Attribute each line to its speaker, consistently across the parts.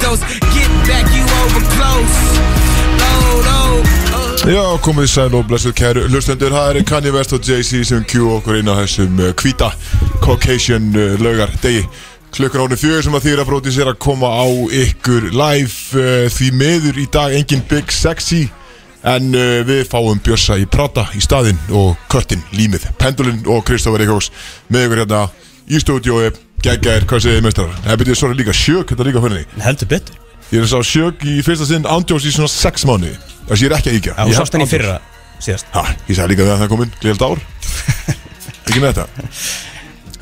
Speaker 1: Legos Get back, you over close Load, load, uh.
Speaker 2: Já, komið sæl og blessuð kæru Hlustendur, það eru Kanye West og Jay-Z sem kjú okkur inn á þessum eh, hvíta Caucasian eh, laugar degi Klukkan ánum fjögur sem að þýra bróti sér að koma á ykkur live eh, Því meður í dag engin Big Sexy En uh, við fáum Bjössa í Prata í staðinn og Köttin, Límið, Pendulinn og Kristoffer Eikós með ykkur hérna í stúdiói Gægær, hvað segir þið mestrar? Það byrjuði svona líka sjök, þetta er líka fyrir því
Speaker 3: Heldur betur
Speaker 2: Ég er að sá sjök í fyrsta sinn ándjóðs í svona sex mánu Þessi ég er ekki að íkja
Speaker 3: Já, þú sást henni í fyrra síðast
Speaker 2: Ha, ég sagði líka þegar það kom inn, gleyld ár Ekki með þetta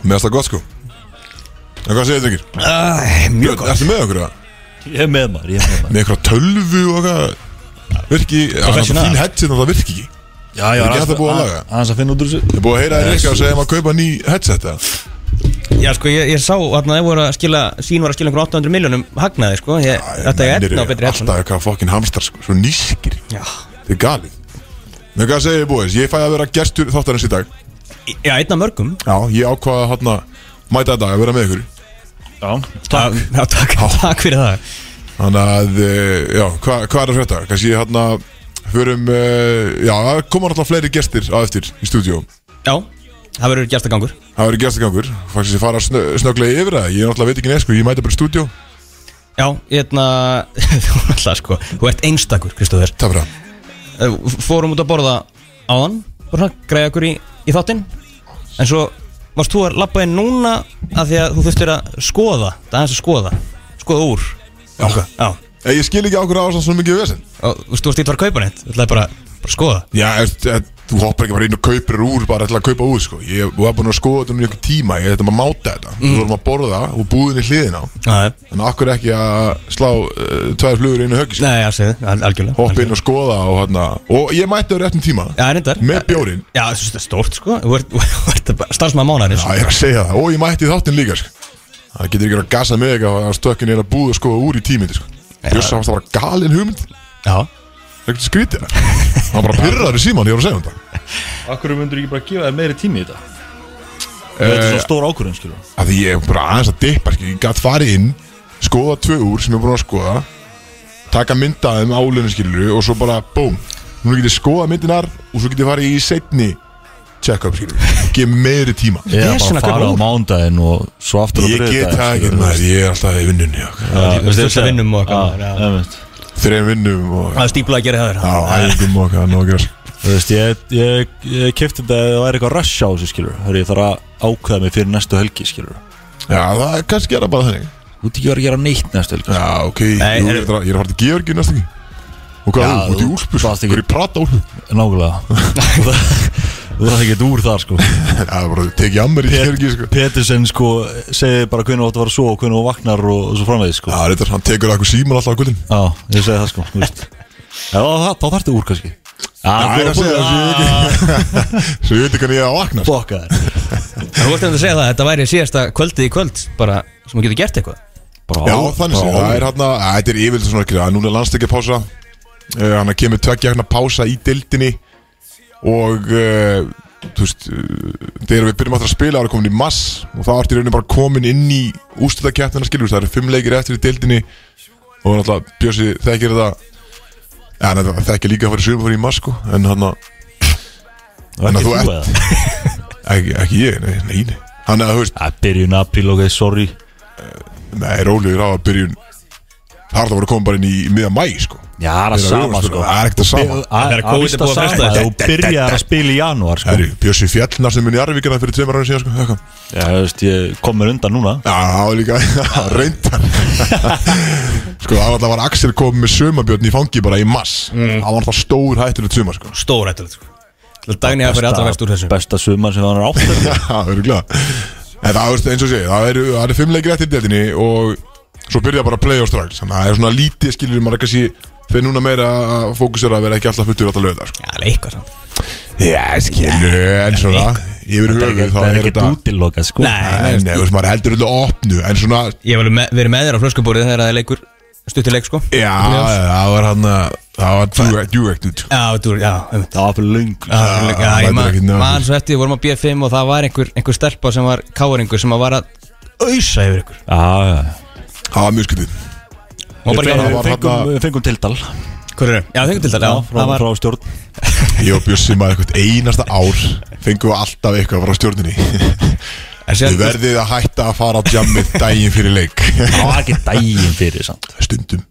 Speaker 2: Með það gott sko En hvað segir drengir?
Speaker 3: Æ, Mjög
Speaker 2: Björn,
Speaker 3: gott
Speaker 2: ertu með okkur það?
Speaker 4: Ég er með maður, ég er með maður
Speaker 2: Með eitthvað tölvu og eitthvað Virki, á, það er
Speaker 4: Professional.
Speaker 2: fín headset en það virki ekki
Speaker 4: Já, já,
Speaker 2: Er ekki þetta búið að laga?
Speaker 4: Aðeins að finna út úr þessu
Speaker 2: Ég er búið að heyra þér ekki að segja maður að kaupa ný headset eða?
Speaker 3: Já, sko, ég, ég sá hérna þeir voru að skila Sín voru að skila einhver 800 miljónum hagnaði, sko ég, Þetta er
Speaker 2: Menn eru
Speaker 3: etna á betri hérna
Speaker 2: Alltaf eitthvað fokkin hamstar sko, svo nýskir
Speaker 3: Já,
Speaker 2: Þetta er galið Með hvað segir búið, ég fæ að vera gestur þáttarins í dag
Speaker 3: já einna mörgum
Speaker 2: Já, ég ákvaða hérna mæta þetta að vera með ykkur
Speaker 4: Já,
Speaker 3: Takk, já, takk, takk fyrir það
Speaker 2: Þannig að, eh, já, hva, hvað er að frétta? Kanski hérna, förum, uh, já, það koma náttúrulega fleiri gestir á eftir í stúdíó
Speaker 3: Já, það verður gestagangur
Speaker 2: Það verður gestagangur, faktisk ég fara snö, snögglega yfir það Ég náttúrulega veit ekki neð, sko, ég mæta bara í stúdíó
Speaker 3: Já, hérna Þú ætla, sko, þú ert einstakur, Kristóður
Speaker 2: Það bara,
Speaker 3: Eh, Fórum út að borða áðan Bara svona, græja okkur í, í þáttinn En svo varst þú að labba inn núna Af því að þú þurftir að skoða Það er aðeins að skoða, skoða úr
Speaker 2: já, okay.
Speaker 3: Já,
Speaker 2: Eh, Ég skil ekki ákvörða ásann svona mikið vesen
Speaker 3: og þú veist, þú varst ít var að kaupa neitt Þú ætlaði bara, bara að skoða
Speaker 2: Já, eftir, eftir, þú hoppar ekki bara inn og kaupir úr bara ætla að kaupa úr, sko Ég var búin að skoða þetta um einhver tíma, ég þetta maður máta þetta Þú vorum að borða og búðin í hliðina
Speaker 3: Já,
Speaker 2: En akkur ekki að slá uh, tvær flugur í einu höggi, sko
Speaker 3: nei, já, segðu, al- algjörlega
Speaker 2: Hoppa inn og skoða og hérna Og ég mætti á réttum tíma
Speaker 3: Já, reyndar
Speaker 2: Með bjórinn
Speaker 3: Já, þetta er stórt, sko Þú ert- þú ert starfsmaður mánaðarins
Speaker 2: Já, ég er að segja það, og ég mætti í þáttinn líka sko. Það getur ekki að gasa mig eitthvað að stökkin er að búða sko úr í tímindi sko. Bjössa hans það var galin hugmynd
Speaker 3: Já,
Speaker 2: ekkert skrítið það Hann var bara pyrraður í síman, ég var að segja um það
Speaker 4: akkur myndur ekki bara gefa þér meiri tími í þetta Þetta er svona stór ákvörðun, skilur við.
Speaker 2: Af því ég er bara aðeins að dippa sko. Ég gætt farið inn, skoða tvö úr sem ég er búin að skoða taka myndaðum álunum skilur og svo bara búm Nú getur ég skoða myndinar og svo getur ég farið í setni check-up skilur og gef meiri tíma
Speaker 4: Ég
Speaker 3: Vesen að
Speaker 4: er bara að
Speaker 3: kaupa
Speaker 4: fara á
Speaker 3: úr.
Speaker 4: mándaginn og svo aftur á
Speaker 2: Ég
Speaker 4: þriðjudaginn,
Speaker 2: get það ekki
Speaker 4: skilur við.
Speaker 2: maður, ég er alltaf í vinnunni sko. okkar
Speaker 4: Já, þú veist,
Speaker 3: Fullt af vinnum
Speaker 2: Þreim vinnum
Speaker 3: og eitthvað, já.
Speaker 4: um Já, einmitt.
Speaker 2: og
Speaker 3: það er stíplað að gera það þér
Speaker 2: á æfingum og okkar, nóg að gera sko.
Speaker 4: Þú veist, ég, ég, ég kefti þetta ef það væri eitthvað rush á þessu skilur Þegar ég þarf að ákveða mig fyrir næstu helgi skilur
Speaker 2: Já, það er kannski er það bara þannig
Speaker 4: Þú ert ekki að vera að gera neitt næstu helgi sko.
Speaker 2: Já, ok, Nei, Jú, er,
Speaker 3: er-
Speaker 2: ég er að fara til Georgi næst ekki Og hvað, þú
Speaker 4: Já,
Speaker 2: ert í
Speaker 4: þú-
Speaker 2: úlpu,
Speaker 4: þú varst ekki-
Speaker 2: hvað er í prata úlpu?
Speaker 4: Nákvæmlega Þú þarf ekki að úr þar sko
Speaker 2: Það er bara, tekið ammeri í Georgi, sko
Speaker 4: Petersen sko segir bara hvernig þú átt að fara svo og hvernig þú vaknar og, og svo framvegis sko
Speaker 2: Já, þetta hann tekur eitthvað síman alltaf á gullin
Speaker 4: Já, ég segi það sko þú veist. Já, þá, þá þarftu úr kannski Já,
Speaker 2: Það er að segja, þessu ég ekki Svo ég veit ekki hvernig ég er að vakna sko.
Speaker 4: Bokka þér
Speaker 3: Þú vorst að segja það, þetta væri síðasta kvöldið í kvöld Bara, sem þú getur gert eitthvað
Speaker 4: Bara
Speaker 2: Já,
Speaker 4: á-
Speaker 2: þannig
Speaker 4: bara
Speaker 2: sem,
Speaker 4: á-
Speaker 2: það er hann að, þetta er yfirlega svona ekki Núna er landstekja pása Hann að kemur tveggja hérna pása í dildinni Og, eh, þú veist eh, Þegar við byrjum aftur að spila Það er komin í mass Og það ertu í rauninni bara komin inn í úrstöðakjæftina skilur Það eru fimm leikir eftir í dildinni og náttúrulega Bjössi þekkir þetta ja, náttúrulega þekkir líka að fara í sumar fyrir í mask sko, en hann að,
Speaker 4: var
Speaker 2: þannig að
Speaker 4: ekki
Speaker 2: þú
Speaker 4: þú
Speaker 2: ert-
Speaker 4: eða?
Speaker 2: ekki, ekki ég, nei, nei, nei. hann að, þú veist,
Speaker 4: Já, byrjun apríl ok, sorry
Speaker 2: nei, rólegur á að byrjun það er það voru komið bara inn í miða mæ, sko
Speaker 4: Já, það er að
Speaker 2: Þegar
Speaker 4: sama
Speaker 2: við-
Speaker 4: sko
Speaker 2: það er ekkert að sama.
Speaker 4: Það er
Speaker 3: Þegar COVID er
Speaker 4: víst að
Speaker 3: búið að
Speaker 4: sama
Speaker 3: fresta
Speaker 4: Þú byrjar að spila í janúar sko
Speaker 2: Herri, Bjössi fjallnar sem minn í Arvíkina fyrir tveimur árið síðan, sko eitthvað.
Speaker 4: Já, þú veist, ég kom mér undan núna
Speaker 2: Já, það var líka reyndar Sko, það var alltaf var Axel komið með sömabjörn í fangi bara í mass Það var alltaf stór hættulegt söma, sko
Speaker 3: Stórættulegt, sko Dagni að fyrir allra verst úr þessu
Speaker 4: Besta sumar sem hann er átt
Speaker 2: Já, það verður glæð En það er eins og sé, það eru það eru fimm leikir eftir deltinni og svo byrja bara að playa á strax Þannig að það er svona lítið skilur maður kannski fyrir núna meira að fókusera að vera ekki alltaf fullur alltaf löða sko.
Speaker 3: Já, leikar samt
Speaker 2: Já, skilur, en svona yfir höfuð þá
Speaker 4: Það er
Speaker 2: er
Speaker 4: ekkert
Speaker 2: þetta
Speaker 4: útilokað sko
Speaker 3: Nei.
Speaker 2: En þú veist, maður heldur öllu opnu En svona,
Speaker 3: Ég hef alveg me- verið með þér á flöskubúrið þegar það er leikur Stuttir leik, sko
Speaker 2: já, það var hann að það var direct- direct út
Speaker 3: Já, þú, já, um
Speaker 4: Það var fyrir löng
Speaker 3: Já,
Speaker 2: mætir
Speaker 3: ég
Speaker 2: ekkert
Speaker 3: man,
Speaker 2: náður.
Speaker 3: man svo eftir, við vorum á BFM og það var einhver, einhver stelpa sem var káringur sem að var að ausa yfir ykkur
Speaker 4: Já, já
Speaker 2: Það var mjög skilur
Speaker 3: var bara
Speaker 2: Það
Speaker 3: ekki
Speaker 4: Við
Speaker 2: var
Speaker 4: fengum,
Speaker 2: þarna-
Speaker 4: við fengum tildal
Speaker 3: Hvað er það? Já, þengur til þetta, já
Speaker 4: frá,
Speaker 3: Það var
Speaker 4: frá stjórn
Speaker 2: Ég og Bjössi maður eitthvað einasta ár fengum við alltaf eitthvað frá stjórninni
Speaker 3: en
Speaker 2: Þið
Speaker 3: síðan-
Speaker 2: verðið að hætta að fara á jammið daginn fyrir leik
Speaker 4: Það var ekki daginn fyrir samt
Speaker 2: Stundum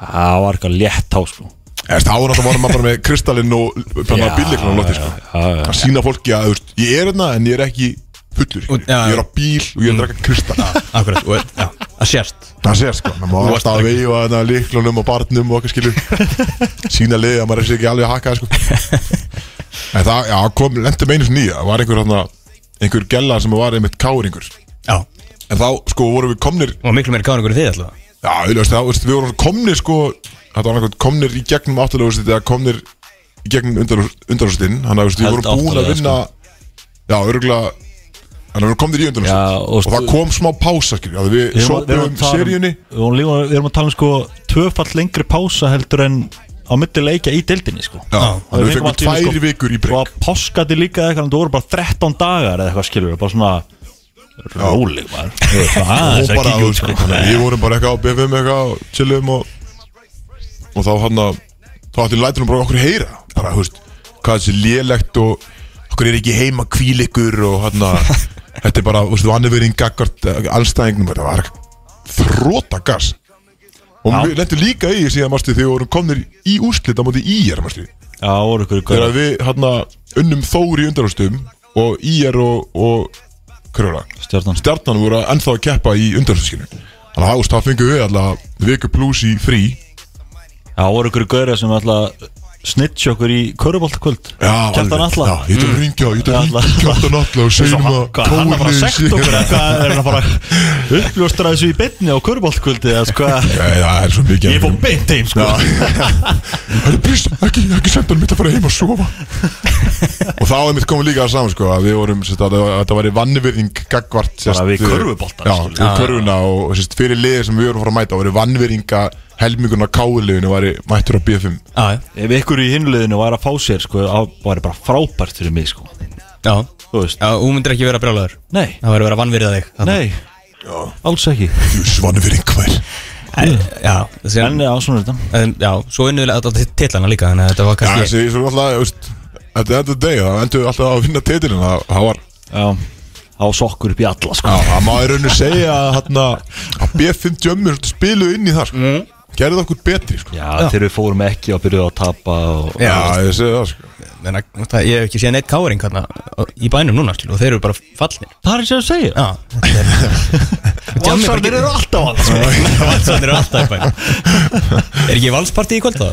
Speaker 4: Það var eitthvað létt á sko
Speaker 2: Eða, Þá var náttúrulega maður bara með kristallinn og bara bílleiknum á lotti sko.
Speaker 4: sko
Speaker 2: að sína fólki að þú veist, ég er hérna en ég er ekki fullur
Speaker 3: Og- já,
Speaker 2: Ég er á bíl og ég er að drekka kristall
Speaker 3: Akkurat, og já, það sést
Speaker 2: Það sé sko, maður
Speaker 3: Þú
Speaker 2: var
Speaker 3: varst
Speaker 2: alltaf að
Speaker 3: ekki-
Speaker 2: veifa þarna líklunum og barnum og okkar skilur sína liðið að maður er sér ekki alveg að hakka sko. en það, já, kom lendi meinu svona í, það var einhver hana, einhver gella sem var einmitt káringur
Speaker 3: Já, það
Speaker 2: en þá, sko, vorum við komnir
Speaker 3: var miklu meiri káringur en þið alltaf
Speaker 2: já, auðvitað, þá, veist, við vorum komnir sko, þetta var einhvern komnir í gegnum áttalöfustið eða komnir í gegnum undanlöfustinn, þannig að veist, við
Speaker 3: Held
Speaker 2: vorum búin að
Speaker 3: áttalega,
Speaker 2: vinna já, örgulega þannig að við vorum komnir í
Speaker 4: Já,
Speaker 2: undanlöfustið
Speaker 4: og
Speaker 2: og það
Speaker 4: stu-
Speaker 2: kom smá pása, skilur, að við sópum
Speaker 4: um-
Speaker 2: seríunni
Speaker 4: Við vorum líka- við erum að tala um sko Tvöfall lengri pása heldur en Á myndi leikja í dildinni sko
Speaker 2: Já, þannig að við fengum
Speaker 4: allt í einu, sko,
Speaker 2: tvær vikur í
Speaker 4: Og
Speaker 2: breyk
Speaker 4: að páskati líka eða eitthvað en Það voru bara 13 dagar eða eitthvað skilur Bara svona Rólig maður Þú veist, svona aðeins
Speaker 2: og
Speaker 4: að
Speaker 2: bara,
Speaker 4: kíkja
Speaker 2: þú
Speaker 4: út,
Speaker 2: veist,
Speaker 4: sko.
Speaker 2: við vorum bara eitthvað á BFM eitthvað og chillum og og þá hann að þá ætti lætunum bara okkur að heyra bara, þú veist, hvað þessi lélegt og okkur er ekki heima kvíl ykkur og hann að, þetta er bara, þú veist, vannverðin gaggart allstæðingnum, þetta var þróta gas og
Speaker 4: Já.
Speaker 2: við lendum líka í síðan, mástu, þegar við vorum komnir í úrslit á móti í er, mástu,
Speaker 4: Já, voru ykkur
Speaker 2: þegar
Speaker 4: ykkur
Speaker 2: við hann að unnum þóri í undanrústum og í er og, og hverju var það?
Speaker 4: Stjórnans
Speaker 2: stjarnan voru ennþá að keppa í undanúrskinu þannig að ást, það fengum við alltaf viku pluss í frí
Speaker 4: Já, voru ykkur ykkur sem alltaf Snitch okkur í Köruboltakvöld Kjartan
Speaker 2: já,
Speaker 4: alltaf
Speaker 2: ég ætla að ringja, ég ætla að
Speaker 4: Alla.
Speaker 2: ringja kjartan alltaf og
Speaker 4: Svo
Speaker 2: segjum
Speaker 4: hann-
Speaker 2: að
Speaker 4: Hvað, hann er bara
Speaker 2: Kóli
Speaker 4: að sekta okkur
Speaker 2: sé-
Speaker 4: eða hvað er hann bara að uppljóstra þessu í byrni á köruboltkvöldi eða sko
Speaker 2: Já, það er svo mikið
Speaker 4: ég fór beint heim sko
Speaker 2: Það er brist, ekki, ekki senda hann mitt að fara heim að sofa Og þá er mitt komið líka að saman sko að Við vorum, sérst, að að þetta væri vannverðing Gagvart, sérst
Speaker 4: við
Speaker 2: eh,
Speaker 4: körfuboltann,
Speaker 2: Já,
Speaker 4: skilur.
Speaker 2: við körfuna og, og sérst, fyrir liðið sem við vorum að fara að mæta Það væri vannverðinga helminguna káðliðinu Væri mættur á BFM
Speaker 3: Já, já,
Speaker 4: ef ykkur í hinliðinu var að fá sér sko það var bara frábært fyrir mig sko
Speaker 3: já
Speaker 4: þú veist
Speaker 3: Já, þú myndir ekki vera brjálaður
Speaker 4: nei
Speaker 3: Það verður að vera vannvirða þig þarna.
Speaker 4: nei alls ekki
Speaker 2: Jús, vannverðing hver
Speaker 3: En, Já, þessi
Speaker 4: en já svona er þetta
Speaker 3: en, Já, svo unniðlega alltaf tillana líka Þannig að þetta var
Speaker 2: Já,
Speaker 3: kannski
Speaker 2: þessi, svo alltaf, þú veist At the end of the day, það endur við alltaf að vinna titilin Það, það var,
Speaker 4: já á sokkur upp í alla
Speaker 2: já,
Speaker 4: sko
Speaker 2: það maður rauninu segja að, þarna, að B5 djömmur spiluðu inn í það, sko mm. Gerðu það okkur betri, sko Já,
Speaker 4: já þegar við fórum ekki og byrjuðu að tapa og
Speaker 3: Já,
Speaker 2: ég segi það, sko
Speaker 3: menna, það, Ég hef ekki séð neitt káring hérna í bænum núna skilu, og þeir eru bara fallnir
Speaker 4: það er sem að segja
Speaker 3: Já, þetta er
Speaker 4: valsarnir eru alltaf að sko
Speaker 3: Valsarnir eru alltaf í bænum Er ekki valsparti í kvöld þá?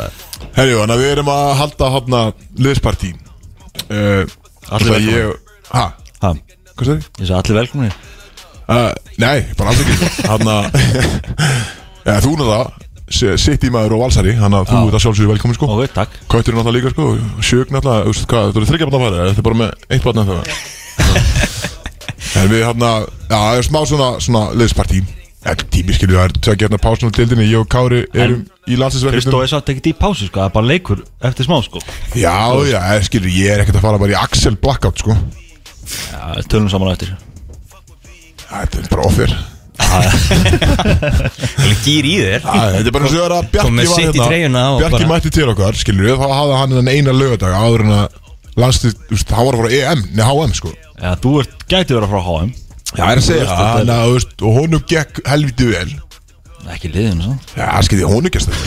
Speaker 2: Herjú, þannig að við erum að halda hafna liðspartí uh, Alltaf
Speaker 4: velkomnir.
Speaker 2: ég, ha,
Speaker 4: ha
Speaker 2: hvað segir?
Speaker 4: ég sagði allir velkominir
Speaker 2: Uh, nei, bara alls ekki Hanna ja, Þú náttúrulega Sitt í maður og valsari Hanna þú ert að sjálfsögðu velkomin sko
Speaker 4: ok takk
Speaker 2: Kauturinn alltaf líka sko Sjögn alltaf Þú veist hvað Þú eru þryggja barna að fara Þetta er bara með eitt barna þegar En við hann að Já, það er smá svona Svona liðspartí Ekki tími skilju Það er tvei gerna pásun á tildinni Ég og Kári erum í
Speaker 4: Kristó
Speaker 2: landsinsverkefnum
Speaker 4: er satt ekkert í pásu sko það er bara leikur eftir smá sko
Speaker 2: Já, já, skilju Ég er ekkert að fara bara í Axel Blackout sko
Speaker 4: já tölum saman á eftir
Speaker 2: Það er bara ofir
Speaker 3: Eller gýr í þér
Speaker 2: Æ, Þetta er bara eins og þegar að
Speaker 3: Kom
Speaker 2: Bjarki
Speaker 3: með
Speaker 2: var
Speaker 3: sitt í treyjuna
Speaker 2: hérna
Speaker 3: og
Speaker 2: Bjarki
Speaker 3: bara-
Speaker 2: mætti til okkar, skilur við Þá hafði hann en eina lögadag áður en að landslið, þú veist, hann var að fara á EM Nei, HM, sko Já,
Speaker 4: Já, þú ert, gæti verið frá HM
Speaker 2: það er að segja
Speaker 4: það,
Speaker 2: Þannig að, þú veist, og honum gekk helviti vel
Speaker 4: Ekki sko. liðin, svona
Speaker 2: Já, skilji, honum gekk stöður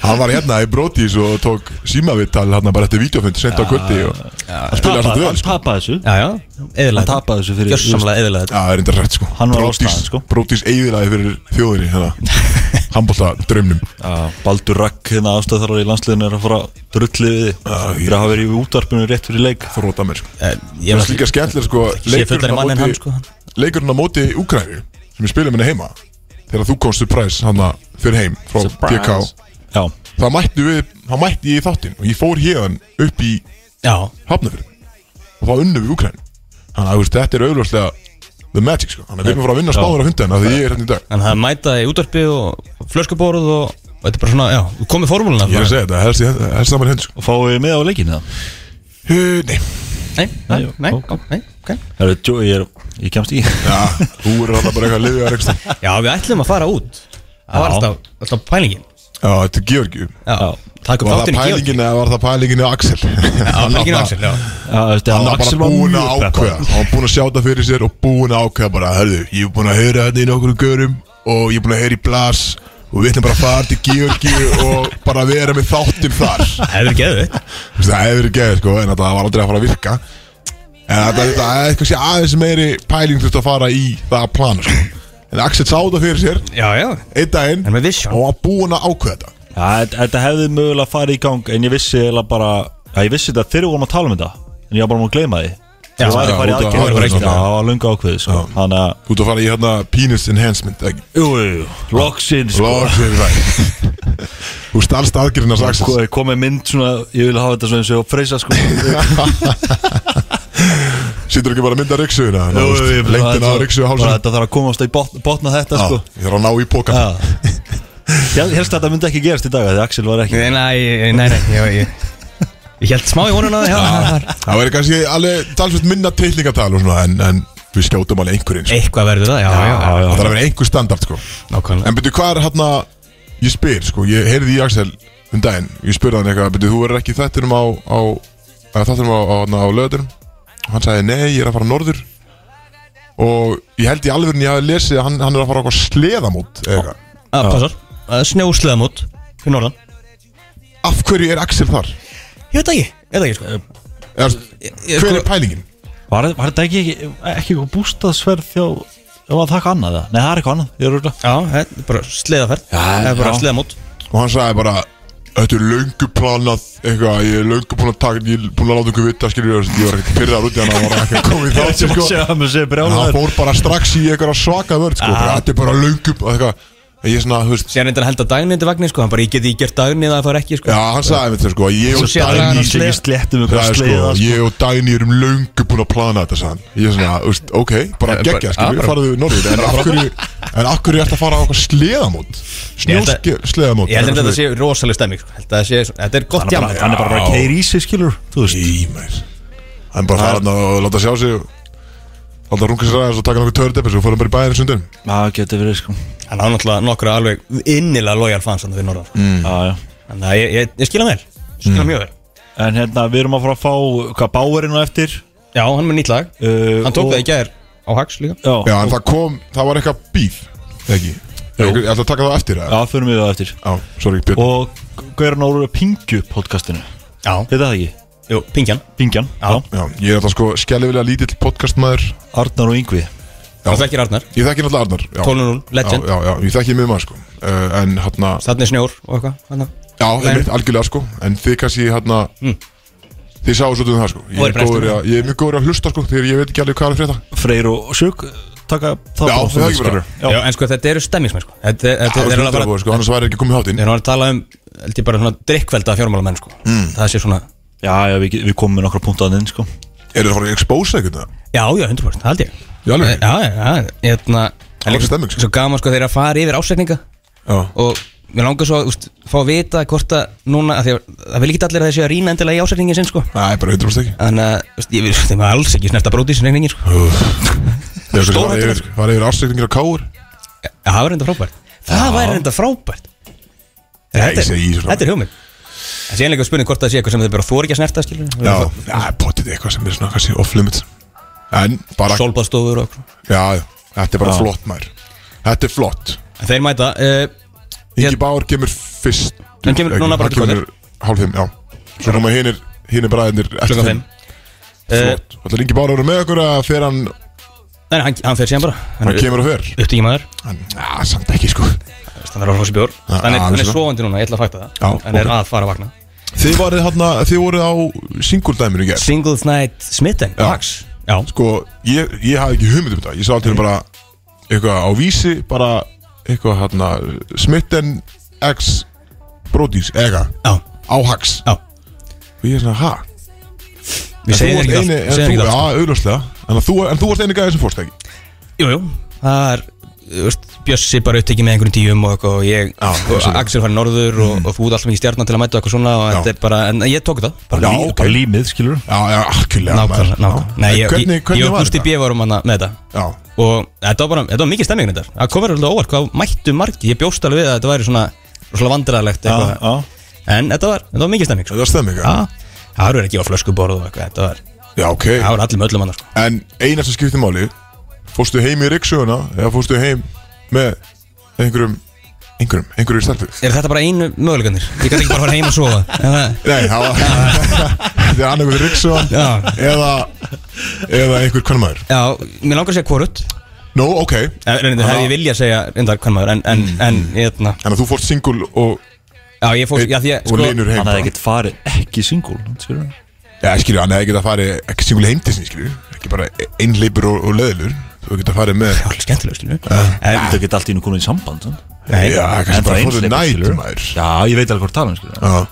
Speaker 2: Hann var hérna í Brodís og tók símavittal hérna bara eftir vídeofund sent á kvöldi og hann spilaði svolítið vel,
Speaker 4: Hann
Speaker 2: sko
Speaker 4: tapaði þessu
Speaker 3: Já, já, eðilega
Speaker 4: Hann tapaði þessu fyrir-
Speaker 3: Gjörsamlega eðilega
Speaker 2: Já, það er enda rætt, sko
Speaker 4: Hann var á staðinn, sko.
Speaker 2: Brodís eigðilaði fyrir þjóðinni, hérna Handbólta draumnum
Speaker 4: Já, Baldur Rakk, hérna ástöðþarar í landsliðinu er að fara drulli við þig
Speaker 2: Já, ég-
Speaker 4: Fyrir að hafa verið í útvarpinu rétt fyrir leik
Speaker 2: Þróta mér, sko
Speaker 3: Eh, Ég
Speaker 2: Ég
Speaker 3: var
Speaker 2: finnst líka skemmtilega sko
Speaker 3: Sé fullari
Speaker 2: leikurinn á
Speaker 3: mann en
Speaker 2: móti-
Speaker 3: hann, sko, hann.
Speaker 2: Leikurinn á móti Úkræni sem ég spila minna heima þegar þú komst surprise hann að fyrir heim frá DK
Speaker 4: Já,
Speaker 2: þá mætti, við, þá mætti ég í þáttinn og ég fór hérðan upp í
Speaker 3: Já,
Speaker 2: Hafnafjörn og þá unnum við Úkræni þannig að þú veist, þetta er auðvitað the magic sko þannig að við erum að fara að vinna spáður á hundin af því ég er hérna í dag
Speaker 3: þannig að mæta í útvarpi og flöskubóruð og, og þetta er bara svona, já, þú komið formúluna
Speaker 2: ég er að segja þetta, helst, helst, helst saman hend sko
Speaker 4: og fáið við með á leikinu það
Speaker 2: Uh, nei,
Speaker 3: Nei, nei,
Speaker 4: Nei,
Speaker 3: nei,
Speaker 4: ok.
Speaker 3: ó, nei, ok
Speaker 4: Það eru, ég er, ég kemst í
Speaker 2: ja, þú er hann bara eitthvað að liðja
Speaker 3: Já, við ætlum að fara út Það var
Speaker 4: Já.
Speaker 3: alltaf, alltaf pælingin
Speaker 2: Já, þetta er Georgium
Speaker 3: Já,
Speaker 4: Já.
Speaker 3: takk upp
Speaker 2: Var það
Speaker 3: þáttinn í Georgi
Speaker 2: pælingin eða var það pælingin á Axel? Já,
Speaker 3: Já, pælingin á Axel, já
Speaker 2: Hann var bara búin að ákveða Hann var búin að sjá það fyrir sér og búin að ákveða bara Hörðu, ég er búin að heyra þetta í nokkrum görum Og ég er búin að heyra í Blas Og við ætlum bara að fara til Georgi Og bara vera með þáttum þar
Speaker 3: Það hefur
Speaker 2: Þú
Speaker 3: geðið
Speaker 2: veist, Það hefur verið geðið sko En þetta var aldrei að fara að virka En þetta þetta er eitthvað sé aðeins meiri pæling Þurft að fara í það að plana sko En Axel sá það fyrir sér
Speaker 3: Já, já
Speaker 2: Einn daginn
Speaker 3: En með vision.
Speaker 2: Og var búin að ákveða þetta
Speaker 4: Já, þetta- þetta hefði mögulega farið í gang En ég vissi eiginlega bara Já, ég vissi þetta þegar við vorum að tala um þetta En ég var bara múin að gleyma því
Speaker 3: Já,
Speaker 4: Það var
Speaker 2: já,
Speaker 4: farið í
Speaker 2: út af-
Speaker 4: aðgerð.
Speaker 2: það var
Speaker 4: Já,
Speaker 2: ekki-
Speaker 4: það var lunga ákveði sko. Þannig að
Speaker 2: Þú ert að fara í hérna penis enhancement ekki?
Speaker 4: Jú, jú, jú, loksins sko.
Speaker 2: Loksins það Þú stalst aðgerðin að
Speaker 4: Sko,
Speaker 2: saksins
Speaker 4: ég kom með mynd svona Ég vil hafa þetta svona eins og freysa sko
Speaker 2: Sýtur ekki bara að mynda hérna? ryksuðina
Speaker 4: Jú, jú, jú, bara
Speaker 2: Lengtin
Speaker 4: þetta-
Speaker 2: á ryksuðu
Speaker 4: bara
Speaker 2: hálsum
Speaker 4: Þetta þarf að komast í botn- botna þetta sko
Speaker 2: Ég þarf að ná í pókan
Speaker 4: Já Ég helst að þetta myndi ekki gerast í dag af Því Axel var ekki
Speaker 3: Nei, nei, nei, nei já, ég, ég held smá í vonuna Já, það var
Speaker 2: Það væri kannski alveg talsveit minna teiklingatal og svona En, en við skjótum alveg einhverjum sko.
Speaker 3: Eitthvað verður það, já, já, já,
Speaker 2: Það þarf að vera einhver standard sko
Speaker 3: Nákvæmlega
Speaker 2: En byrju hvað er hérna Ég spyr sko, ég heyrði í Axel um daginn Ég spurði hann eitthvað, byrju þú verður ekki í þættinum á, á að Þættinum á, á, á, á löðurum Og hann sagði nei, ég er að fara norður Og ég held í alvörinni ég hafi lesið að hann, hann er að fara á eitthvað sleðamót eða eitthvað.
Speaker 3: Ah, Passar, uh, snjósleðamót Fyrir norðan
Speaker 2: Af hverju er Axel þar?
Speaker 3: Ég veit það ekki, ég veit það ekki sko
Speaker 2: Er,
Speaker 3: ég-
Speaker 2: hver
Speaker 3: sko-
Speaker 2: er pælingin?
Speaker 4: Var, var þetta ekki, ekki eitthvað bústaðsverð þjá Það var það eitthvað annað það? Nei, það er eitthvað annað, ég er rúgla
Speaker 3: Já, þetta er bara sleðaferð
Speaker 4: Já,
Speaker 3: Það er bara
Speaker 4: já.
Speaker 3: sleðamót
Speaker 2: Og hann sagði bara Þetta er löngu planað eitthvað, ég er löngu búin að taka, ég er búin að láta einhver vita, skiljur, ég var ekkert pyrraðar út í hann, hann var ekki að koma í þátt, sko.
Speaker 4: að maður sé
Speaker 2: En hann fór bara strax í eitthvað svaka vörð, sko, bara, þetta er bara löngu, og eitthvað, ég er svona, þú veist,
Speaker 3: Sér reyndar að held að dagni undir vagnir sko Hann bara, ég geti gert dagni eða það fór ekki sko
Speaker 2: já, hann sagði mér þetta, sko, ég
Speaker 3: Svo
Speaker 2: og
Speaker 3: sé að draga hann á
Speaker 2: Dagný,
Speaker 3: sleða.
Speaker 4: Ég slétti um
Speaker 2: það
Speaker 4: eitthvað
Speaker 2: er
Speaker 4: sleða
Speaker 2: sko, ég og Dagný erum löngu búin að plana þetta, sann, ég er svona, þú veist, ok, bara
Speaker 3: Já, bara-
Speaker 2: geggja,
Speaker 3: já,
Speaker 2: skiljur,
Speaker 3: bara-
Speaker 2: faraðu norður, en af hverju, en af hverju ertu að fara á eitthvað sleðamót,
Speaker 3: Ég held að-
Speaker 2: snjóski sleðamót,
Speaker 3: Ég held að
Speaker 2: eitthvað
Speaker 3: þetta sé rosalega stemming sko. Held að þetta sé, þetta er gott
Speaker 4: Hann
Speaker 3: jafn
Speaker 4: er bara bara keir í sig skilur Þú veist
Speaker 2: Ímæl Hann bara fara hann og láta sjá sig Láta runga sér aðeins og taka nokkuð tördeppis og fórum bara í bæðin sundin
Speaker 4: Það getur verið sko
Speaker 3: Hann á náttúrulega nokkra alveg innilega lojal fans Þannig fyrir norðan sko.
Speaker 4: Já, já
Speaker 3: Þannig að ég, ég, ég skila mér Skila mjög vel
Speaker 4: En hérna, við erum að fara að fá Hvað báurinn og eftir
Speaker 3: Já, hann er með nýtt lag
Speaker 4: uh,
Speaker 3: Hann tók
Speaker 4: og-
Speaker 3: það í gær á Hax líka
Speaker 4: Já,
Speaker 2: Já, en það kom, það var eitthvað bíl eða Ekki Ég ætla að taka það eftir eða?
Speaker 4: já, förum við það eftir
Speaker 2: Já, sorry, Björn
Speaker 4: Og Gaurin Ólur Pingju podcastinu
Speaker 3: Já,
Speaker 4: Heita það ekki?
Speaker 3: jú, pingjan
Speaker 4: Pingjan
Speaker 3: Já.
Speaker 2: Já, ég er þetta sko skellilega lítill podcastmaður
Speaker 4: Arnar og Yngvi
Speaker 2: Já.
Speaker 3: Það þekkir Arnar
Speaker 2: Ég þekki náttúrulega Arnar já.
Speaker 3: 12-0, legend.
Speaker 2: Já, já, já, ég þekki mjög maður sko uh, En hérna,
Speaker 3: Þannig snjór og eitthvað þarna.
Speaker 2: já, einmitt, algjörlega sko En þið kannski hérna
Speaker 3: Mm.
Speaker 2: Þið sáu svolítið um það sko Ég
Speaker 3: Og er
Speaker 2: er, góður,
Speaker 3: prestur.
Speaker 2: að, ég er mjög góður að hlusta sko Þegar ég veit ekki alveg hvað er að frétta
Speaker 4: Freyr og Sjögg Takka
Speaker 2: Já,
Speaker 4: það bara
Speaker 2: það er ekki bara.
Speaker 4: Já.
Speaker 3: Já, en sko þetta eru stemmismenn sko Þetta, þetta, þetta
Speaker 2: Það
Speaker 3: er
Speaker 2: er
Speaker 3: alveg bara
Speaker 2: alveg sko, annars væri ekki komið hátt inn
Speaker 3: Þeir eru að tala um, held ég bara svona drikkvelda fjármálamenn sko
Speaker 2: Mm.
Speaker 3: Það sé svona,
Speaker 4: Já, já, við, við komum með nokkra punkt að inn sko
Speaker 2: Er það að fara að expose eitthvað? hérna?
Speaker 3: já, já, 100% það held ég
Speaker 2: Í alvöru?
Speaker 3: Já, já, já, hérna Það
Speaker 2: er líka stemming, sko.
Speaker 3: Svo gaman sko þeir eru að fara yfir ásetninga
Speaker 2: Já
Speaker 3: Og mér langar svo að fá að vita hvort að núna að því, að- Það vil ekki allir að þeir séu að rýna endilega í ásetningin sinn sko
Speaker 2: Nei, bara 100% ekki
Speaker 3: Þannig að, þú veist, ég vil, þeim er alls ekki snert að bróti sinni reyningin sko
Speaker 2: Stóra yfir Var yfir ársreikningir á káur
Speaker 3: Já, það var reynda frábært Það væri reynda frábært Þetta
Speaker 2: ég segi í
Speaker 3: er-
Speaker 2: þessu
Speaker 3: þetta er hugmynd Það sé einlega spurning hvort það sé eitthvað sem þau bara þóri ekki að snerta skilur
Speaker 2: Já Já, potið eitthvað sem er svona kannski off-limits En bara
Speaker 3: Sólbaðstofur og eitthvað
Speaker 2: Já, já, þetta er bara
Speaker 4: Já.
Speaker 2: flott mær Þetta er flott
Speaker 3: En Þeir mæta uh,
Speaker 2: Ingi Bár kemur fyrst
Speaker 3: Hann kemur núna bara til
Speaker 2: kemur Hálf fimm, já Svo koma hinir Hinir bræðinir eftir
Speaker 3: klukkan
Speaker 2: fimm.
Speaker 3: 5
Speaker 2: Flott Þetta er Ingi Bár að vera með okkur að fer hann
Speaker 3: Eh, Nei, nei, hann, hann fer síðan bara Hann
Speaker 2: Hann
Speaker 3: er
Speaker 2: kemur og fer
Speaker 3: upptíki maður
Speaker 2: Hann, já, samt ekki sko
Speaker 3: Hann er að hósi bjór
Speaker 2: Já,
Speaker 3: Hann er,
Speaker 2: já,
Speaker 3: hann er
Speaker 2: vissulega.
Speaker 3: sofandi núna, ég ætla að fæta það
Speaker 2: Já,
Speaker 3: Hann er
Speaker 2: ok.
Speaker 3: að fara að vakna
Speaker 2: Þið voruð hann Þið voruð á singuldæminu í gerð
Speaker 3: Singles Night Smitten
Speaker 2: Já.
Speaker 3: Max Já
Speaker 2: sko, ég, ég hafði ekki hugmynd um þetta ég sá alltaf bara eitthvað á vísi bara eitthvað hérna smitten x brodís, ega,
Speaker 3: Já
Speaker 2: á hax
Speaker 3: Já.
Speaker 2: og ég er svona, ha?
Speaker 3: Við
Speaker 2: En þú
Speaker 3: segjum
Speaker 2: varst
Speaker 3: þér ekki
Speaker 2: eini-
Speaker 3: allt
Speaker 2: en
Speaker 3: Segjum
Speaker 2: þú-
Speaker 3: þér ekki allt
Speaker 2: Já, augljóslega en þú, en þú varst eini gæði sem fórst ekki
Speaker 3: Jú, jú Það er þú veist, Bjössi bara upptekið með einhverjum tíum og, eitthvað og ég
Speaker 2: Já,
Speaker 3: og
Speaker 2: vissulega.
Speaker 3: Axel farið norður og, og þú út alltaf mikið stjarnan til að mæta og eitthvað svona og þetta
Speaker 2: Já.
Speaker 3: er bara, en ég tók það bara
Speaker 2: Já,
Speaker 4: Lí-
Speaker 2: ok.
Speaker 4: Bara límið skilur
Speaker 2: já, já, algjörlega
Speaker 3: nákvæmlega, nákvæmlega Nei,
Speaker 2: En
Speaker 3: ég,
Speaker 2: hvernig,
Speaker 3: ég,
Speaker 2: hvernig
Speaker 3: ég og
Speaker 2: var
Speaker 3: Gusti
Speaker 2: þetta?
Speaker 3: B. varum hana með þetta
Speaker 2: já,
Speaker 3: og þetta var bara, þetta var mikið stemming þetta það kom verið alltaf óvart hvað mættu margi ég bjóst alveg við að þetta væri svona rosalega vandræðalegt
Speaker 4: Já,
Speaker 3: eitthvað
Speaker 4: já.
Speaker 3: en þetta var, þetta var mikið stemming sko.
Speaker 2: Þetta stemmi
Speaker 3: Já,
Speaker 2: ekki?
Speaker 3: það var verið að gefa flöskuborð og eitthvað þetta var,
Speaker 2: Já, ok
Speaker 3: það var allir með öllum annar sko.
Speaker 2: En eina sem skiptir máli Fórstu heim í Ríksuguna Eða fórstu heim með einhverjum Einhverjum, einhverjum stelpu
Speaker 3: er þetta bara einu möguleikanir? ég gæti ekki bara að fara heim og sofa En það-
Speaker 2: Nei, það var Þetta er annarkoð Ríksugan
Speaker 3: Já.
Speaker 2: Eða Eða einhver kvannmaður
Speaker 3: já, mér langar að segja hvorut
Speaker 2: Nú, ok
Speaker 3: það Eh, hefði ég vilja að segja reyndar hvern maður en, en,
Speaker 2: Mm.
Speaker 3: en hérna,
Speaker 2: Þannig að þú fórst singul og,
Speaker 3: já, ég fór, já, því
Speaker 2: og
Speaker 3: að sko,
Speaker 2: linur heim
Speaker 4: Hann hefði
Speaker 2: bara.
Speaker 4: ekkert farið ekki singul skilur.
Speaker 2: Já, skilju, hann hefði getað farið Ekki singul heim til sín, skilju Ekki bara einleipur og, og leðilur Þú hefði getað farið með
Speaker 3: allir skemmtilega, skilu en,
Speaker 4: Þau geta allt í nú komin í samband sant?
Speaker 3: Eh, nei,
Speaker 2: Ah. Já, kannski bara
Speaker 4: einhleypur,
Speaker 2: fórstu nætt
Speaker 4: skilurðu.
Speaker 2: maður
Speaker 4: Já, ég veit alveg hvort tala um skilur
Speaker 2: Já,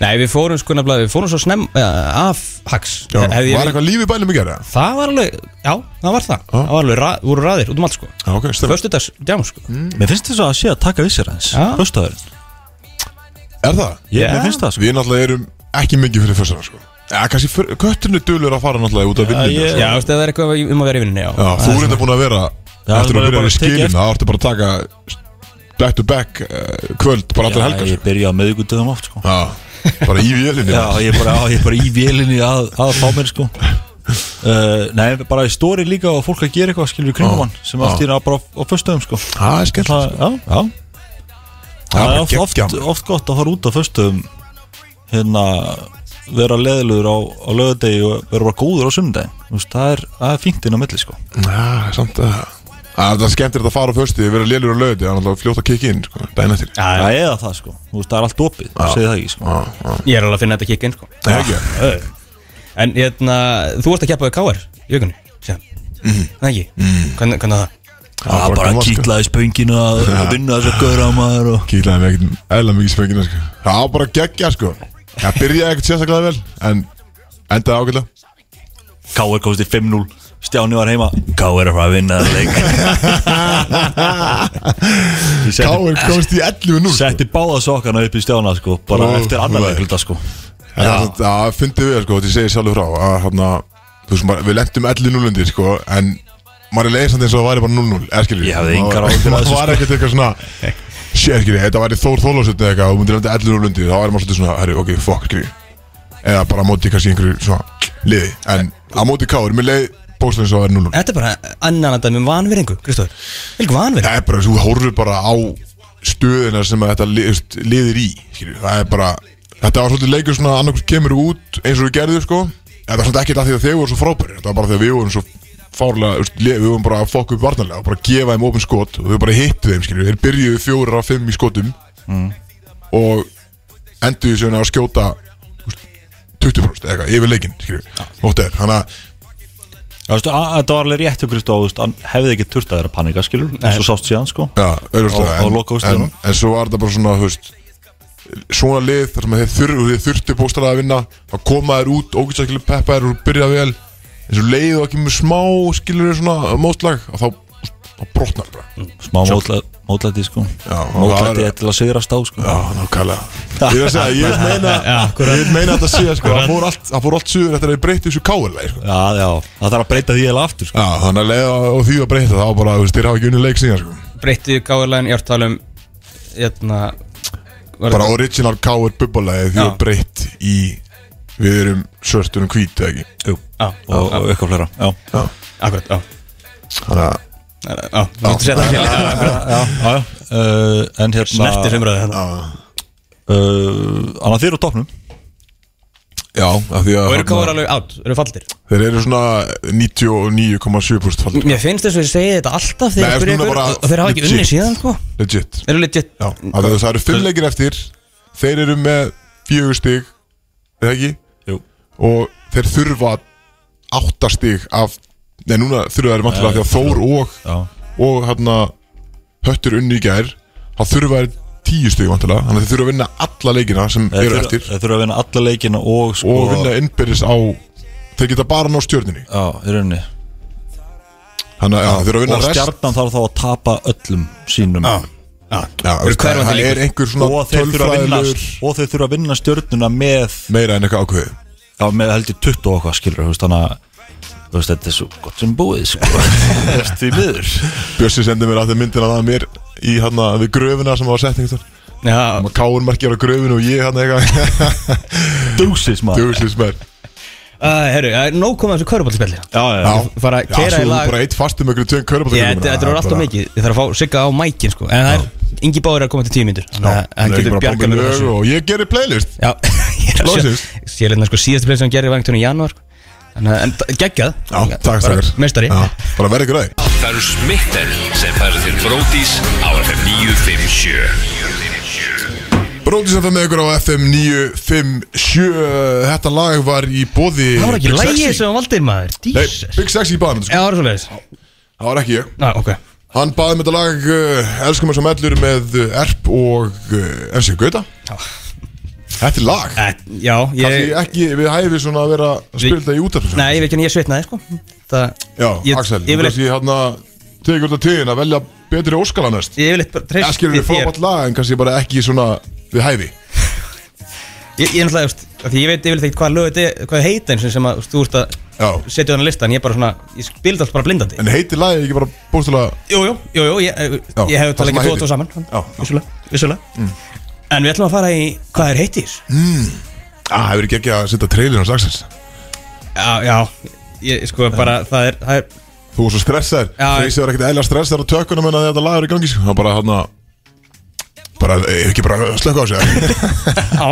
Speaker 3: nei, við fórum sko nefnilega, við fórum svo snem uh, af hags
Speaker 2: já.
Speaker 3: Hefði ég
Speaker 2: Var
Speaker 3: vil-
Speaker 2: eitthvað Ah. líf í bænum að gera?
Speaker 3: það var alveg, já, það var það það var alveg, ra, voru raðir út um allt sko
Speaker 2: Já, ok, stemmi
Speaker 3: förstu dags, já, sko
Speaker 4: Mm. Mér finnst þess að sé að taka vissir hans
Speaker 3: Já.
Speaker 4: Föstaðurinn
Speaker 2: Er það?
Speaker 4: Ég-
Speaker 3: Já.
Speaker 4: Mér finnst það sko
Speaker 2: Við náttúrulega erum ekki mikið fyrir fyrstana sko Já, kannski fyr- kötturinn er dölur að fara náttúrulega út af vinninu
Speaker 4: ég-
Speaker 2: sko.
Speaker 3: já, veist, það er eitthvað um að vera í vinninni, já,
Speaker 2: Já, þú er þetta búin að vera
Speaker 4: Já,
Speaker 2: Eftir
Speaker 4: bara-
Speaker 2: að byrja
Speaker 4: bara
Speaker 2: í
Speaker 4: tekið
Speaker 2: skilina
Speaker 4: eftir.
Speaker 2: Það ertu bara að taka back to back uh, kvöld bara allir helgar
Speaker 4: Já,
Speaker 2: sko.
Speaker 4: ég byrja á meðugundum oft sko
Speaker 2: Já, bara í vélinni
Speaker 4: Já,
Speaker 2: maður.
Speaker 4: ég er bara, á- ég er bara í vélinni að, að fá mér sko uh, Nei, bara í stóri líka og fólk að gera eitthvað skilur í
Speaker 2: Já.
Speaker 4: kringum hann sem allt í hérna bara á, á föstuðum sko
Speaker 2: Það er skemmt
Speaker 4: Það, já, já
Speaker 2: Það er
Speaker 4: Það er
Speaker 2: bara
Speaker 4: oft,
Speaker 2: geggjað,
Speaker 4: oft,
Speaker 2: maður.
Speaker 4: oft gott að fara út á föstuðum hérna vera leðilegur á, á lögadegi og vera bara góður á sunnudegi það er, það er fínt inn á milli sko
Speaker 2: Já, samt að Það er það skemmtir að fara á föstu Við erum lélur á löði Það er náttúrulega fljótt að kikki inn sko, Dæna til Já,
Speaker 4: Það er það sko, Þú veist, það er allt opið, þú segir það ekki sko
Speaker 2: já
Speaker 3: ég er alveg að finna þetta kikka inn sko
Speaker 2: Það er ekki
Speaker 3: Ö. en hérna, þú varst að keppa við KR í augunni, síðan
Speaker 2: Mm.
Speaker 3: það ekki, hvernig hvernig var það?
Speaker 2: Það er bara gaman, sko.
Speaker 4: kýtlaði spönginu að að vinna þessu gauður á maður og...
Speaker 2: Kýlaði mig ekkert eðla mikið spöngina sko. Það var bara geggja sko Það byrjaði ekkert sérstaklega vel En endaði ágætlega
Speaker 4: K.R. komst í 5-0, Stjáni var heima K.R. er að fara að vinna það leik Ég setti,
Speaker 2: Káir komst í 11-0 sko.
Speaker 4: setti báða sokkana upp í Stjána sko, bara
Speaker 2: Ó,
Speaker 4: eftir annar
Speaker 2: maður.
Speaker 4: leikluta sko
Speaker 2: En Það er- það fundi við sko, þetta ég segi sjálfur frá að, hana, veist, maður, Við lentum 11-0 undir sko, En maður er leiðis eins og það væri bara 0-0 eða skilur við.
Speaker 4: Ég hafði engar
Speaker 2: Maður-
Speaker 4: áhyggjur af þessu, sko.
Speaker 2: Maður var ekkert eitthvað svona Sér skilur, þetta væri Þór Þólásöld eða eitthvað Þú myndir lenda 11-0 undir, þá væri maður svolítið svona Herri, ok, fuck skilur við. Eða bara á móti kannski einhverju svona liði En á móti Káir, mér leið bóðslega eins og það væri 0-0
Speaker 3: Þetta er bara annan að dæmi um vanveringu, Kristóður Vilku vanveringu?
Speaker 2: Það er bara, þú horfur bara á stöðina sem að þetta li- þú veist, liðir í skilur. Það er bara, þetta var svolítið leikur svona annarkvæmst kemur út eins og við gerðum sko En það var svolítið ekkert að því að þeir voru svo frábæri Þetta var bara þegar við vorum svo fárlega, þú veist, le- við vorum bara að fokka upp varnarlega og bara gefa þeim opin skot og þau bara hittu þeim skilur. Þeir byrjuðu fjóra af fimm í skotum og enduðu sérna að skjóta þú veist, 20% eða eitthvað yfir leikinn skilur. Óttið, þannig að
Speaker 4: Já, veistu, a- Þetta var alveg rétt hjá Kristó, þú veist, hann hefði ekki þurft að vera að panika skilur, eins og sást síðan sko
Speaker 2: Já, auðvitað
Speaker 4: Á- á
Speaker 2: en, en,
Speaker 4: lokaúrslitunum.
Speaker 2: en svo var þetta bara svona þú veist, Svona lið þar sem þeir, þur, þeir þurfti bóstalega að vinna Að koma þér út, ógætsakilu peppa þér og byrja vel En svo leið og ekki með smá skilur þér svona mótlag Og þá, þá brotnar bara Já,
Speaker 4: Smá mótla- mótlæti sko
Speaker 2: Já, og það
Speaker 4: Mótlæti
Speaker 2: er-
Speaker 4: er til að sigrast á sko
Speaker 2: nákvæmlega Ég er að segja, ég vil meina Ég vil meina að þetta sé, sko Það fór allt, það fór allt suður eftir að ég breyti þessu káðlega sko.
Speaker 4: Já, já, það þarf að breyta því eða aftur sko
Speaker 2: Já, þannig að leið og því að breyta Það var bara, þú veist, þeir hafa ekki unni leik síðan, sko
Speaker 3: Breytti káðurlæðin í ártalum Hérna var
Speaker 2: Bara original káður bubbalagi því
Speaker 3: Já.
Speaker 2: að breytt í Við erum svörtunum hvít, eða ekki
Speaker 4: Jú,
Speaker 3: Já,
Speaker 4: og, og eitthvað fleira Já,
Speaker 3: akkurat, já
Speaker 2: Þannig að
Speaker 3: Já, þú getur séð það ekki
Speaker 4: já, já uh, En hérna
Speaker 3: Snertir umræði hérna
Speaker 4: uh, Þannig að þið eru á topnum
Speaker 2: Já, af því að
Speaker 3: Og eru
Speaker 2: þarna-
Speaker 3: káður alveg átt, eru faldir
Speaker 2: Þeir eru svona 99,7% faldir
Speaker 4: Mm.
Speaker 3: Mér finnst þess að ég segi þetta alltaf
Speaker 2: Nei,
Speaker 3: þegar ég
Speaker 2: þetta
Speaker 3: spyr
Speaker 2: er
Speaker 3: ykkur
Speaker 2: bara
Speaker 3: og- Og þeir hafa ekki unni
Speaker 2: legit.
Speaker 3: síðan, sko
Speaker 2: Legit
Speaker 3: Þeir eru legit
Speaker 2: Já, af því að það eru fimm leikir eftir Þeir eru með fjögur stig Eða ekki?
Speaker 4: Jú.
Speaker 2: Og þeir þurfa átta stig af Nei, núna þurfa þeir vantilega því að Þór og
Speaker 4: Já,
Speaker 2: Og hérna Höttur unni í gær Þá þurfa þeir tíu stig vantilega Þannig að þeir þurfa að vinna alla leikina sem
Speaker 4: þeir
Speaker 2: eru
Speaker 4: þurfa-
Speaker 2: eftir
Speaker 4: Þeir þurfa að vinna alla leikina og sko
Speaker 2: Og vinna innbyrðis á Þeir geta bara ná stjörninni
Speaker 4: Já, í rauninni
Speaker 2: Þannig að já, þeir eru að vinna
Speaker 4: Og
Speaker 2: rest
Speaker 4: stjarnan þarf þá að tapa öllum sínum
Speaker 3: Já, já
Speaker 2: Já,
Speaker 3: Eru
Speaker 2: veist,
Speaker 3: hverfandi
Speaker 2: það
Speaker 3: líkur.
Speaker 2: er einhver svona
Speaker 4: Og Sko, þeir þurfa að vinna
Speaker 2: tölfræðilegur
Speaker 4: Og þeir þurfa að vinna stjörnuna með
Speaker 2: meira en eitthvað ákveðið
Speaker 4: Já, með held ég 20 og okkar skilur þú veist, Þannig að þú veist, þetta er svo gott sem búið sko. Þú veist, því miður
Speaker 2: Bjössi sendi mér alltaf myndina að mér í hann við gröfuna sem var sett einhvern veginn
Speaker 3: Já,
Speaker 2: Káur markið á gröfinu og ég hann eitthvað
Speaker 4: Dúsis maður
Speaker 2: Duglisins mér
Speaker 3: uh, herru, það er nóg komið af þessu köruboltspjalli
Speaker 4: Já, já, já.
Speaker 3: Fara að keira í
Speaker 2: Svo þú
Speaker 3: lag
Speaker 2: bara eitt fastum ykkur tveim körfuboltakökum.
Speaker 3: Ég, þetta þetta er alltaf mikið, ég þarf að fá sigga á mækin sko En það er Ingi Báður er að koma til tíu myndur Þannig
Speaker 2: Já,
Speaker 3: að hann
Speaker 2: ég er
Speaker 3: getur
Speaker 2: bara
Speaker 3: bjargað
Speaker 2: búin
Speaker 3: mér
Speaker 2: með
Speaker 3: úr þessu
Speaker 2: lög og ég gerir playlist
Speaker 3: Já, ég er að
Speaker 2: Loksins.
Speaker 3: sjá Ég er hérna sko síðast play sem hann gerir í vangtunni í janúar sko. Þannig að, en það- geggjað
Speaker 2: Já, takk stakkar
Speaker 3: Mestari
Speaker 2: Já, Bara verði ykkur að því
Speaker 5: Það eru smitten sem færa þér bródís á FM 957
Speaker 2: Bróti sem það með ykkur á FM 957 Þetta lag var í bóði
Speaker 3: Það var ekki
Speaker 2: Big
Speaker 3: lægið
Speaker 2: Sexy.
Speaker 3: sem hann valdi maður
Speaker 2: Nei,
Speaker 3: Jesus Já,
Speaker 2: Big Sexy í baðan sko.
Speaker 3: það var svolítið
Speaker 2: Það var ekki ég
Speaker 3: Já, ok
Speaker 2: Hann baði með þetta lag uh, Elskum eins og mellur með uh, Erp og uh, MC Gauta
Speaker 3: Já.
Speaker 2: Þetta er lag
Speaker 3: Eh, Já,
Speaker 2: Kanski
Speaker 3: ég
Speaker 2: ekki við hæfi svona að vera að spila þetta í útafn
Speaker 3: Nei, ég veit ekki en ég svitnaði sko Það
Speaker 2: Já,
Speaker 3: ég-
Speaker 2: Axel
Speaker 3: Ég
Speaker 2: Þú
Speaker 3: vil
Speaker 2: veist ég hann að Tegur þetta tíðin að velja betri óskala næst
Speaker 3: Ég vil eitthvað
Speaker 2: Já, skilur við fórbátt lag en kannski bara ekki svona við hæfi
Speaker 3: Ég ég er náttúrulega, þú veist, af því ég veit yfirleitt ekki hvað lög þetta er, hvað heita eins og sem að þú veist, þú ert að
Speaker 2: Já.
Speaker 3: setja þannig listan, ég er bara svona, ég spildi alltaf bara blindandi.
Speaker 2: En heiti lagi ekki bara bústulega
Speaker 3: Jú, jú, jú, jú, ég,
Speaker 2: Já,
Speaker 3: ég hef
Speaker 2: það
Speaker 3: talað
Speaker 2: sem að
Speaker 3: ekki tvo og
Speaker 2: heitir.
Speaker 3: tvo saman,
Speaker 2: Já. Mm.
Speaker 3: vissulega, vissulega. En við ætlum að fara í hvað er heitir.
Speaker 2: Ah, hefur ekki ekki að setja trailer á saksins
Speaker 3: Já, já, ég sko bara, það er, það er,
Speaker 2: Þú var svo stressaður
Speaker 3: Já, ég-
Speaker 2: Freysi var ekkert eðla stressaður á tökunum en að þetta lag er í gangi sko. Það bara hann Bara, ef ekki bara slökka á sig
Speaker 3: já,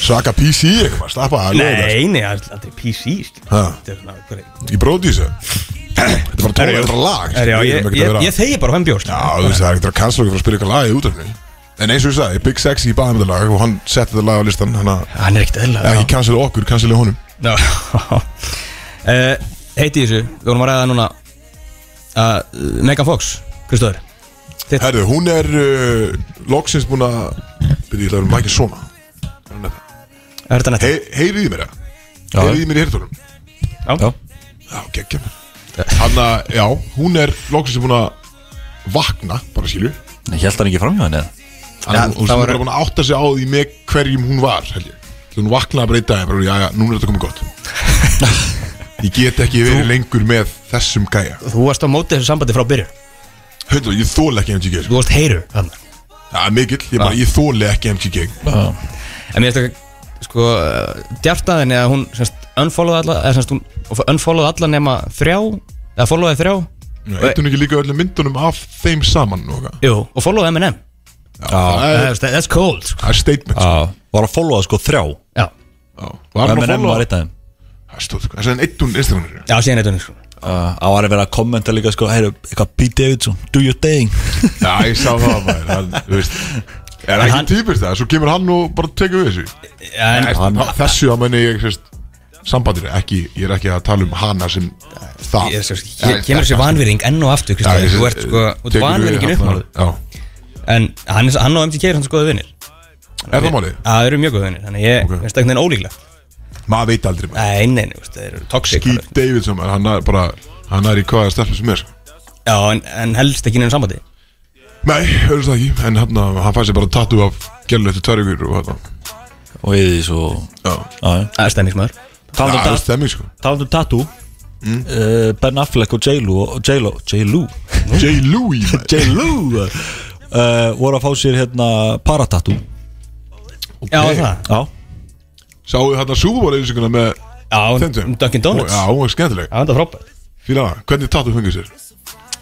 Speaker 2: Saka PC eitthvað, maður, slappa það
Speaker 3: nei, nei, það er aldrei PC, sko.
Speaker 2: Ha,
Speaker 3: Þetta er svona, hvað er-
Speaker 2: Ég bróði þessu Þetta er bara tónlega, þetta er bara lag
Speaker 3: Herri, Já,
Speaker 2: Við
Speaker 3: ég,
Speaker 2: erum ekkert að
Speaker 3: ég,
Speaker 2: vera-
Speaker 3: ég þegi bara sko. hann bjóst.
Speaker 2: Já, þú veist, það er ekkert að cancela okkur frá að spila ykkur lagi í útöfni En eins og ég sagði, Big Sexy í baðum þetta lag og hann setti þetta lag á listan Þannig að
Speaker 3: Hann er ekkert eðla.
Speaker 2: ekki cancela okkur, cancela honum
Speaker 3: Já uh, Heiti í þessu, við vorum að ræða núna uh, Megan Fox, Kristofur
Speaker 2: Herðu, hún er uh, loksins búin að byrja í lagum mækja svona
Speaker 3: Er þetta netta?
Speaker 2: Hey, Heyrið í mér það
Speaker 4: Já.
Speaker 2: Heyrið í mér í hirtunum
Speaker 4: Já.
Speaker 2: Já, geggja mér Hanna, já, hún er loksins búin að vakna, bara skilju
Speaker 4: Ég held hann ekki framhjá henni eða?
Speaker 2: Þannig að hún
Speaker 3: það
Speaker 2: sem er
Speaker 3: var-
Speaker 2: bara búin að átta sig á því með hverjum hún var, held ég Svo hún vaknaði bara einn dag, bara, já, já, núna er þetta komið gott Ég get ekki verið lengur með þessum gæja
Speaker 3: Þú varst á móti þessu sambandi frá byrjun
Speaker 2: Höllu, ég þóla ekki MTG sko.
Speaker 3: Þú varst heyru þarna
Speaker 2: Það er mikill, ég, bara, ég þóla ekki MTG
Speaker 3: En mér finnst þetta sko Djartaðin eða hún semst unfollowði alla eða semst hún unfollowði alla nema þrjá eða followði þrjá
Speaker 2: Eittu hún ekki líka öllum myndunum af þeim saman og eitthvað?
Speaker 3: Jú, og followði M&M
Speaker 2: Það
Speaker 3: Það
Speaker 2: er-
Speaker 3: er- That's cold sko.
Speaker 2: það er statement sko.
Speaker 4: Já. Var að followa sko þrjá
Speaker 3: Já,
Speaker 2: Já. Var hann að
Speaker 4: M&M var
Speaker 2: followa?
Speaker 4: eitt af þeim
Speaker 2: Það stóð sko, það er eitt hún Instagramur
Speaker 3: já síðan eitthvað sko.
Speaker 4: Uh, á að vera að kommenta líka sko heyru, eitthvað Pete Davidson, do your thing
Speaker 2: Já, ég sá það maður hann, þú veist, Er ekki
Speaker 3: hann-
Speaker 2: típist það, svo kemur hann og bara tekur við þessu
Speaker 3: En
Speaker 2: hann, Þessu að menni ég sérst Sambandir, ekki, ég er ekki að tala um hana sem það
Speaker 3: ég, sem, ég, kemur þessi vanvirðing enn og aftur Kristofur Þú ert sko, þú ert vanvirðingin uppmáluð
Speaker 2: uppmáluð
Speaker 3: En hann, er- hann og MTK er hans goðið vinnir
Speaker 2: Er það málið?
Speaker 3: Já, það eru mjög góðinir, þannig að ég
Speaker 2: Ok.
Speaker 3: finnst ekki neina ólíklegt
Speaker 2: Maður veit aldrei maður
Speaker 3: Nei, nei, nei, veist, það eru Eh, toxic
Speaker 2: Keith Davidson, maður, hann er bara Hann er í hvaða stelpu sem er sko.
Speaker 3: Já, en, en helst ekki neina sambandi
Speaker 2: Nei, auðvitað ekki, en hann, hann fæði sér bara tattu af gælu eftir tvær ykkur og þetta
Speaker 4: og ég því svo
Speaker 2: Já,
Speaker 4: Já, já.
Speaker 3: Það er stemmingsmaður
Speaker 4: Talandi um
Speaker 2: það er
Speaker 4: tat-
Speaker 2: stemming sko
Speaker 4: talandi um tattoo
Speaker 2: Mm.
Speaker 4: uh, Ben Affleck og J.Lo og- J.Lo J.Lo
Speaker 2: J. Louis maður.
Speaker 4: J.Lo uh, voru að fá sér hérna paratattoo
Speaker 3: Já,
Speaker 2: Ok. hérna
Speaker 3: það
Speaker 4: Já,
Speaker 2: Sáðu þarna súbúbáleysinguna með
Speaker 3: Já, hún-
Speaker 2: Þendum?
Speaker 3: hún Dunkin Donuts
Speaker 2: Já,
Speaker 3: Já,
Speaker 2: hún var skemmtileg
Speaker 3: það er frábært
Speaker 2: Fýla hana, hvernig tattu fengið sér?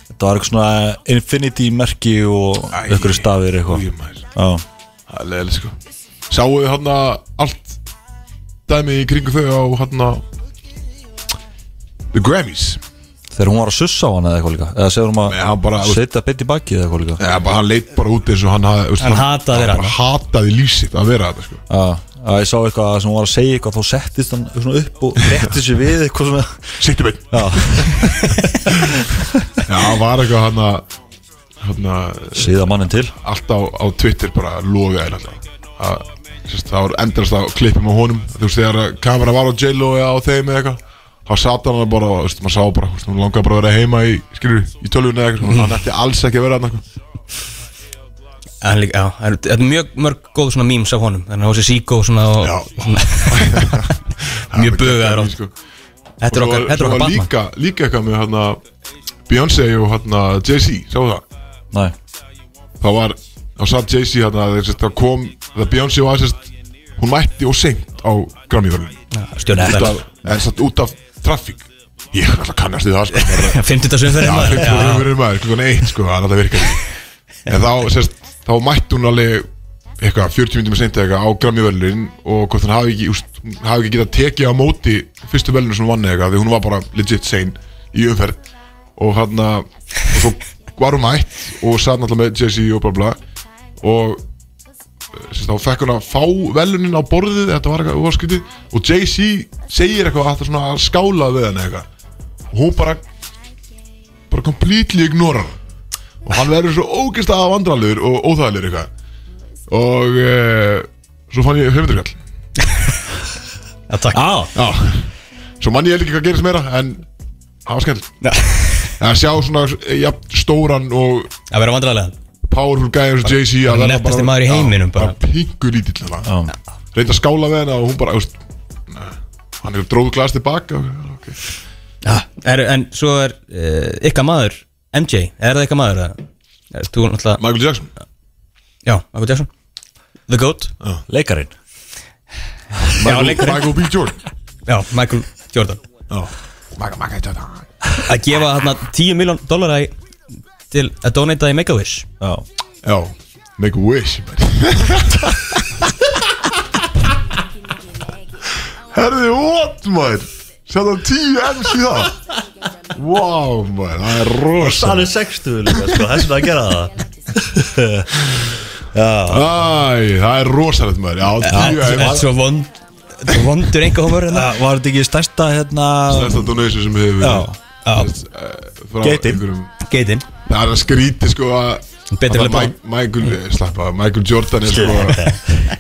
Speaker 4: þetta var eitthvað svona infinity merki og
Speaker 2: Æ,
Speaker 4: einhverju stafir eitthvað
Speaker 2: Í, maður.
Speaker 4: Já,
Speaker 2: Það er leðileg sko Sáðu hana allt dæmi í kringu þau á hana The Grammys
Speaker 4: þegar hún var að sussa á hana eða eitthvað líka eða segður hún
Speaker 2: Nei, hann bara-
Speaker 4: að setja beitt í bakið eða eitthvað líka
Speaker 2: Já, bara hann leit bara út eins og hann hafði
Speaker 3: Hann hataði vera
Speaker 2: Hann bara hataði lísið að vera þetta sko
Speaker 4: Já, já, ég sá eitthvað sem hún var að segja eitthvað þá settist hann svona upp og rétti sér við eitthvað svona
Speaker 2: Sittum einn
Speaker 4: Já,
Speaker 2: Já, hann var eitthvað hérna, hana Hana
Speaker 4: síða mannin til
Speaker 2: allt á, á Twitter bara loga þér alltaf að, sérst, það var endast að klippum á honum þú veist þegar kamera var á J-Lo eða á þeim eða eitthvað þá sat hann bara og þú veist, maður sá bara þú veist, hún langaði bara að vera heima í skilur í tölvunni eða eitthvað hann ætti alls ekki að vera sko. hann
Speaker 3: En líka, já, það eru- þetta er mjög mörg góð svona memes af honum Þannig að hún sé síkó svona og
Speaker 2: Já.
Speaker 3: svona, Mjög bugaður hann
Speaker 2: sko.
Speaker 3: Þetta er
Speaker 2: Og svo
Speaker 3: okkar,
Speaker 2: var-
Speaker 3: þetta er
Speaker 2: svo
Speaker 3: okkar
Speaker 2: var
Speaker 3: Batman
Speaker 2: líka, líka eitthvað með hana Beyoncé og hana Jay-Z Sá það?
Speaker 4: Nei,
Speaker 2: Það var, þá satt Jay-Z hérna, hana Það kom, það Beyoncé var sérst Hún mætti og seint á Grammy-verðinu
Speaker 3: Stjóni
Speaker 2: Út
Speaker 3: FL
Speaker 2: af- En satt út af traffík Ég er alltaf kannast við það sko bara-
Speaker 3: 50.
Speaker 2: Já,
Speaker 3: sumferðin maður.
Speaker 2: hreint
Speaker 3: Já.
Speaker 2: og raunverið maður, klukkan eitt sko, þannig að það virkar ekki En þá, sérst, þá mætti hún alveg eitthvað, 40 myndum seinti eitthvað á Grammy-verðlun og hvort hann hafi ekki, úst, hún hafi ekki getað tekið á móti fyrstu verðlunum sem hún vann eða eitthvað, því hún var bara legit sein í umferð og hann að, og svo var hún mætt og satt náttúrulega með Jay-Z og bla bla og sérst, þá fekk hún að fá velunin á borðið þetta var eitthvað úrskiptið og Jay-Z segir eitthvað að það svona að skála við hann eitthvað og hún bara bara completely ignora hann og hann verður svo ógist að vandralur og óþægilegur eitthvað og uh, svo fann ég höfundurkall
Speaker 3: Já, takk
Speaker 2: já svo mann ég ekki hvað gerist meira en það var skemmt
Speaker 3: Já.
Speaker 2: að sjá svona ja, stóran og
Speaker 3: Að vera vandræðilegan
Speaker 2: powerful guy eins og Jay-Z
Speaker 3: bara
Speaker 2: að verða
Speaker 3: lettasti maður í heiminum
Speaker 2: já,
Speaker 3: bara.
Speaker 2: bara pingu lítill
Speaker 4: já,
Speaker 2: reynda að skála við hana og hún bara veist, nei, hann er dróðu glas tilbaka okay.
Speaker 3: Já, er, en svo er uh, ykkar maður, MJ, er það ykkar maður? eða? Er, þú náttúrulega,
Speaker 2: Michael Jackson
Speaker 3: já, Michael Jackson The Goat,
Speaker 4: leikarinn
Speaker 3: já,
Speaker 2: Michael,
Speaker 3: leikarinn
Speaker 2: Michael B. Jordan
Speaker 3: Já, Michael Jordan
Speaker 2: Michael, Michael Jordan
Speaker 3: Að gefa þarna 10 miljón dólar til að donata í Make-A-Wish
Speaker 4: Já,
Speaker 2: já, make a wish man. Herði, what, maður? Sjáðu tíu ems í það Wow, maður, það er rosa
Speaker 4: hann er 60 líka, sko, þess vegna að gera það Já,
Speaker 2: Æ, það er rosalegt, maður Já, tíu
Speaker 3: Það er
Speaker 2: ems
Speaker 3: svo vond svo vondur einhver hómur hérna
Speaker 4: það var þetta ekki stærsta hérna
Speaker 2: Þetta donation sem hefur
Speaker 4: Já,
Speaker 2: verið
Speaker 3: Já,
Speaker 2: eh, frá
Speaker 4: Geitin.
Speaker 2: einhverjum-
Speaker 3: geitin
Speaker 2: Það er að skríti sko að
Speaker 3: Betri
Speaker 2: að
Speaker 3: lepa.
Speaker 2: Mike- Michael, eh, slappa, af, Michael Jordan er sko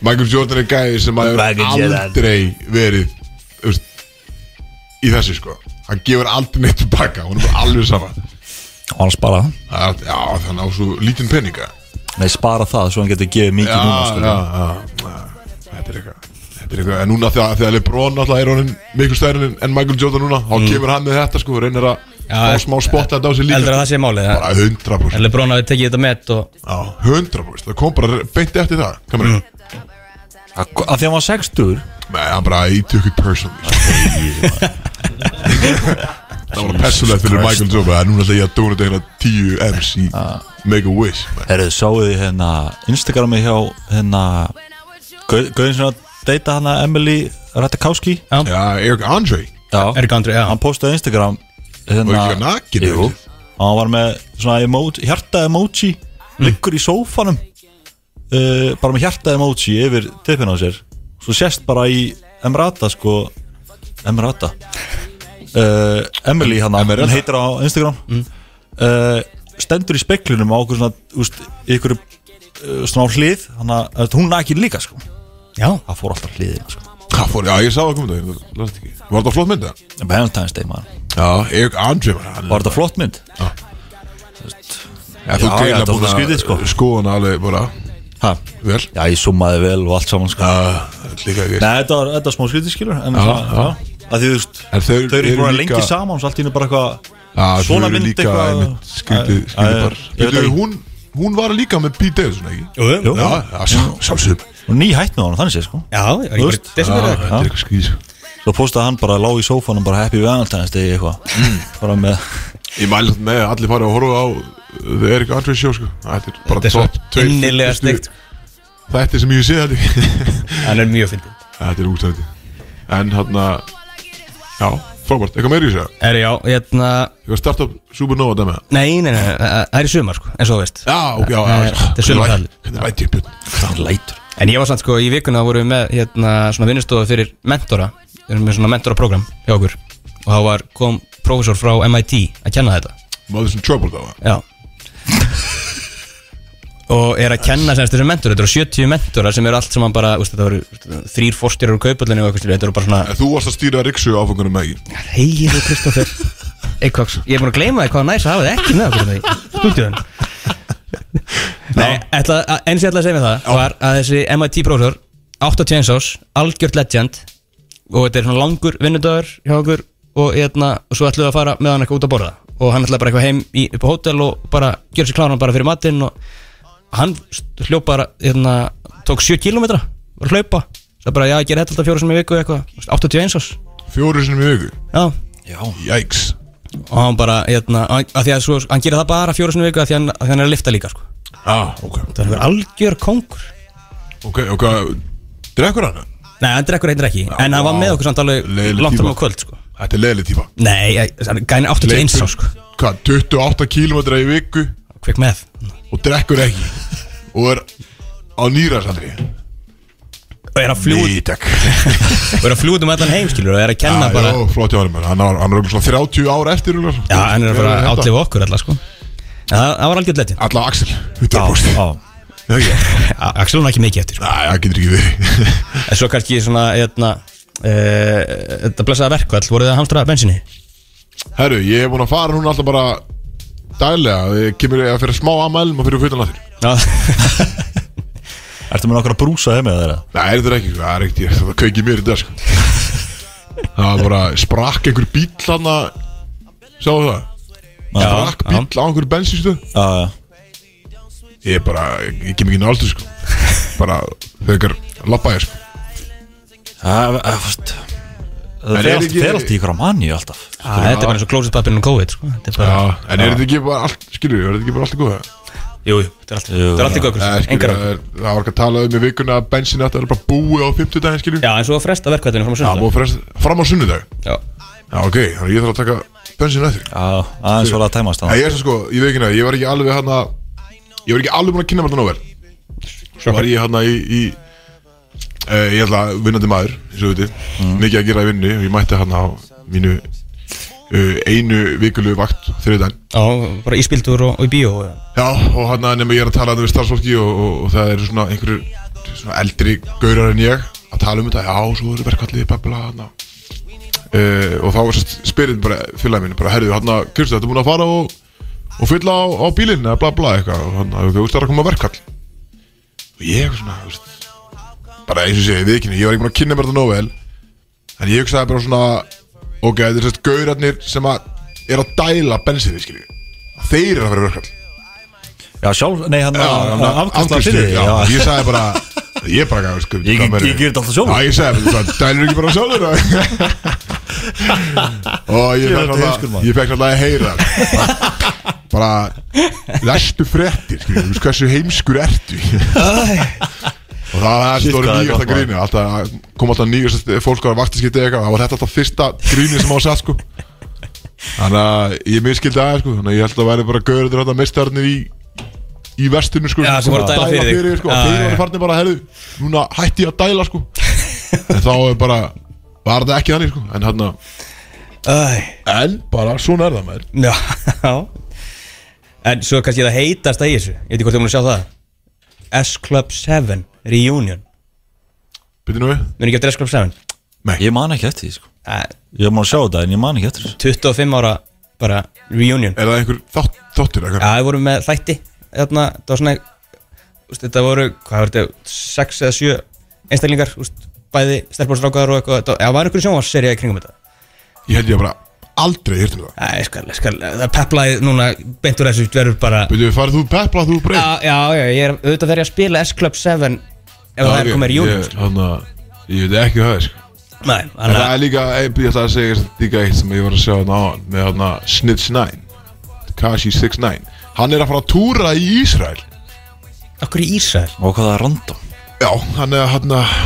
Speaker 2: Michael Jordan er gæði sem að
Speaker 4: Michael
Speaker 2: hefur
Speaker 4: Jordan.
Speaker 2: aldrei verið þú veist, í þessu sko hann gefur aldrei neitt tilbaka hún er bara alveg sama
Speaker 4: hann spara það
Speaker 2: Það er allt- já, þannig á svo lítinn peninga
Speaker 4: Nei, spara það svo hann getur gefið
Speaker 2: já,
Speaker 4: mikið núna
Speaker 2: já,
Speaker 4: sko.
Speaker 2: já, já, þetta er eitthvað Þetta er eitthvað, en núna þegar, þegar Lebron alltaf er honum mikil stærinn en Michael Jordan núna, þá kemur hann með þetta sko, reynir að
Speaker 3: Já,
Speaker 2: fá smá spotlight á sig líka
Speaker 3: Eldur að
Speaker 2: sko.
Speaker 3: það sé málið
Speaker 2: bara 100%
Speaker 3: En Lebrón hafði tekið þetta met og
Speaker 2: Já, 100% Það kom bara beint eftir það Kamerun mm.
Speaker 4: Af því að hann var 60
Speaker 2: Nei, hann bara I took it personally Það var persónlegt fyrir Michael Jordan En núna ætla ég að dóna þetta hérna 10 M's í Make a Wish man.
Speaker 4: Herðu, sáuð þið hérna Instagrami hjá hérna Gau- Gauðin sem að deyta hana Emily Ratajkowski
Speaker 2: Já, Eric Andre
Speaker 4: Já,
Speaker 3: Eric Andre, já
Speaker 4: hann postaði Instagram
Speaker 2: Og
Speaker 4: hérna,
Speaker 2: ekki nakin
Speaker 4: Jú, og hann var með svona emoji, hjarta emoji Liggur í sófanum uh, Bara með hjarta emoji yfir tippin á sér Svo sést bara í Emrata sko Emrata uh, Emily hann,
Speaker 2: Emerata.
Speaker 4: hann heitir á Instagram uh, Stendur í speklinum á okkur svona úst, Ykkur uh, svona á hlið Þannig að þú veist, hún nakin líka sko
Speaker 3: Já,
Speaker 4: Það fór alltaf hliðina sko
Speaker 2: Hvað fór, já, ég sá það komið það Last ekki Var þetta flott mynd það?
Speaker 4: Valentine's Day maður
Speaker 2: Já, Eric Andre man, hann,
Speaker 4: Var þetta flott mynd?
Speaker 2: ja, Þú
Speaker 4: já, já,
Speaker 2: greina
Speaker 4: þetta var
Speaker 2: búin
Speaker 4: skrítið, sko.
Speaker 2: að skoðan alveg bara
Speaker 4: Ha?
Speaker 2: Vel
Speaker 4: Já, ég summaði vel og allt saman sko.
Speaker 2: Já, líka ekki
Speaker 4: Nei, þetta var, þetta var smá skrítið skilur En
Speaker 2: Já,
Speaker 4: svona,
Speaker 2: já.
Speaker 4: já Að því þú veist
Speaker 2: En þau
Speaker 4: Þau
Speaker 2: eru
Speaker 4: eru ekki búin að
Speaker 2: líka-
Speaker 4: lengi saman Svo allt í henni bara eitthvað
Speaker 2: Já, þau
Speaker 4: Svona
Speaker 2: eru
Speaker 4: mynd
Speaker 2: líka
Speaker 4: eitthvað-
Speaker 2: einmitt Skrítið,
Speaker 4: Æ,
Speaker 2: skrítið bara
Speaker 4: æ, ég veit
Speaker 2: Veitu,
Speaker 4: ekki.
Speaker 2: Hún, hún var líka með Pete Davidson, ekki?
Speaker 3: jú, jú.
Speaker 2: Já, já, sjá- sjálfsögum
Speaker 4: Og ný hætt með honum, þannig sé sko
Speaker 3: Já, ég var
Speaker 4: Þú
Speaker 3: einhver
Speaker 4: veist?
Speaker 3: desember eða eitthvað.
Speaker 2: Þetta er eitthvað sko. skrýs
Speaker 4: Svo postaði hann bara Lá í sófanum bara happy Valentine's Day eitthvað Bara með
Speaker 2: Ég mæli þetta með að allir fara að horfa á uh, The Eric Andre Show sko Þetta er bara
Speaker 3: Þetta er
Speaker 2: topp
Speaker 3: svo innilega snyggt
Speaker 2: Þetta er sem ég sé þetta
Speaker 3: Hann er mjög fyndið
Speaker 2: Þetta er útætti En hann Já, frábært, eitthvað meiri í sig
Speaker 3: Er já, hérna
Speaker 2: Eitthvað startup Supernova dæmi það?
Speaker 3: Nei, nei, nei, nei, það er í sumar sko, eins og þú veist
Speaker 2: Já, ok, já, já
Speaker 3: Nei, þetta er sumar
Speaker 2: Hvernig væ- Hvernig væti ég hérna? björn
Speaker 4: Hann lætur
Speaker 3: En ég var samt sko, í vikuna vorum við með hérna svona vinnustofu fyrir mentora Við erum með svona mentoraprogram hjá okkur Og þá var, kom prófessor frá MIT að kenna þetta
Speaker 2: Mother's in trouble þá
Speaker 3: Já Og er að kenna semst þessum mentora Þetta eru 70 mentora sem eru allt sem hann bara úst, Þetta voru þrýr fórstjörur úr kaupallinu og eitthvað slíkt. Þetta eru bara svona
Speaker 2: En Þú varst að stýra Riksu áfangunum með ég
Speaker 3: Heiðu Kristoffer Eitthvað, ég er búin að gleyma því hvað næs að hafa þið ekki með okkur hérna í stúdíun Nei, ætla, að- eins ég ætla að segja mér það var að þessi MIT prófessor 81 ás, algjört legend og þetta er svona langur vinnudagur hjá okkur og, hérna, og svo ætluðu að fara með hann eitthvað út að borða og hann ætlaði bara eitthvað heim í, upp á hótel og bara gjöra sér kláran bara fyrir matinn og hann hljóp bara hérna, tók 7 kilometra var að hlaupa það bara já ég ger þetta alltaf fjóra sem í viku eitthvað þú veist, 81 ás
Speaker 2: Fjóru sinni mjög
Speaker 3: já
Speaker 4: Já,
Speaker 2: Jæks
Speaker 3: og hann bara hérna að að því að svo, hann gerir það bara fjóra sem í viku að því hann, að því hann er að lifta líka sko
Speaker 2: ah, ok
Speaker 3: það er algjör kongur
Speaker 2: Ok, ok Drekkur hann?
Speaker 3: nei hann drekkur eitthvað ekki en hann var með okkur samt alveg
Speaker 2: Leiðileg
Speaker 3: langt um
Speaker 2: típa.
Speaker 3: á kvöld sko
Speaker 2: Þetta er leiðileg típa
Speaker 3: nei ég- hann er gæni 81 ás sko
Speaker 2: Hvað, 28 km í viku
Speaker 3: kvik með
Speaker 2: og drekkur ekki og er á nýrasandri
Speaker 3: og er að fljúa
Speaker 2: takk
Speaker 3: og er að fljúa um allan heim skilur og er að kenna
Speaker 2: Já,
Speaker 3: bara
Speaker 2: já, flott hjá honum, hann er, hann er örugglega svona 30 ára eftir örugglega, sko.
Speaker 3: já hann er að fara
Speaker 2: Ég
Speaker 3: að
Speaker 2: held
Speaker 3: átlifa okkur alltaf sko En það, það var algjör letið
Speaker 2: Alla Axel, 100%
Speaker 4: já
Speaker 2: Já, já.
Speaker 3: Axel hún ekki mikið eftir sko.
Speaker 2: Nei, það getur ekki verið
Speaker 3: en svo kannski svona hérna, eh, þetta blessaða verkvall voruð það að hamstra bensinni
Speaker 2: Herru, ég er búin að fara núna alltaf bara daglega, ég kemur að fyrir smá amælum og fyrir fullan að þér
Speaker 3: Já.
Speaker 4: Ertu með nokkra brúsa heim með þeirra?
Speaker 2: Nei, þetta er ekki, það er ekki, það kveikir mér í dag sko. Það var bara, sprakk einhver bíl hann að Sjáðu það? Sprakk
Speaker 3: já.
Speaker 2: bíl á einhver bensinstu
Speaker 4: Já, já
Speaker 2: Ég er bara, ég, ég kem ekki náldur sko Bara, þegar lappa ég sko
Speaker 4: Það er fast Það
Speaker 2: En
Speaker 4: fer
Speaker 2: er
Speaker 4: allt,
Speaker 2: ekki-
Speaker 4: fer allt í ykkur á manni alltaf
Speaker 3: Æ, þetta er bara eins og klósetpappirinn og COVID sko. þetta er bara,
Speaker 2: Já, en er þetta ekki bara allt, skilur við, er þetta ekki bara allt í góða?
Speaker 3: jú, jú, þetta er allt
Speaker 4: Jú.
Speaker 3: þetta er allt í
Speaker 2: Nei,
Speaker 3: gökur,
Speaker 2: skilur,
Speaker 3: engar
Speaker 2: það er- það var ekki að tala um í vikuna að bensin þetta er bara búið á 50 daginn, skilur við.
Speaker 3: já, en svo að fresta verkvallinu frá
Speaker 2: Það
Speaker 3: söndag
Speaker 2: búið frest, fram á sunnudag
Speaker 3: já,
Speaker 2: Já, ok, þannig að ég þarf að taka bensin eftir
Speaker 4: Já, aðeins var það að tæmast
Speaker 2: Nei,
Speaker 4: hann
Speaker 2: ég er svo sko, í vikuna, ég var ekki alveg hann Ég var ekki alveg búin að kynna mér þetta nóg vel Svo var ég hann í, í uh, Ég ætla að vinnandi maður, eins og við veitir Mikið að gera í vinnu, ég mætti hann á mínu uh, Einu vikulu vakt, þriðdæn
Speaker 3: já, bara íspildur og, og í bíó já.
Speaker 2: Já, og hann að nema ég er að tala um við starfsfólki og, og, og það eru svona einhverjir svona eldri gaurar en ég að tala um þetta, já, svo eru verkallið babla hann uh, Eh, og þá var sérst spyrinn bara félagin mín, bara herðu hann að, Kristi, þetta er búin að fara og, og fylla á, á bílinn eða bla bla eitthvað og hann að, ok, þú veist það er að koma verkall og ég eitthvað svona, þú veist bara eins og sé, við ekki, ég var ekki búin að kynna mér þetta nóg vel en ég hugsaði bara svona ok, þetta er sérst gaurarnir sem að er að dæla bensinni, skilju þeir eru að vera verkall
Speaker 4: Já, sjálf, nei, hann afkastlega
Speaker 2: afkastur,
Speaker 4: fyrir því
Speaker 2: já,
Speaker 4: Já,
Speaker 2: Ég sagði bara Ég bara gaf sko
Speaker 4: Ég-
Speaker 2: hvað meira-
Speaker 4: ég geri þetta alltaf sjálfur.
Speaker 2: Já, ég sagði bara það Dælur ekki bara sjálfur eða? Og ég fekk
Speaker 4: Ég er heimskur
Speaker 2: alltaf
Speaker 4: maður.
Speaker 2: Ég fekk alltaf að heyra Bara Lestu fréttir skilur, Þú veist hversu heimskur ertu Og það var
Speaker 4: Shit,
Speaker 2: þetta
Speaker 4: hvað
Speaker 2: orðið
Speaker 4: það er
Speaker 2: nýjasta
Speaker 4: gott, maður.
Speaker 2: grínu Alltaf kom alltaf nýjasta fólk var vaktiskipti eitthvað Það var þetta alltaf fyrsta grínu sem á að sagt sko Þannig að ég miskildi aðeins sko Þannig að ég held að væri bara gaurður þetta mistarnir í í vestinu sko
Speaker 3: Já, sem voru að dæla fyrir þig.
Speaker 2: sko,
Speaker 3: Já,
Speaker 2: já, Þeir
Speaker 3: já,
Speaker 2: voru
Speaker 3: já.
Speaker 2: farnir bara, herðu, núna hætti ég að dæla sko En þá er bara, var það ekki þannig sko En hann
Speaker 3: Æ,
Speaker 2: en bara svona er það maður
Speaker 3: já, já en svo kannski það heitast að í þessu ég veit ekki hvort þið múin að sjá það S Club 7 Reunion
Speaker 2: Byrðu nú við?
Speaker 3: Muni ekki eftir S Club 7
Speaker 4: ég man ekki eftir því, sko
Speaker 3: Æ,
Speaker 4: Ég má sjá þetta, en ég man ekki eftir þessu
Speaker 3: 25 ára bara reunion
Speaker 2: Er það einhver þátt, þáttur eða
Speaker 3: Já,
Speaker 2: hvað?
Speaker 3: við vorum með þætti Þarna, það var svona úst, Þetta voru, hvað var þetta, 6 eða 7 einstaklingar, úst, bæði stelpársrákaðar og eitthvað, þetta- já, var einhverjum sjónvarsserja í kringum þetta
Speaker 2: Ég held ég bara aldrei hýrt um það
Speaker 3: Æ, skal, skal, það peplaði núna beint úr þessu verður bara
Speaker 2: Byrðu við, farið þú pepla, þú breytt?
Speaker 3: Já, já, já, ég er auðvitað þegar ég að spila S-Club 7 ef það er komið í júni
Speaker 2: Ég, hann að, ég veit ekki hvað það er sko
Speaker 3: Nei,
Speaker 2: En
Speaker 3: þannig
Speaker 2: það
Speaker 3: að
Speaker 2: er líka, ég ég ætla að segja líka eitt sem ég var að sjá hann á hann Með hann að Snitch 9 Kashi 69 Hann er að fara að túra í Ísrael
Speaker 3: Okkur í Ísrael
Speaker 4: Og hvað það er random
Speaker 2: Já, hann er hann að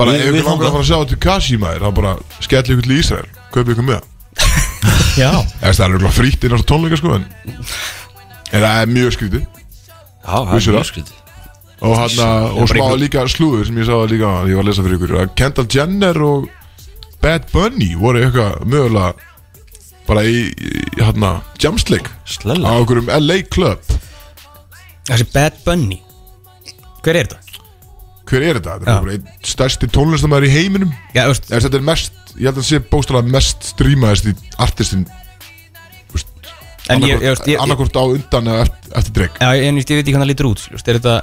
Speaker 2: bara
Speaker 4: Við-
Speaker 2: ef ykkur
Speaker 4: við
Speaker 2: langar
Speaker 4: þangað.
Speaker 2: að fara að sjá til Kashi maður þá bara skelli ykkur til Ísrael kaupi ykkur með
Speaker 3: Já
Speaker 2: Eða það er alveg frítt inn á þessa tónleika sko en en það er mjög skrítið
Speaker 4: Já, það
Speaker 2: Vissu
Speaker 4: er
Speaker 2: það?
Speaker 4: mjög skrítið
Speaker 2: og hann að
Speaker 3: bara
Speaker 2: og smá
Speaker 3: ykkur-
Speaker 2: líka slúður sem ég sagði líka áðan, ég var að lesa fyrir ykkur að Kendall Jenner og Bad Bunny voru eitthvað mögulega bara í, í hérna, hann að jamsleik á
Speaker 4: Slella
Speaker 2: einhverjum LA Club
Speaker 3: Þessi Bad Bunny Hver er þetta?
Speaker 2: Hver er þetta? Þetta
Speaker 3: Já.
Speaker 2: er bara einn stærsti tónlistamæður í heiminum
Speaker 3: Já, þú veist
Speaker 2: Ef þetta er mest, ég held að það sé bóstalega mest strímaðist í artistinn
Speaker 3: En ég, ég, veist, ég, ég,
Speaker 2: annarkort á undan eða eftir, eftir dreg
Speaker 3: Já, en ég veist, ég veit ekki hvað það lítur út þú veist, Er þetta,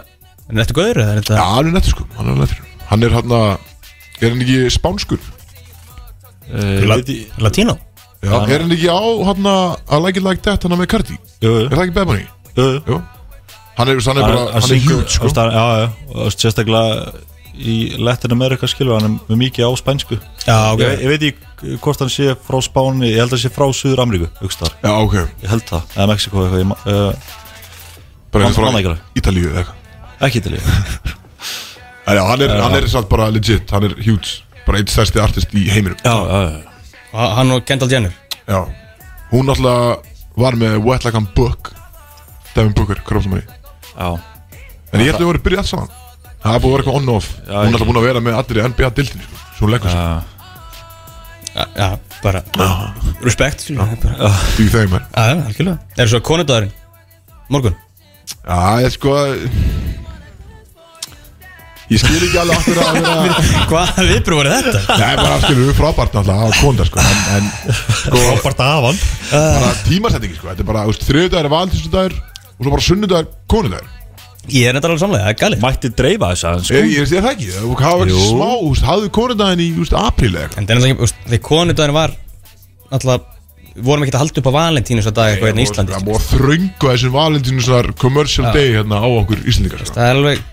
Speaker 3: er þetta gaur eða
Speaker 2: Já,
Speaker 3: er þetta
Speaker 2: hann er nettur sko, hann er nettur Hann er hann að, er hann ekki spánskur?
Speaker 4: Eh,
Speaker 3: La-
Speaker 4: veit ég-
Speaker 3: Latino?
Speaker 2: Já, er hann ekki á hann að like it like that hann með Cardi?
Speaker 4: Jú, jú.
Speaker 2: Er það ekki Bad Bunny?
Speaker 4: Jú, jú.
Speaker 2: Jú Hann er, hann er bara, hann er huge sko
Speaker 4: hann, já, já, og sérstaklega í Latin America skilur hann er með mikið á spænsku
Speaker 3: Já, ok
Speaker 4: ég, ég veit ekki hvort hann sé frá Spáni ég held að hann sé frá Suður Ameríku aukstar.
Speaker 2: Já, ok
Speaker 4: ég held það, eða Mexiko eitthvað ég ma- uh,
Speaker 2: Bara eins og
Speaker 4: Hann- hann
Speaker 2: frá
Speaker 4: er ekki alveg.
Speaker 2: Ítalíu eða eitthvað
Speaker 4: ekki til ég
Speaker 2: En Já, hann er, hann er satt bara legit, hann er huge Bara einn stærsti artist í heiminum
Speaker 4: já, já, já.
Speaker 3: Ha- Hann og Kendall Jenner
Speaker 2: Já Hún náttúrulega var með Wet Like I'm Book Devin Booker, kroppsmanni
Speaker 4: já.
Speaker 2: En ég ætla að vera byrjað saman Það er búið að vera eitthvað on-off
Speaker 4: Já,
Speaker 2: Hún er
Speaker 4: ég-
Speaker 2: alltaf búin að vera með allir í NBA-dildinu sko. Svo hún leggur sig
Speaker 3: Já, já, bara Respekt Já, já,
Speaker 2: Því þeim er
Speaker 3: já, algjörlega Er svo konudagurinn? Morgun?
Speaker 2: Já, ég sko Ég skil ekki alveg aftur að vera
Speaker 3: Hvað viðbrú voru þetta?
Speaker 2: Nei, bara skilur við frábært náttúrulega að konda sko En, en sko,
Speaker 4: Bart Avan
Speaker 2: bara tímasetningi sko Þetta er bara, þú veist, þriðudagur er valdhýstudagur Og svo bara sunnudagur, konudagur
Speaker 3: Ég er þetta alveg samlega, það er galið
Speaker 4: mætti dreifa þess
Speaker 2: Er,
Speaker 4: aðeins sko.
Speaker 2: er, er það ekki? Þú hafa ekki
Speaker 4: Jú.
Speaker 2: smá, þú veist, hafðu konudaginn í, þú veist, apríl eða eitthvað
Speaker 3: En það er náttúrulega, ekki- því konudagurinn var Náttúrulega, við vorum ekkert að halda upp á Valentínus að dag eitthvað hérna í Íslandi
Speaker 2: Það var þröngu að þessum valentínus commercial day hérna á okkur Íslandingar sko
Speaker 3: Það er alveg,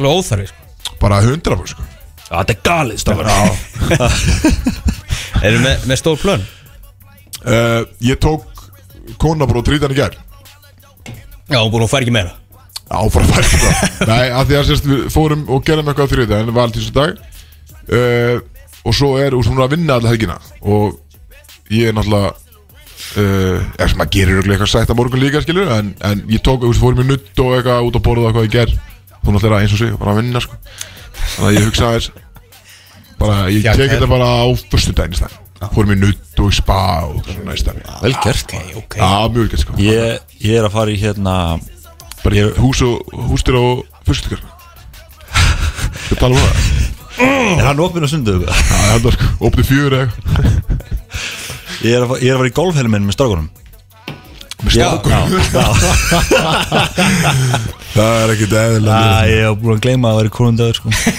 Speaker 3: alveg óþarfi sko.
Speaker 2: Bara 100% sko
Speaker 4: Já, þetta er galið stafur
Speaker 3: Erum með, með stór plön?
Speaker 2: uh, Ég tók konabróð trítan í gær
Speaker 3: Já, hún búin að færa ekki meira
Speaker 2: Já, bara fært það Nei, að því að sérst við fórum og gerðum eitthvað þriðið En valentínsu dag uh, Og svo er, og svo hún er að vinna alltaf helgina Og ég er náttúrulega Uh, er sem að gerir örugglega eitthvað sætt að morgun líka skilur en, en ég tók, þú veist, fórum í nutt og eitthvað út að borða og eitthvað ég ger hún alltaf er að eins og sig, bara að vinna sko þannig að ég hugsa aðeins bara, ég
Speaker 3: Já,
Speaker 2: tek
Speaker 3: það er-
Speaker 2: þetta bara á fyrstu daginn í stæð, fórum í nutt og í spa og eitthvað svona í stæð,
Speaker 4: vel gert
Speaker 3: Ok, ok
Speaker 2: já, mjög ekki sko
Speaker 4: ég, ég er að fara í hérna
Speaker 2: bara ég, hús og hústir á fyrstu Þú tala um það
Speaker 4: er hann opinn á sundu
Speaker 2: Já, ég held að sko, opni fjögur eða eitthvað.
Speaker 4: ég er að, fa- ég er að fara í golfhelminn með strákunum
Speaker 2: Með strákur Það er ekkit eðlilega
Speaker 4: Já, ég hef búin að gleyma að það væri konundagur sko.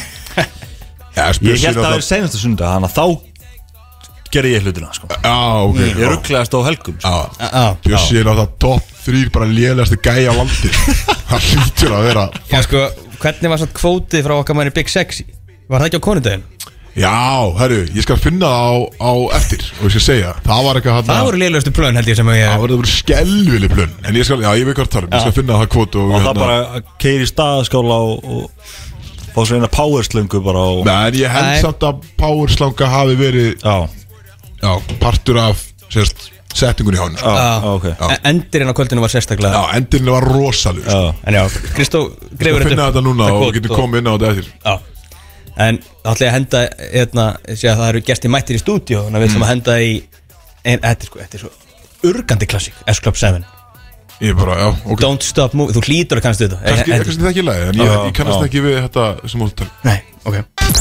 Speaker 2: Já,
Speaker 4: Ég held að
Speaker 2: það
Speaker 4: það væri senasta sunda Þannig að þá gerði ég hlutina sko.
Speaker 2: Já, ok
Speaker 4: Ég rugglaðast á helgum sko.
Speaker 2: Já,
Speaker 3: Já,
Speaker 2: Bjössi er náttúrulega topp þrýr bara lélegasti gæi á landi Það hlýtur að vera
Speaker 3: Já, sko, hvernig var satt kvótið frá okkar manni Big Sexy? Var það ekki á konudaginn?
Speaker 2: Já, herru, ég skal finna það á, á eftir og ég skal segja, það var eitthvað hann
Speaker 3: Það voru liðlustu plön held ég sem að ég
Speaker 2: Það voru, það voru skelvileg plun En ég skal, já, ég veit hvað það er, um. ég skal finna það kvot og, hérna-
Speaker 4: Og það bara að keiri staðaskála og, og fá sér eina powerslöngu bara og,
Speaker 2: Nei, en ég held
Speaker 3: Nei.
Speaker 2: samt að powerslanga hafi verið
Speaker 4: Já,
Speaker 2: já, partur af sérst, settingun í hann
Speaker 4: já,
Speaker 2: sko.
Speaker 4: já, ok
Speaker 2: Já.
Speaker 3: En- Endirinn E- á kvöldinu var sérstaklega
Speaker 2: Já, endurinn var rosalug
Speaker 4: Já,
Speaker 2: sko.
Speaker 3: En já, Kristó
Speaker 2: Ég
Speaker 3: grefur
Speaker 2: finna
Speaker 3: upp.
Speaker 2: þetta núna
Speaker 3: Það er
Speaker 2: og
Speaker 3: kvót
Speaker 2: getur komið inn á þetta eftir
Speaker 3: Já En þá ætla ég að henda hérna, sé að það eru gesti mættir í stúdíó Þannig að við ætlum að henda í ein, Þetta er sko, þetta er svo urgandi klassík S-Club 7
Speaker 2: Ég bara, já, ok
Speaker 3: Don't stop moving, þú hlýtur að kannast við þetta
Speaker 2: Kannski
Speaker 3: Eh,
Speaker 2: kannski þetta ekki í lagi, en ég,
Speaker 4: Já,
Speaker 2: ég kannast
Speaker 4: já.
Speaker 2: ekki við þetta sem hún tala
Speaker 3: eh, Nei, ok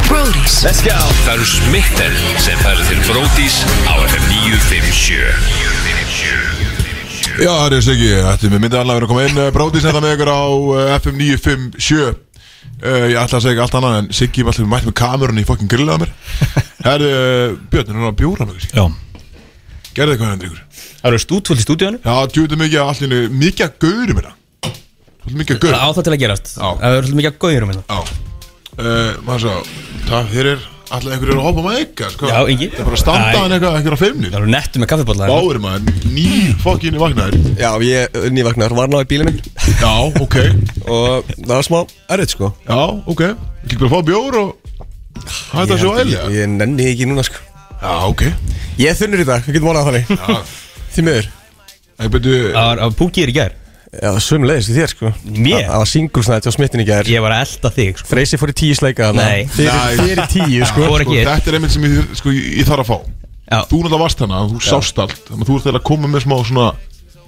Speaker 6: Brody's
Speaker 5: Það eru smitten sem færir til Brótis á FM 957
Speaker 2: Já, það er segi, þetta er með myndið allavega að koma inn Brótis þetta með ykkur á eh, FM 957 Uh, ég ætla að segja allt annað en Siggi var alltaf mætt með kamerun í fokkin grillið að mér Herðu, uh, Björn, hún er að bjóra mig
Speaker 4: já.
Speaker 2: Gerði eitthvað hendur ykkur
Speaker 3: Það eru stúdfullt í stúdíónu
Speaker 2: Já, djúðu mikið að allir Mikið að gaurum hérna Svolítið Mikið að
Speaker 3: Það á
Speaker 2: gaurum
Speaker 3: það til að gerast
Speaker 2: Já.
Speaker 3: Það eru svolítið mikið að gauður um þetta
Speaker 2: Já uh, Maður sá Það fyrir Alltaf einhverju eru að hoppa með eitthvað sko.
Speaker 3: Já, engi.
Speaker 2: Það er bara að standa
Speaker 3: Æ.
Speaker 2: hann eitthvað Einhverju á feimni
Speaker 3: Það eru nettu með kaffibólla
Speaker 2: Báður maður Ný fokkin vaknaður
Speaker 7: Já, ég nývagnar var ná í bílinn minn
Speaker 2: Já, ok Já,
Speaker 7: og það var smá errið sko
Speaker 2: ok Ég bara að fá bjór og Hætta
Speaker 7: Ég
Speaker 2: svo
Speaker 7: held-
Speaker 2: elja
Speaker 7: Ég, ég nenni því ekki núna sko
Speaker 2: Já, ok Já
Speaker 7: Ég er þunnur í dag, við getum orðað það þannig Því miður
Speaker 2: Ég byrju Já,
Speaker 3: Það var púkir í gær
Speaker 7: Já, sömulegis því þér sko
Speaker 3: Mér?
Speaker 7: Það- Það var singulsnætt á smittin í gær
Speaker 3: Ég var að elda þig sko.
Speaker 7: Freysi fór í tíu sleika þarna
Speaker 3: Nei.
Speaker 2: Nei.
Speaker 7: Fyrir, fyrir tíu sko
Speaker 3: Fór ekki ég
Speaker 2: Þetta er einmitt sem ég, sko, ég ég þarf að fá
Speaker 3: Já.
Speaker 2: Þú náttúrulega varst hana Þú sást allt Þannig að þú ert þeirra að koma með smá svona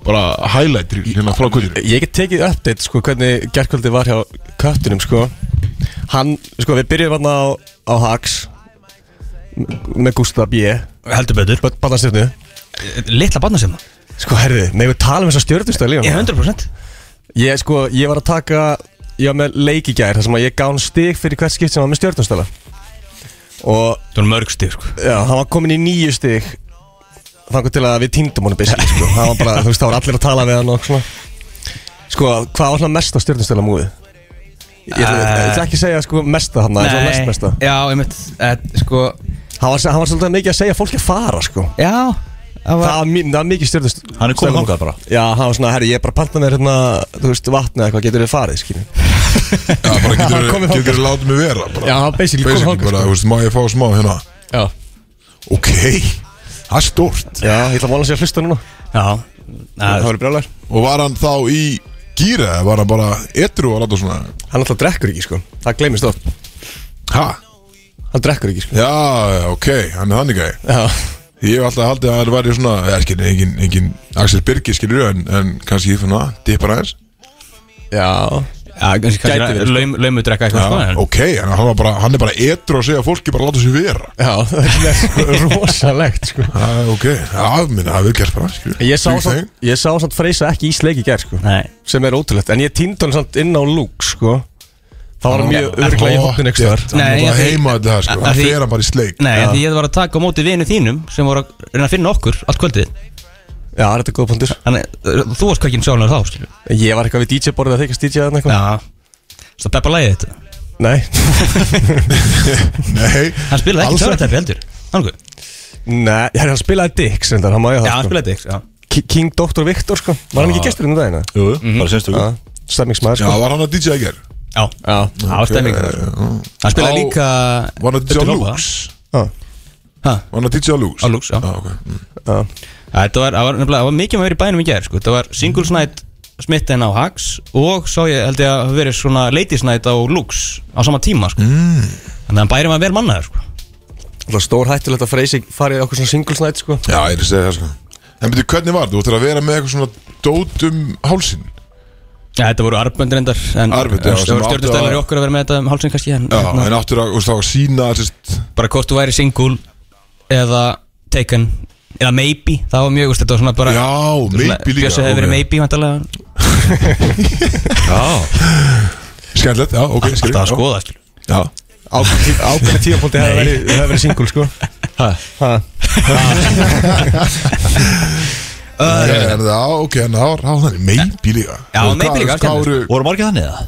Speaker 2: Bara highlight reel hérna frá kvöldinu
Speaker 7: Ég get tekið update sko hvernig gerkvöldi var hjá köttunum sko Hann, sko við byrjuðum hann á, á Hax með Gustaf B
Speaker 3: Heldur betur
Speaker 7: Bannastjörnu
Speaker 3: Litla barnasemna
Speaker 7: Sko herði, með við tala um þess að stjörnustöð líka
Speaker 3: Ég 100%
Speaker 7: Ég sko, ég var að taka Ég var með leik í gær þar sem að ég gán stig fyrir hvert skipt sem var með stjórnumstala Og
Speaker 3: Það var mörg stíð sko.
Speaker 7: já, hann var komin í nýju stig þangur til að við týndum honum basically, sko. það var bara, þú veist, það var allir að tala við hann og svona sko, hvað var svona mesta stjórnustöla múið? Ég ætla ég ætla
Speaker 4: Eh.
Speaker 7: ekki að segja sko mesta hann, það er mest mesta
Speaker 3: já, ég mynd, sko
Speaker 7: hann var, hann var svolítið mikið að segja fólki að fara sko
Speaker 3: Já, það
Speaker 7: það
Speaker 3: var
Speaker 7: var, mi- það var mikið stjórnust
Speaker 4: Hann er kominn þangað bara.
Speaker 7: já, hann var svona, herri, ég er bara að panta mér hérna, þú veist, vatn eða eitthvað, getur við farið, skynni
Speaker 2: Já, bara
Speaker 7: Hann
Speaker 2: getur
Speaker 7: komið
Speaker 2: þú
Speaker 7: þangað.
Speaker 2: getur látið mig vera bara.
Speaker 7: Já, hann basically komið
Speaker 2: Basically
Speaker 7: þangað,
Speaker 2: bara,
Speaker 7: sko.
Speaker 2: þú veist, má ég fá smá hérna
Speaker 7: já,
Speaker 2: Ok, það er stort
Speaker 7: já, ég ætla að vona sér að hlusta núna
Speaker 3: Já,
Speaker 7: það
Speaker 3: að,
Speaker 7: verður brjálæður
Speaker 2: Og var hann þá í gýra eða var hann bara etru að láta svona
Speaker 7: hann alltaf drekkur ekki, sko, það gleymist oft
Speaker 2: Ha?
Speaker 7: hann drekkur ekki, sko
Speaker 2: Já, já, ok, hann er þannig gæði
Speaker 7: já,
Speaker 2: Ég hef alltaf haldið að það væri svona eða skilur, engin, engin Axel Birgir skilur en, en kannski svona, dippar aðeins
Speaker 7: já,
Speaker 3: já, kannski
Speaker 7: Gæti verið,
Speaker 3: kannski
Speaker 7: sko.
Speaker 3: laum, laumudrekka eitthvað sko
Speaker 2: Já,
Speaker 3: en-
Speaker 2: ok, en hann, var bara, hann er bara etru að segja að fólki bara láta sér vera
Speaker 7: já, það er rosalegt, sko
Speaker 2: Ha, Ok, afminna, það er vel gert bara skilur.
Speaker 7: ég sá
Speaker 2: Big
Speaker 7: samt,
Speaker 2: thing.
Speaker 7: ég sá samt freysa ekki í sleik í gær, sko
Speaker 3: Nei,
Speaker 7: sem er ótrúlegt, en ég týndi hann samt inn á lúk, sko það var hann mjög örglega í hóttun ekki þar
Speaker 2: Hann
Speaker 3: Nei,
Speaker 2: er bara
Speaker 3: ég-
Speaker 2: heima þetta sko,
Speaker 3: að- að
Speaker 2: hann
Speaker 3: því-
Speaker 2: fer hann bara í sleik
Speaker 3: nei því ég var að taka á móti vinu þínum sem voru að reyna að finna okkur allt kvöldið
Speaker 7: já, þetta er góð punktur
Speaker 3: Þannig, uh, þú varst hverkinn sjálfur þá, skilju
Speaker 7: ég var eitthvað við DJ-borðið að þykast DJ-aðan eitthvað
Speaker 3: Já Það peppa lagið þetta
Speaker 7: nei,
Speaker 2: Nei,
Speaker 3: Hann spilaði ekki
Speaker 7: Alls ekki.
Speaker 3: törnatæpi heldur Þannig
Speaker 7: nei, herri, hann spilaði Dix, reyndar, hann má
Speaker 3: Já,
Speaker 7: ég það,
Speaker 3: hann
Speaker 7: sko
Speaker 3: spilaði þetta Já
Speaker 7: Ki- King Dr. Victor sko Var hann ekki gestur inn í dagina?
Speaker 4: Jú, jú, bara senstu
Speaker 7: Ja,
Speaker 4: við
Speaker 7: stemmingsmaður
Speaker 2: já,
Speaker 7: sko
Speaker 2: var hann að DJ að gera
Speaker 3: Já,
Speaker 7: Já
Speaker 3: það var stemming þar. sko. Hann
Speaker 2: Á-
Speaker 3: spilaði líka
Speaker 2: Var hann að DJ á
Speaker 3: Öldu Lópa.
Speaker 2: Lux?
Speaker 7: Já.
Speaker 3: Ha?
Speaker 2: Var hann að DJ á Lux?
Speaker 3: Á Lux, já.
Speaker 2: ok mm.
Speaker 3: Já, Þetta var, það var, nefnilega- það var mikið maður í bænum í gær sko. Það var Singles Night smitten á Hax og svo ég held ég að hafa verið svona Ladies Night á Lux á sama tíma sko. mm. Þannig að hann bæri maður vel mannaður sko.
Speaker 7: Það var stór hættulegt að Freysi farið í okkur svona singles night sko
Speaker 2: Já, ég er að segja það sko En betur, hvernig var þú? Þú ættir að vera með eitthvað svona dót um hálsin
Speaker 3: Já, þetta voru arböndir endar en
Speaker 2: Arbönd, já,
Speaker 3: en
Speaker 2: sem
Speaker 3: stjórn-
Speaker 2: áttu
Speaker 3: stjórnustælar
Speaker 2: að-
Speaker 3: í okkur að vera með þetta um hálsinn kannski en,
Speaker 2: Já,
Speaker 3: hérna,
Speaker 2: en áttur að, þú veist, þá að sína sérst,
Speaker 3: bara hvort þú væri single eða taken eða maybe, það var mjög, veist, þetta var svona bara
Speaker 2: Já, maybe líka
Speaker 3: Bjössi hefði verið
Speaker 2: ok.
Speaker 3: maybe, vantarlega
Speaker 2: Skemmtilegt, já, ok, skil
Speaker 3: Alltaf að skoða, skilur
Speaker 2: Já,
Speaker 7: Ákveðin tíðapóndi hefði verið, hef verið single sko Ha?
Speaker 2: En það, ok, en það var það þannig Maybe líka
Speaker 3: Já,
Speaker 2: Og
Speaker 3: maybe
Speaker 2: hvað-
Speaker 3: líka,
Speaker 2: hvað voru-
Speaker 4: Voru margir þannig eða?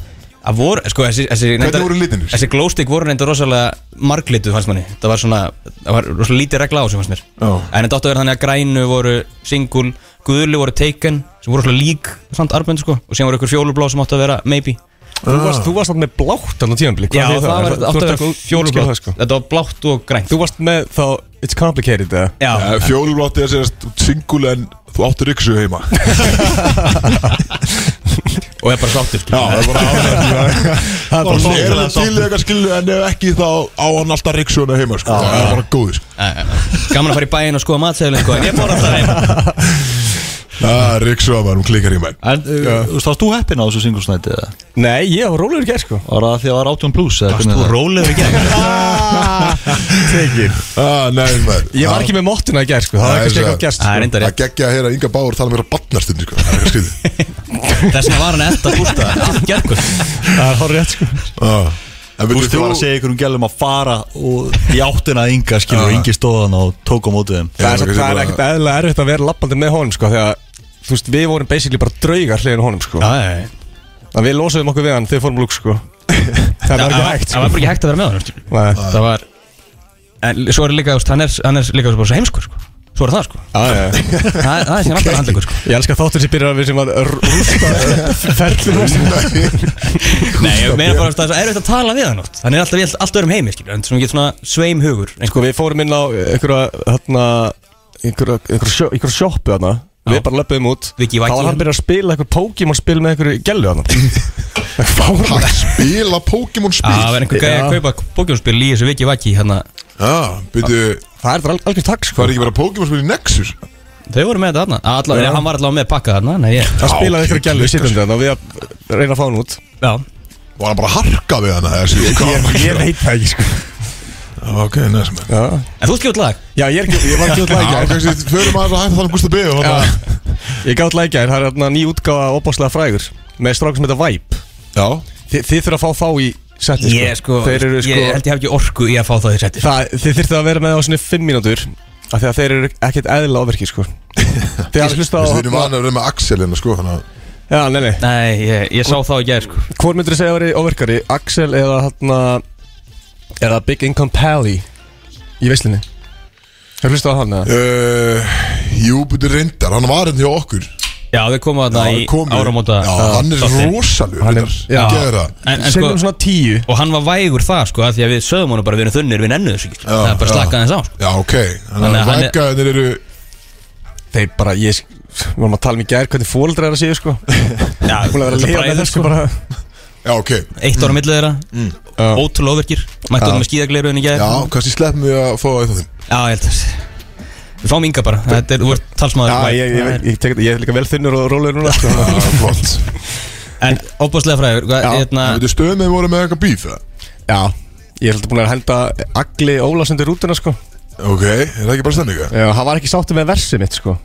Speaker 3: Það voru, sko, þessi, þessi reyndar-
Speaker 2: voru litirnir?
Speaker 3: Þessi glowstick voru reynda rosalega marglitu, fannst manni Það var svona, það var rosalega lítið regla á sem fannst mér
Speaker 2: Já.
Speaker 3: En þetta átti að vera þannig að grænu voru single Guðli voru taken, sem voru rosalega lík Samt arbend, sko, og síðan voru ykkur fjólublá sem átti að vera maybe
Speaker 7: Þú varst, þú varst þarna með blátt hann á tíðanblik
Speaker 3: Já, það, var, átti að vera fjólublá
Speaker 7: sko.
Speaker 3: Þetta var blátt og grænt
Speaker 7: Þú varst með þá It's complicated eða?
Speaker 3: Já,
Speaker 2: Eh, Fjólublátt er sérst singul en þú áttur ykkur heima
Speaker 3: og ég bara sáttur, skilur
Speaker 2: það er bara
Speaker 7: Það
Speaker 2: Bara
Speaker 7: er
Speaker 2: svona, Er
Speaker 7: bara
Speaker 2: það til í eitthvað skilu en ef ekki þá á hann alltaf ríksjóna heima sko. Það er bara góð sko.
Speaker 3: Já, já, já. Gaman að fara í bæinn og skoða matsæðileg sko, En ég fór alltaf heim
Speaker 2: Ríksjóna var um klikkar í mæn
Speaker 4: En, uh, þú veist, varst þú heppin á þessu singlesnæti eða?
Speaker 7: Nei, ég var rólegur gær sko
Speaker 4: Var það því að það var 18 plus eða? hvernig það?
Speaker 3: rólegur ekki
Speaker 7: Tekir
Speaker 2: ah, Nei maður
Speaker 7: Ég var ekki með mottuna í gær sko Það
Speaker 2: Nei,
Speaker 7: var kannski
Speaker 2: það-
Speaker 7: eitthvað gerst
Speaker 3: Það er
Speaker 7: sko
Speaker 2: Það
Speaker 3: reyndar rétt
Speaker 2: geggja að heyra Inga Báur tala mér á badnarstund sko. Það er eitthvað skrítið.
Speaker 3: Þess vegna var hann eftir að bústa Allt gergur
Speaker 7: Það er horrið sko
Speaker 2: Ah. En viltu
Speaker 4: Gústi var að
Speaker 2: þú-
Speaker 4: segja ykkur um gælum að fara og í áttina að Inga skilur og Ingi stóðan og tók á mótið þeim
Speaker 7: Það er,
Speaker 2: Já,
Speaker 7: samt-
Speaker 2: við
Speaker 7: það er
Speaker 2: bara-
Speaker 7: ekkert eðlilega erfitt að vera lappandi með honum sko Þegar, þú veist, við vorum basically bara draugar hliðin á honum sko
Speaker 3: Það
Speaker 7: Þannig að við losum okkur við hann þegar við fórum lúk sko Það var ekki
Speaker 3: Það
Speaker 7: hægt sko
Speaker 3: var bara ekki hægt að vera með hann skilur.
Speaker 7: Nei.
Speaker 3: Það var En svo er líka þú veist, Hann er, hann er líka bara svo heimskur sko. Svo er það sko
Speaker 7: Já, já, já.
Speaker 3: Það, það er sem alltaf handlegur sko
Speaker 7: Ég elska þáttur sem byrjar að við sem að r- rústa ferlum
Speaker 3: Nei, ég meina bara að það er erfitt að tala við hann oft Hann er alltaf í allt- allt öðrum heimi skilur En svona getur svona sveim hugur
Speaker 7: Sko við fórum inn á einhverja hérna, einhverja, einhverja, sjó, einhverja sjoppu hérna Við bara löpum út
Speaker 3: Viki
Speaker 7: Þá
Speaker 3: Vaki.
Speaker 7: var hann byrjað að spila einhver Pokémon spil með einhverju gellu hérna
Speaker 2: Hann spila Pokémon spil
Speaker 3: Það Ah, var einhver gæði að
Speaker 7: Já.
Speaker 3: kaupa bókjónspil í þessu viki vaki hérna.
Speaker 2: Já, byrju
Speaker 7: Það er al algjör takk
Speaker 2: Það
Speaker 7: sko
Speaker 2: er ekki bara Pokémon spil í Nexus
Speaker 3: Þau voru með þetta þarna Alla-
Speaker 7: Já.
Speaker 3: Nei, Hann var allavega með pakka þarna Nei, ég
Speaker 7: Það
Speaker 2: Já,
Speaker 7: spilaði einhverju
Speaker 2: ok,
Speaker 7: gellu
Speaker 2: klikkar,
Speaker 7: sittandi hérna og við að reyna að fá hann út
Speaker 3: Já
Speaker 2: Var hann bara að harka við hana þessi, hvað var hann að gera?
Speaker 7: veit það ekki sko
Speaker 2: Ok, næsum
Speaker 7: Já,
Speaker 3: En þú skjótt lag
Speaker 7: Já, ég, er ekki, ég var ekki út
Speaker 2: Já,
Speaker 7: lækjær
Speaker 2: kannski Förum aðeins að hætta þannig Gústa B og
Speaker 7: Já.
Speaker 2: þarna-
Speaker 7: Ég gátt lækjær, það er hérna ný útgáfa opáslega frægur Með strákum sem þetta Vibe
Speaker 2: Já
Speaker 7: Þi, Þið þurfa að fá þá í seti
Speaker 3: Ég sko,
Speaker 7: Þeir eru sko
Speaker 3: Ég held ég hef ekki orku í að fá það í settir
Speaker 7: það, Þið þurftu að vera með á svona 5 mínútur af því að þeir eru ekkert eðla ofirki sko Þegar ég hlusta á
Speaker 2: Við erum vanað að vera með Axel hérna sko Þannig að
Speaker 7: Já, nei, nei
Speaker 3: Nei, ég, ég sá þá í gær sko
Speaker 7: Hvor myndir þú segja að vera ofirkari? Axel eða hérna Eða Big Income Pally Í veislinni Hefur hlusta á hann eða?
Speaker 2: uh, Jú, betur reyndar, hann var hérna hjá okkur
Speaker 3: Já, þau komu þarna
Speaker 2: hann
Speaker 3: í
Speaker 2: kom-
Speaker 3: áramóta
Speaker 2: Já, hann er
Speaker 3: þátti.
Speaker 2: rosalur
Speaker 7: Hann er-
Speaker 2: reyndar
Speaker 7: já.
Speaker 2: Hann gerir það.
Speaker 3: En, en
Speaker 7: Segjum
Speaker 3: sko,
Speaker 7: svona tíu
Speaker 3: og hann var vægur það sko af Því að við sögum honum bara við erum þunnir, við nennum þessu ekki sko.
Speaker 2: Já,
Speaker 3: Það er bara
Speaker 2: já.
Speaker 3: slakað þess á sko.
Speaker 2: Já, ok Þannig
Speaker 3: Þannig
Speaker 2: að
Speaker 3: að hann er-
Speaker 2: veggaðinir eru
Speaker 7: Þeir bara, ég Við varum að tala um í gær hvernig fóreldrar þeirra séu sko
Speaker 3: Já,
Speaker 7: Hún er sko. að vera að lifa með þessu bara
Speaker 2: Já, ok
Speaker 3: Eitt ára millu þeirra, sko. mm. ótrúlega ofirkir Mættu honum með skíðagleiruðin í gær
Speaker 2: Já, kannski sleppum við að fá það í þáttin
Speaker 3: Já, ég held að Við fáum ynga bara, þetta er, þú ert talsmaður
Speaker 7: Já, ég, ég, ég, ég, tek- ég er líka vel þunnur og rólegur núna sko.
Speaker 2: Já, Ah, flott
Speaker 3: En óbúslega fræður, hvað,
Speaker 7: Já,
Speaker 3: hérna
Speaker 2: Þetta stöðum við voru með eitthvað bíf það
Speaker 7: Já, ég er svolítið búin að henda Agli Ólas undir rútuna sko
Speaker 2: Ok, er það ekki bara stendinga?
Speaker 7: Já, hann var ekki sáttur með versið mitt sko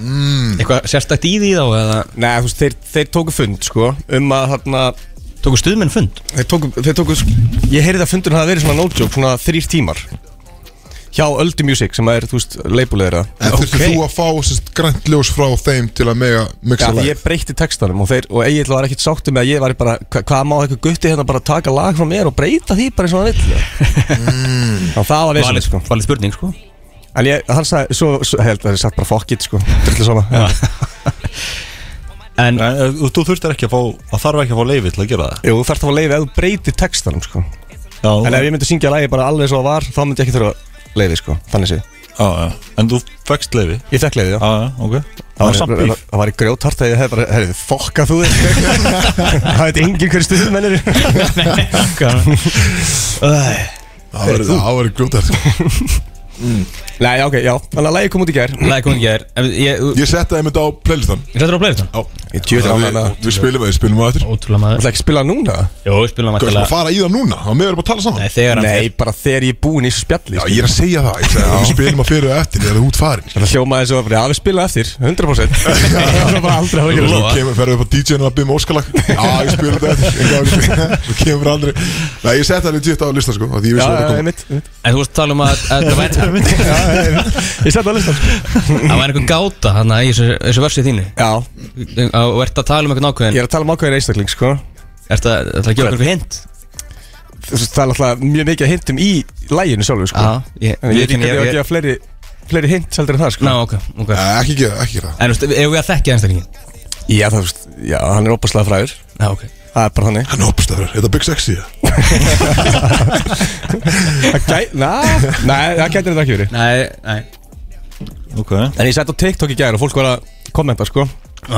Speaker 3: Eitthvað sérstakt í því þá eða
Speaker 7: Nei, þú veist, þeir, þeir tóku fund sko Um að þarna
Speaker 3: Tóku stuðmenn fund
Speaker 7: Þeir tóku, þeir tóku Ég heyrði að fundurinn hafi verið svona no joke Svona þrýr tímar Hjá Öldi Music sem er, þú veist, leipulegir það
Speaker 2: En þurftu þú að fá sérst grænt ljós frá þeim til að mega mixa
Speaker 7: Já,
Speaker 2: lag?
Speaker 7: ég breyti textanum og, þeir, og Egil var ekkert sáttur með að ég var bara hva, Hvað má eitthvað gutti hérna bara taka lag frá mér og breyta því bara eins og hann vill mm. Það var
Speaker 3: Valið
Speaker 7: vesinn sko
Speaker 3: valið spurning sko
Speaker 7: En ég, hann sagði, svo, svo held að það er satt bara fuck it sko Drullu svona
Speaker 3: En
Speaker 4: Nei, eh, þú- Þú þurftir ekki að fá, að þarf ekki að fá leifi til að gera það
Speaker 7: Jú, þú þarf þá að leiði að þú breytir textanum sko
Speaker 4: Já,
Speaker 7: En ef ég myndi syngja lagi bara alveg svo að var Þá myndi ég ekki þurfa að leiði sko, þannig sé
Speaker 4: já, já. En þú fegst leifi
Speaker 7: Ég þekk leiði, já
Speaker 4: Já, já, ok Það var samt bíf
Speaker 7: Það var í grjóthart að ég hef bara, herrið, fokka þú þig Það veit engin hver stuðum mennir
Speaker 2: Það var- það var grjótært
Speaker 7: Nei, já, ok, já, þannig að lagi kom út í gær
Speaker 3: Læði komið ekki er Ég
Speaker 2: Ég setta það einmitt á playlistan
Speaker 3: hrættur á playlistan
Speaker 2: Já
Speaker 7: Ég djöfull
Speaker 2: Þannig að
Speaker 7: ánægður
Speaker 2: Við við
Speaker 7: með
Speaker 2: spilum að, spilum að eftir
Speaker 3: Ótrúlega
Speaker 7: Það
Speaker 3: maður
Speaker 7: er ekki að spila núna
Speaker 3: Jó, við spilum
Speaker 2: Hvað er að
Speaker 3: vantilega
Speaker 2: fara í það núna? Það meður bara að tala saman
Speaker 3: Nei, þegar hann
Speaker 7: Nei,
Speaker 3: fer.
Speaker 7: bara þegar ég er búin í þessu spjalli
Speaker 2: Já, ég er að segja það Ég sagði að við spilum að fyrir og eftir Þegar það er út farin
Speaker 7: Það hljómaði svo að við spila eftir, 100% Það var bara aldrei að
Speaker 2: Svo
Speaker 7: vera
Speaker 2: kemur, ferðu upp á DJ-num að byrja óskalag um Já, ég spilum þetta eftir Enga ákveð. Svo kemur aldrei Nei, ég setta það legit á lista sko af Því ég vissi
Speaker 7: Já,
Speaker 2: að
Speaker 7: já,
Speaker 2: það kom
Speaker 7: einmitt, einmitt.
Speaker 3: En þú veist tala um að að Það væri-
Speaker 7: Já, já, einmitt. Ég seti á listan, sko.
Speaker 3: það væri einhver gáta Þannig að þessu þessu versi þínu
Speaker 7: Já,
Speaker 3: Og ert að tala um einhvern ákveðin
Speaker 7: Ég er að tala um ákveðin einstakling sko
Speaker 3: Ert að ætlarðu að gefa okkur hint
Speaker 7: Þú veist, Það er alltaf mjög mikið að hintum í læginu sjálfur sko
Speaker 3: Já, ég
Speaker 7: En ég veit ekki
Speaker 3: ég-
Speaker 7: að
Speaker 3: ég-
Speaker 7: gefa fleiri, fleiri hint heldur en það sko
Speaker 3: Ná, ok, ok
Speaker 2: Nei, Ekki gera, það, ekki gera það.
Speaker 3: En þú veist, ef við að þekkja einstaklingin
Speaker 7: Já það þú veist, já hann er opaslega fræður
Speaker 3: Já, ok
Speaker 7: Það er bara þannig
Speaker 2: Hann hoppstafur, þetta er Big Sexy ja.
Speaker 7: Það gæ- Na, Nei, það getur þetta ekki verið
Speaker 3: Nei, nei
Speaker 4: eh, Ok
Speaker 7: En ég sett á TikTok í gæri og fólk var að kommenta sko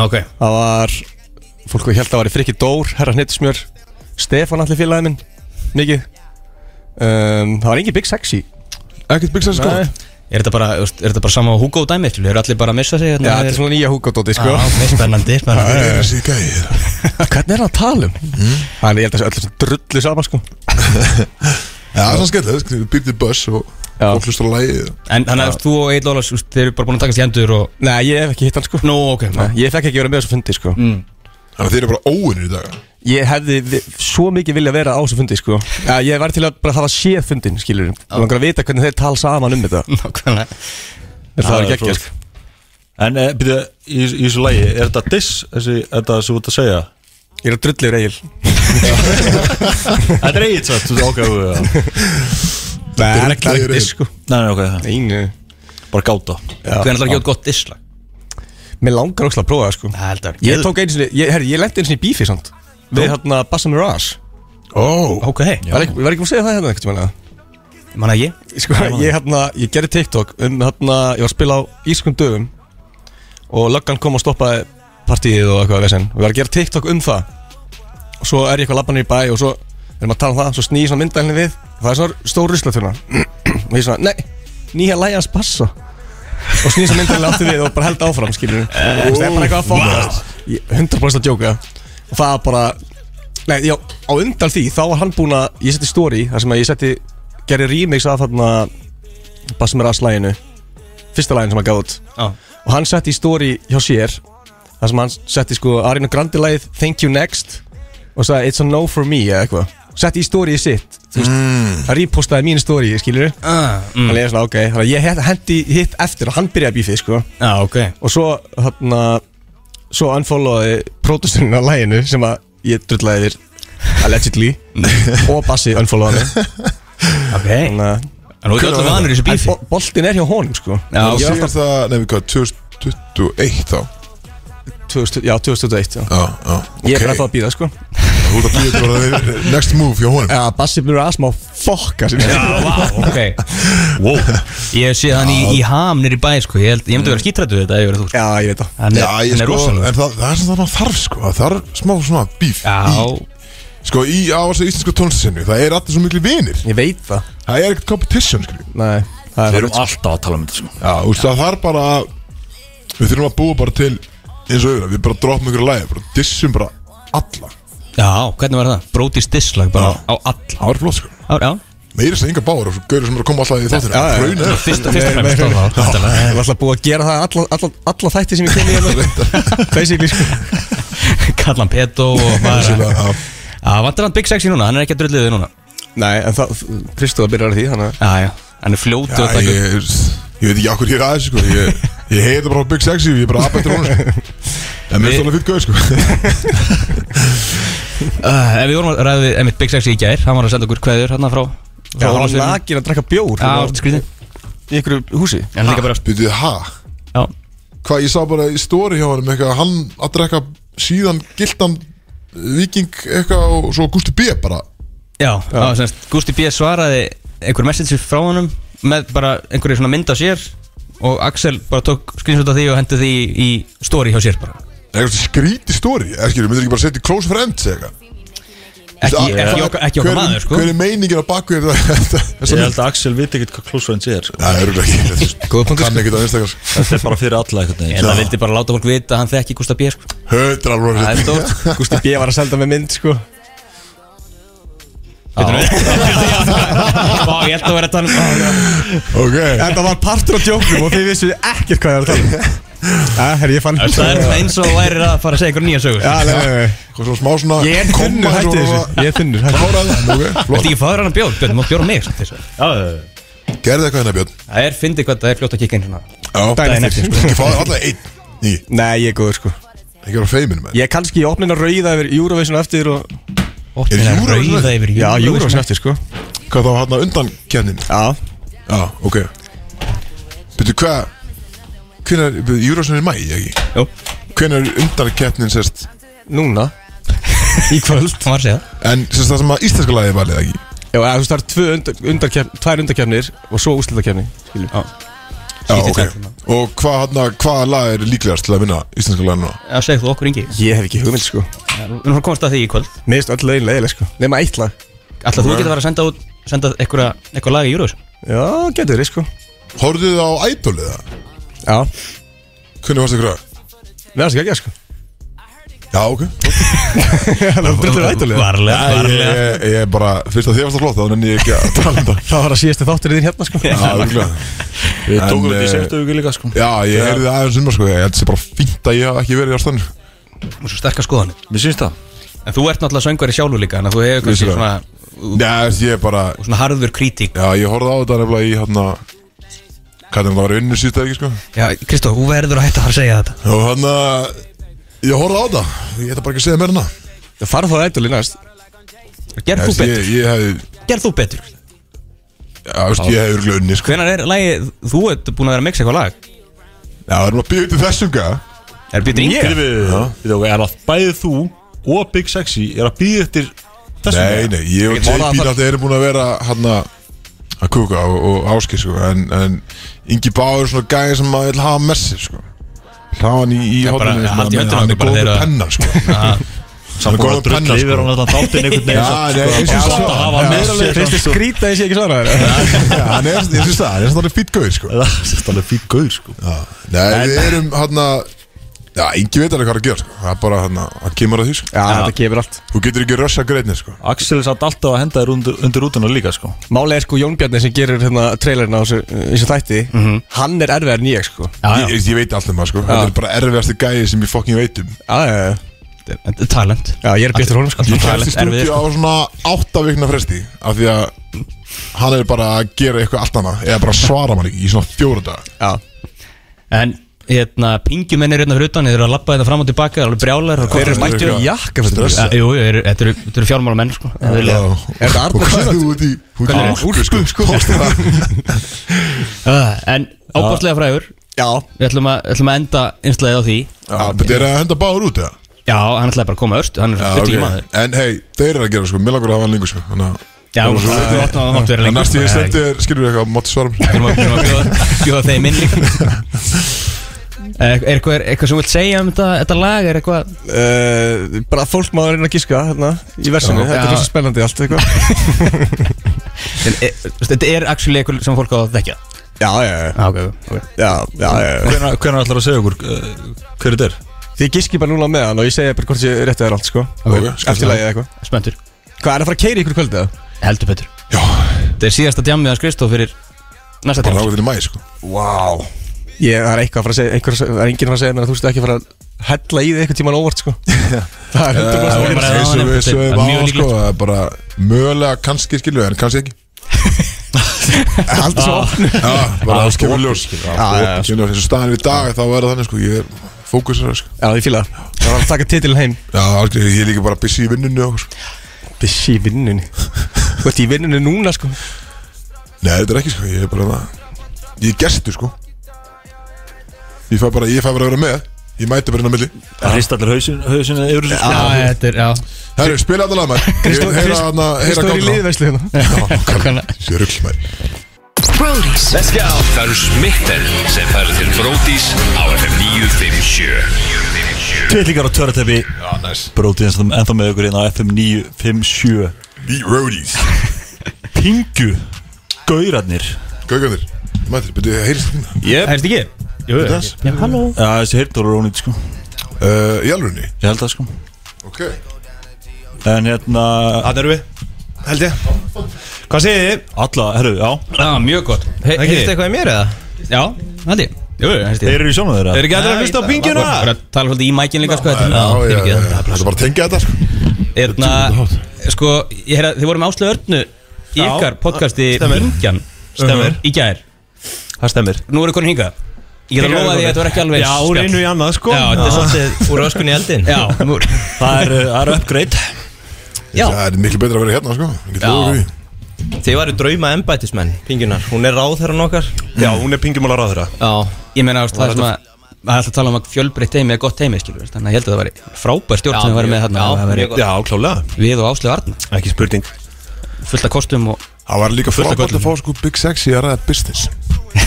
Speaker 3: Ok
Speaker 7: Það var, fólk held að það var í Frikki Dór, Herra Hnittismjör Stefán allir félagið minn, mikið um, Það var engin Big Sexy
Speaker 2: Ekkert Big Sexy sko
Speaker 7: Nei.
Speaker 3: Er þetta bara, þú veist, er þetta bara sama á Hugo dæmi, skilur? Eru allir bara að missa sig? hérna,
Speaker 7: Já, þetta er svona nýja húkadóti sko
Speaker 3: Já, Ah, spennandi,
Speaker 2: Það
Speaker 3: spennandi
Speaker 2: er þessi gæi
Speaker 7: Hvernig er það að tala um? Þannig ég held að þessu öllu sem drullu saman sko
Speaker 2: Já, það er svona skellið Býrðið buss og
Speaker 7: Já.
Speaker 2: fólk hlustar á lagið
Speaker 3: En þannig að þú veist, þú og Egil Ólas, þú veist, þeir eru bara búin að takast í endur og
Speaker 7: Nei, ég hef ekki hitt hann sko
Speaker 3: Nú, ok,
Speaker 7: Nei, Ég fekk ekki verið með þessu fundi sko
Speaker 2: Þannig að þeir eru bara óunir í dag
Speaker 7: Ég hefði vi- svo mikið vilja vera á þessu fundi sko ja, Ég var til að bara hafa séð fundin skilur Ég langar að vita hvernig þeir tala saman um þetta
Speaker 3: nákvæmlega
Speaker 7: Það
Speaker 4: það
Speaker 7: var
Speaker 4: er
Speaker 7: ekki ekki
Speaker 4: fólk. En e, byrja, í, í þessu lagi, er þetta diss, þessi, þetta sem þú ert að segja?
Speaker 7: Ég er að drullu yfir Egil
Speaker 4: Þetta er eigin satt, þú veist, ok, ok, ok.
Speaker 7: Nei, það er
Speaker 2: Drulla yfir
Speaker 7: ekki það er ekki
Speaker 2: Egil.
Speaker 7: disk sko
Speaker 4: Nei, nei, ok, það.
Speaker 7: Einu
Speaker 4: bara gáta.
Speaker 3: Hvernig ætlar að gefa út gott dislag?
Speaker 7: Mér langar óslega að prófa það sko
Speaker 3: Það held að
Speaker 7: Ég tók einu sinni, ég, herri, ég lendi einu sinni í bífi samt Við hérna Bassa Mirage
Speaker 2: Ó,
Speaker 3: Ok,
Speaker 7: Var ekki- Var ekki búin að segja það hérna eitthvað tíma
Speaker 3: manna ég
Speaker 7: Sko, ég hérna, ég gerði TikTok um hérna, ég var að spila á Ískum dögum og löggan kom og stoppaði partíið og eitthvað vesen og ég var að gera TikTok um það og svo er ég eitthvað labbanir í bæ og svo erum að tala um það, svo snýði svona myndaðinni við og það er svona stór ruslatuna og ég svona, nei, nýja lægi hans passa og snýði svona myndaðinni aftur við og bara held áfram, skilur við það er bara eitthvað að fá Ég- 100% að jóka og það var bara Nei, já, á undan því, þá var hann búinn að Ég setti story, þar sem að ég setti Gerði remix af þarna Basmeras læginu Fyrsta lægin sem hann gaf út
Speaker 3: Já.
Speaker 7: Og hann setti í story hjá sér Þar sem hann setti sko Arina Grandi lægið Thank you next Og sagði it's a no for me eða eitthvað sett í story sitt þú veist, það repostaði mín story, skilur við
Speaker 3: Ah,
Speaker 7: mm. þannig ég er svona, ok, þannig að ég hent- hendi hitt eftir og hann byrjaði að bífið, sko
Speaker 3: Já, ok
Speaker 7: og svo, þarna svo unfollowaði pródusturinn á læginu sem að ég drullaði þér allegedly
Speaker 3: Mm.
Speaker 7: og Bassi unfollowaði mig
Speaker 3: Ok
Speaker 7: þannig að
Speaker 3: En þú ert öllum vanur í þessu bífi
Speaker 7: En bo- boltinn er hjá honum, sko
Speaker 3: Já,
Speaker 2: Og
Speaker 7: ég var
Speaker 2: síðan það, nefnir hvað, 2021 þá
Speaker 7: 2000, já, 2001 já.
Speaker 2: Já, já,
Speaker 7: Ég er
Speaker 2: ok.
Speaker 7: ennþá að býða sko
Speaker 2: Þú ert að býja til að það er next move hjá honum
Speaker 7: Já, Bassi byrjar að smá fokka sem
Speaker 3: Já, vá, ok Wow Ég sé hann í, í hamnir í bæ, sko Ég, held, ég myndi vera skítrættu við þetta ef ég verið þú sko.
Speaker 7: Já, ég veit það
Speaker 3: Hann er,
Speaker 2: Já, ég
Speaker 3: hann er
Speaker 2: sko,
Speaker 3: rosalega
Speaker 2: en það, það er sem þannig að þarf sko, það þarf smá svona bíf í,
Speaker 3: Já,
Speaker 2: Sko, í á þessu íslensku tónlistinni, það er allir svo miklu vinir
Speaker 7: Ég veit það
Speaker 2: Það er ekkert competition, sko
Speaker 7: Nei, það
Speaker 4: Við
Speaker 7: er
Speaker 4: erum alltaf að tala um þetta sko
Speaker 2: Já, þú veist, það þarf bara að- Við þurfum að búa bara til eins og auðvitað, við bara droppum ykkur að lægja, bara dissum bara alla
Speaker 3: já, hvernig var það? Brótis disslag bara á all
Speaker 2: Það var flott, sko
Speaker 3: á, Já,
Speaker 2: Meira sem Inga Báður og svo gaurið sem er að koma alltaf í þáttina
Speaker 7: Já, já, já.
Speaker 2: Hrauna er-
Speaker 3: fyrst og fremst á það
Speaker 7: Það
Speaker 3: væntanlega.
Speaker 7: er alltaf búið að gera það alla, alla, alla þætti sem ég kom í hérna Basically sko
Speaker 3: Kallan Petó og
Speaker 2: Vissulega,
Speaker 3: maður
Speaker 2: já.
Speaker 3: Já, vantar hann Big Sexy núna, hann er ekki að drullið við núna
Speaker 7: Nei, en það, Kristóða byrjar að því þannig að
Speaker 3: Já, já, hann er fljótu
Speaker 2: Já,
Speaker 3: að taka
Speaker 2: ég, ég veit ekki okkur hér aðeins sko. Ég, ég heiti bara á Big Sexy Ég er bara aðbættur honum sko. En mér finnst alveg fyrir gauð sko.
Speaker 3: uh, Ef við vorum að ræða við einmitt Big Sexy í gær Hann var að senda okkur kveður hérna frá
Speaker 7: Já,
Speaker 3: frá
Speaker 7: hann var
Speaker 3: Ólafsfirði.
Speaker 7: nakin að drakka
Speaker 3: Já,
Speaker 7: bjór hérna
Speaker 3: svolítið skrítið
Speaker 7: Í ykkur húsi
Speaker 3: En líka bara,
Speaker 2: Býtu, ha?
Speaker 3: já
Speaker 2: Hvað, ég sá bara í stóri hjá honum eitthvað, Hann að drekka síðan gildan Viking eitthvað og svo Gusti B bara
Speaker 3: Já, það var semst, Gusti B. svaraði einhver message frá honum með bara einhverju svona mynd á sér og Axel bara tók screenshot af því og hendi því í, í story hjá sér bara
Speaker 2: Eitthvað skríti stóri Erskilur, myndir ekki bara setja í close friends eða eitthvað
Speaker 3: Ekki, eh,
Speaker 2: Þú veist,
Speaker 3: ekki,
Speaker 2: að-
Speaker 3: okkar, ekki
Speaker 2: hver
Speaker 3: okkar
Speaker 2: er-
Speaker 3: maður sko
Speaker 2: Hver er meiningin að baku þér þetta? þessa
Speaker 4: Ég
Speaker 2: mynd?
Speaker 4: held að Axel viti ekkert hvað close friends er sko
Speaker 2: Það er örugglega ekki þetta
Speaker 7: Góða punktur,
Speaker 3: sko.
Speaker 2: Kann ekki það einstakar
Speaker 4: Þetta er bara fyrir alla einhvern
Speaker 3: Ég
Speaker 4: veginn
Speaker 3: held að hann vildi bara láta fólk vita að hann þekki Gusta B. sko
Speaker 2: Höndra alveg
Speaker 3: Það er stórt
Speaker 7: Gústi B var að selda með mynd sko
Speaker 3: Vá, ég held að vera þetta hann
Speaker 2: Ok
Speaker 7: Þetta var partur á djóknum og þið vissu ekkert hvað ég var að tala um. Já, herri, ég fann
Speaker 3: Það er svona eins og þú værir að fara að segja einhver nýja sögur
Speaker 7: Já, nei, nei, nei
Speaker 2: Hvað svona smá svona
Speaker 7: Ég er þunnur,
Speaker 2: komma
Speaker 7: hætti
Speaker 2: svona-
Speaker 7: þessu Ég er þunnur, hætti
Speaker 2: Kláraði það, ok,
Speaker 3: Þetta
Speaker 2: flott
Speaker 3: ekki fáður hann að bjóð, Björn, þú mátt bjóra mig sko, samt þessu
Speaker 2: Gerði eitthvað hérna Björn
Speaker 3: Það er, fyndi hvað það er fljótt að kikka inn svona
Speaker 2: Já,
Speaker 7: Daginn
Speaker 3: eftir,
Speaker 7: eftir
Speaker 2: ekki fá það alltaf einn Í,
Speaker 7: Nei, ég er góður sko
Speaker 2: ekki vera feimin með
Speaker 7: Ég er kannski í opnin að rauða yfir Eurovision eftir og
Speaker 3: Opnin að
Speaker 2: Eurovision?
Speaker 3: rauða yfir
Speaker 7: Já, Eurovision
Speaker 3: Eurovision.
Speaker 7: eftir sko
Speaker 2: Hvað þá hérna undan kemnin
Speaker 7: Já
Speaker 2: Já, ok Byrju, hvað Hvenær, byrju, Júrásson er í mæ, ekki?
Speaker 3: Jú.
Speaker 2: Hvenær undan kemnin sérst
Speaker 7: Núna
Speaker 3: Í kvöld Hann var að segja það.
Speaker 2: En sérst það sem að íslenska lagið er valið, ekki?
Speaker 7: Já, eða, þú veist, það er tvö undar, undarkef, tvær undarkefnir og svo úslitakefni Já
Speaker 2: Já,
Speaker 3: Skiptir
Speaker 2: ok
Speaker 3: tvennt.
Speaker 2: Og hvað hérna, hvaða lag er líklegast til að vinna íslenska lagið núna?
Speaker 3: Já, segðu þú okkur yngi
Speaker 7: Ég hef ekki hugmynd sko
Speaker 3: Við erum að komast að því í kvöld
Speaker 7: Mér finnst öll lögin leiðileg sko Nefna eitt lag
Speaker 3: Alltaf þú getur að vera að senda út senda einhverja, einhverja lag í Eurovision
Speaker 7: Já, getur þið sko
Speaker 2: Horfðu þið á ædolið það?
Speaker 7: Já
Speaker 2: Hvernig varst ykkur að?
Speaker 7: Mér finnst ekki ekki sko
Speaker 2: Já, ok
Speaker 7: Það var drullið rættulega
Speaker 3: Varlega,
Speaker 2: Æ, ég,
Speaker 3: varlega
Speaker 2: ég, ég bara, fyrst að þið varst að flóta, þá nenni ég ekki að tala um það
Speaker 7: Það var að síðasti þáttur í þín hérna sko
Speaker 2: Já, örugglega.
Speaker 4: Við
Speaker 2: En,
Speaker 4: tókum þetta í
Speaker 2: eh,
Speaker 4: sérstu viku líka sko
Speaker 2: Já, ég heyrði aðeins um það sko, ég held sér bara fínt að ég hafa ekki verið á stannu
Speaker 3: Mjög svo sterkar skoðan
Speaker 4: Mér syns það
Speaker 3: En þú ert náttúrulega söngveri sjálfur líka Þannig að þú hefur kannski
Speaker 2: Vissulega.
Speaker 3: svona,
Speaker 2: Nei, þess, ég er bara,
Speaker 3: svona harður kritík
Speaker 2: já, ég horfði á þetta nefnilega í hérna Hvað er það var vinnu síðst ekki sko
Speaker 3: Já, Kristóf, þú verður að hætta að fara að segja þetta
Speaker 2: Og hérna, ég horfði á þetta, ég ætla bara ekki að segja meira en það.
Speaker 7: Það farið þá rættulega næst
Speaker 3: Gerð þú
Speaker 2: Þess,
Speaker 3: betur,
Speaker 2: Ég, ég hefði,
Speaker 3: gerð þú betur
Speaker 2: já, veist, ég hefði örgulega unni sko Já,
Speaker 3: Hvenær er lagið, þú ert búin að vera að mixa eitthvað lag
Speaker 2: það er maður að býja til þessum gæða
Speaker 3: Er býtið yngi?
Speaker 4: Við við þá er að bæði þú og Big Sexy er að býða eftir þessum
Speaker 2: Nei, nei, ég og
Speaker 7: Ég get
Speaker 2: JB
Speaker 7: málað það.
Speaker 2: náttúrulega erum búin að vera hérna að kuka og, og áski sko en, en Ingi Báður er svona gæði sem maður vil hafa messi sko Hlá hann í, í
Speaker 3: Já, bara,
Speaker 2: hotninu,
Speaker 3: ja, haldið í höndina
Speaker 2: hann er
Speaker 3: okkur bara
Speaker 2: góð með
Speaker 3: þeirra-
Speaker 2: penna sko Hann er
Speaker 4: Samt
Speaker 2: góð
Speaker 4: búin að
Speaker 2: með
Speaker 4: drulla
Speaker 2: penna sko
Speaker 4: yfir hann allan þáttinn einhvern
Speaker 2: Já,
Speaker 4: veginn samt,
Speaker 2: nei, eins og svo
Speaker 4: sko. Bara alltaf að hafa með sér,
Speaker 7: Finnst þið
Speaker 4: sko.
Speaker 7: Ah, skrýta að ég sé ekki svara þér
Speaker 2: Já, hann er, ég syns það, hann er svona fýtt gauð sko
Speaker 4: Það er alveg fín gaur sko
Speaker 2: Já, Nei, við erum hérna Já, Ingi veit alveg hvað er að gera sko Það er bara hérna, hann kemur að því sko
Speaker 7: Já, þetta gefur allt
Speaker 2: Þú getur ekki rössa greinni sko
Speaker 4: Axel er samt alltaf að henda þér undir, undir útuna líka sko
Speaker 7: Málega er sko Jón Bjarni sem gerur hérna trailerina á þessu, þessu þætti Hann er erfiðar en ég sko
Speaker 2: Ég, ég veit allt um það sko Þetta er bara erfiðasti gæði sem ég fokkin veit um
Speaker 7: Já, já, já
Speaker 3: þetta er- þetta er talent
Speaker 7: Já, ég er betur honum sko
Speaker 2: Ég
Speaker 3: Það er
Speaker 2: kemst í
Speaker 3: erfitt, erfitt,
Speaker 2: stúdíu á svona átta vikna fresti Af því að hann er bara að gera eitthvað allt annað Eða bara svara mann ekki í svona fjóra daga
Speaker 7: Já,
Speaker 3: En hérna, pingjumenn eru hérna fyrir utan Þeir eru að labba þetta fram og tilbaka, þeir eru alveg brjálar
Speaker 2: Þeir eru mættir í
Speaker 7: jakka, fyrir
Speaker 2: Stressa
Speaker 3: Jú, jú, þeir eru- þetta eru- þetta eru fjármála menn sko
Speaker 2: Já.
Speaker 3: eðlilega.
Speaker 7: Er þetta
Speaker 2: Og
Speaker 7: Arnar
Speaker 2: hvað er
Speaker 7: Sjöfn?
Speaker 2: þú út í Hún
Speaker 3: Hvernig er
Speaker 2: er úr sko Hóst það.
Speaker 3: Ah, En ábáslega frægur
Speaker 7: já,
Speaker 3: Við ætlum að, ætlum að enda einslæðið á því
Speaker 2: Já, Þetta er að henda báður út eða
Speaker 3: Já, hann ætlaði bara að koma östu Hann er
Speaker 2: Já,
Speaker 3: fyrir
Speaker 2: ok.
Speaker 3: tíma okay.
Speaker 2: En hei, þeir eru að gera sko, mér langur að hafa hann lengur sko Þannig að-
Speaker 3: Já, þú átt að máttu vera
Speaker 2: Þannig að
Speaker 3: lengur
Speaker 2: næst ég
Speaker 3: Nei,
Speaker 2: sendi þér, skilur við eitthvað, máttu svara mér
Speaker 3: Við erum að- við erum að bjóða- bjóða þeim inn líka Eh, Er eitthvað, er eitthvað sem þú vilt segja um þetta, þetta lag? Er eitthvað
Speaker 7: uh, bara að fólk maður reyna að gíska hérna í versinu, þetta
Speaker 3: Já.
Speaker 7: er rosa spennandi allt eitthvað
Speaker 3: en er- þú veist, Þetta er actually eitthvað sem fólk á að þekja
Speaker 7: Já, já, já,
Speaker 3: ah, okay, okay.
Speaker 7: já, já, já.
Speaker 4: Hvenær hvenær ætlar að segja okkur uh, hver þetta er?
Speaker 7: Þið gíski bara núna með hann og ég segja bara hvort ég rétti þér allt sko
Speaker 2: Ok,
Speaker 7: Eftir lagið eitthvað
Speaker 3: Spöntur,
Speaker 7: Hvað, er að fara að keiri ykkur kvöldið það?
Speaker 3: heldur betur
Speaker 2: Já,
Speaker 3: Þetta er síðasta djammiðan skristof fyrir næsta
Speaker 2: bara
Speaker 3: tíma
Speaker 2: ákveð til í mæ sko
Speaker 7: Vá Ég, það er eitthvað að fara að segja, einhver, það er enginn að fara að segja mér að þú ert ekki að fara að hella í þig eitthvað tíman óvart sko Það er hundur
Speaker 2: Eins
Speaker 3: var bara
Speaker 7: bara
Speaker 3: ráðan
Speaker 2: og við
Speaker 3: eftir-
Speaker 2: sögum á
Speaker 3: það er mjög
Speaker 2: sko, það er bara mögulega kannski skilur við, en kannski ekki
Speaker 7: Haldur svo opnu
Speaker 2: Já, bara það skilur ljós
Speaker 7: Já, já, já.
Speaker 2: Skilur ljós, eins og staðan er í dag, þá er það þannig sko, ég er fókusar sko
Speaker 7: Já, ég fíla það Það var að taka titilin heim
Speaker 2: Já, algjör, ég er líka bara busy í vinnunni og okkur sko
Speaker 7: Bissi í vinnunni Þú ert í vinnunni núna sko
Speaker 2: Nei, þetta er ekki sko, ég er bara það Ég er gestu sko Ég fæ bara, ég fæ bara að vera með Ég mæti bara inn á milli
Speaker 4: Það hrist allir hausin, hausin yfir þessu
Speaker 3: Já,
Speaker 4: sko.
Speaker 3: þetta er, já
Speaker 2: Herru, spila þetta lag maður Ég vil heyra hana, heyra
Speaker 7: Kristóður í liðveislu hérna
Speaker 2: gána Sér rugl maður
Speaker 6: Brody's
Speaker 5: Það eru smitten sem færður til Brótis á FM 957
Speaker 4: Tvillingar á törtepi Brótið eins og það ennþá með ykkur inn á FM 957
Speaker 2: The Roadies
Speaker 4: Pingu Gaurarnir
Speaker 2: Gaugandir Mættir, byrju, heyrist það hérna?
Speaker 4: yep.
Speaker 3: Heyrst ekki? Jú,
Speaker 2: Þess?
Speaker 3: já, halló
Speaker 4: Já, þessi heyrtur er ónýtt sko
Speaker 2: Uh, Í alvörunni
Speaker 4: Ég held það sko
Speaker 2: Ok
Speaker 4: En hérna
Speaker 8: Þannig erum við, held ég Hvað segir þið?
Speaker 4: Alla, herru, já
Speaker 3: Já, mjög gott He-
Speaker 8: Það gerist
Speaker 3: heyrstu
Speaker 8: eitthvað í mér eða?
Speaker 3: eitthvað? Já, held ég Jú, heyrst
Speaker 4: Þeir eru í sjónu þeirra
Speaker 8: Þeir eru ekki allir að hlusta á pingjuna?
Speaker 3: Bara bara tala svolítið í mækin líka sko þetta er-
Speaker 2: Já, já,
Speaker 3: já,
Speaker 2: já
Speaker 3: fyrirgeðu.
Speaker 2: Það er bara að tengja þetta sko
Speaker 3: Hérna, sko, ég heyrði að þið vorum áslöðu örnu í
Speaker 8: Já.
Speaker 3: ykkar podcasti
Speaker 8: Stemmer.
Speaker 3: Vingjan
Speaker 8: Stemmer.
Speaker 3: í gær
Speaker 8: Það stemmir
Speaker 3: Nú eru konin hinga Ég get að lofa því að þetta var ekki alveg
Speaker 8: Já, úr
Speaker 3: spjall.
Speaker 8: einu í annað sko
Speaker 3: Já, þetta er svolítið
Speaker 8: Úr öskunni í eldin
Speaker 3: Já, um nú er-
Speaker 4: Það er, uh, það er upgrade
Speaker 8: Já.
Speaker 2: Það er miklu betra að vera hérna sko Ég get
Speaker 3: Já.
Speaker 2: lofað því.
Speaker 8: Þið varu drauma embætismenn, pingjunar Hún er ráðherran okkar Já, hún er pingjumála ráðherra Já,
Speaker 3: Ég meina, þú veist, það er sem að Það er alltaf að tala um að fjölbreytt heimi er gott heimi, skilur við, Þannig að ég held að það væri frábær stjórn
Speaker 8: Já,
Speaker 3: sem við varum með
Speaker 8: mjög-
Speaker 3: þarna
Speaker 8: já,
Speaker 3: það væri
Speaker 8: mjög gott. Já, klálega
Speaker 3: Við og Áslöðu Arna
Speaker 8: Ekki spurning
Speaker 3: Fullt af kostum og
Speaker 2: Það var líka
Speaker 3: af
Speaker 2: frábært
Speaker 3: göllum.
Speaker 2: að fá sko Big Sexy að ræða business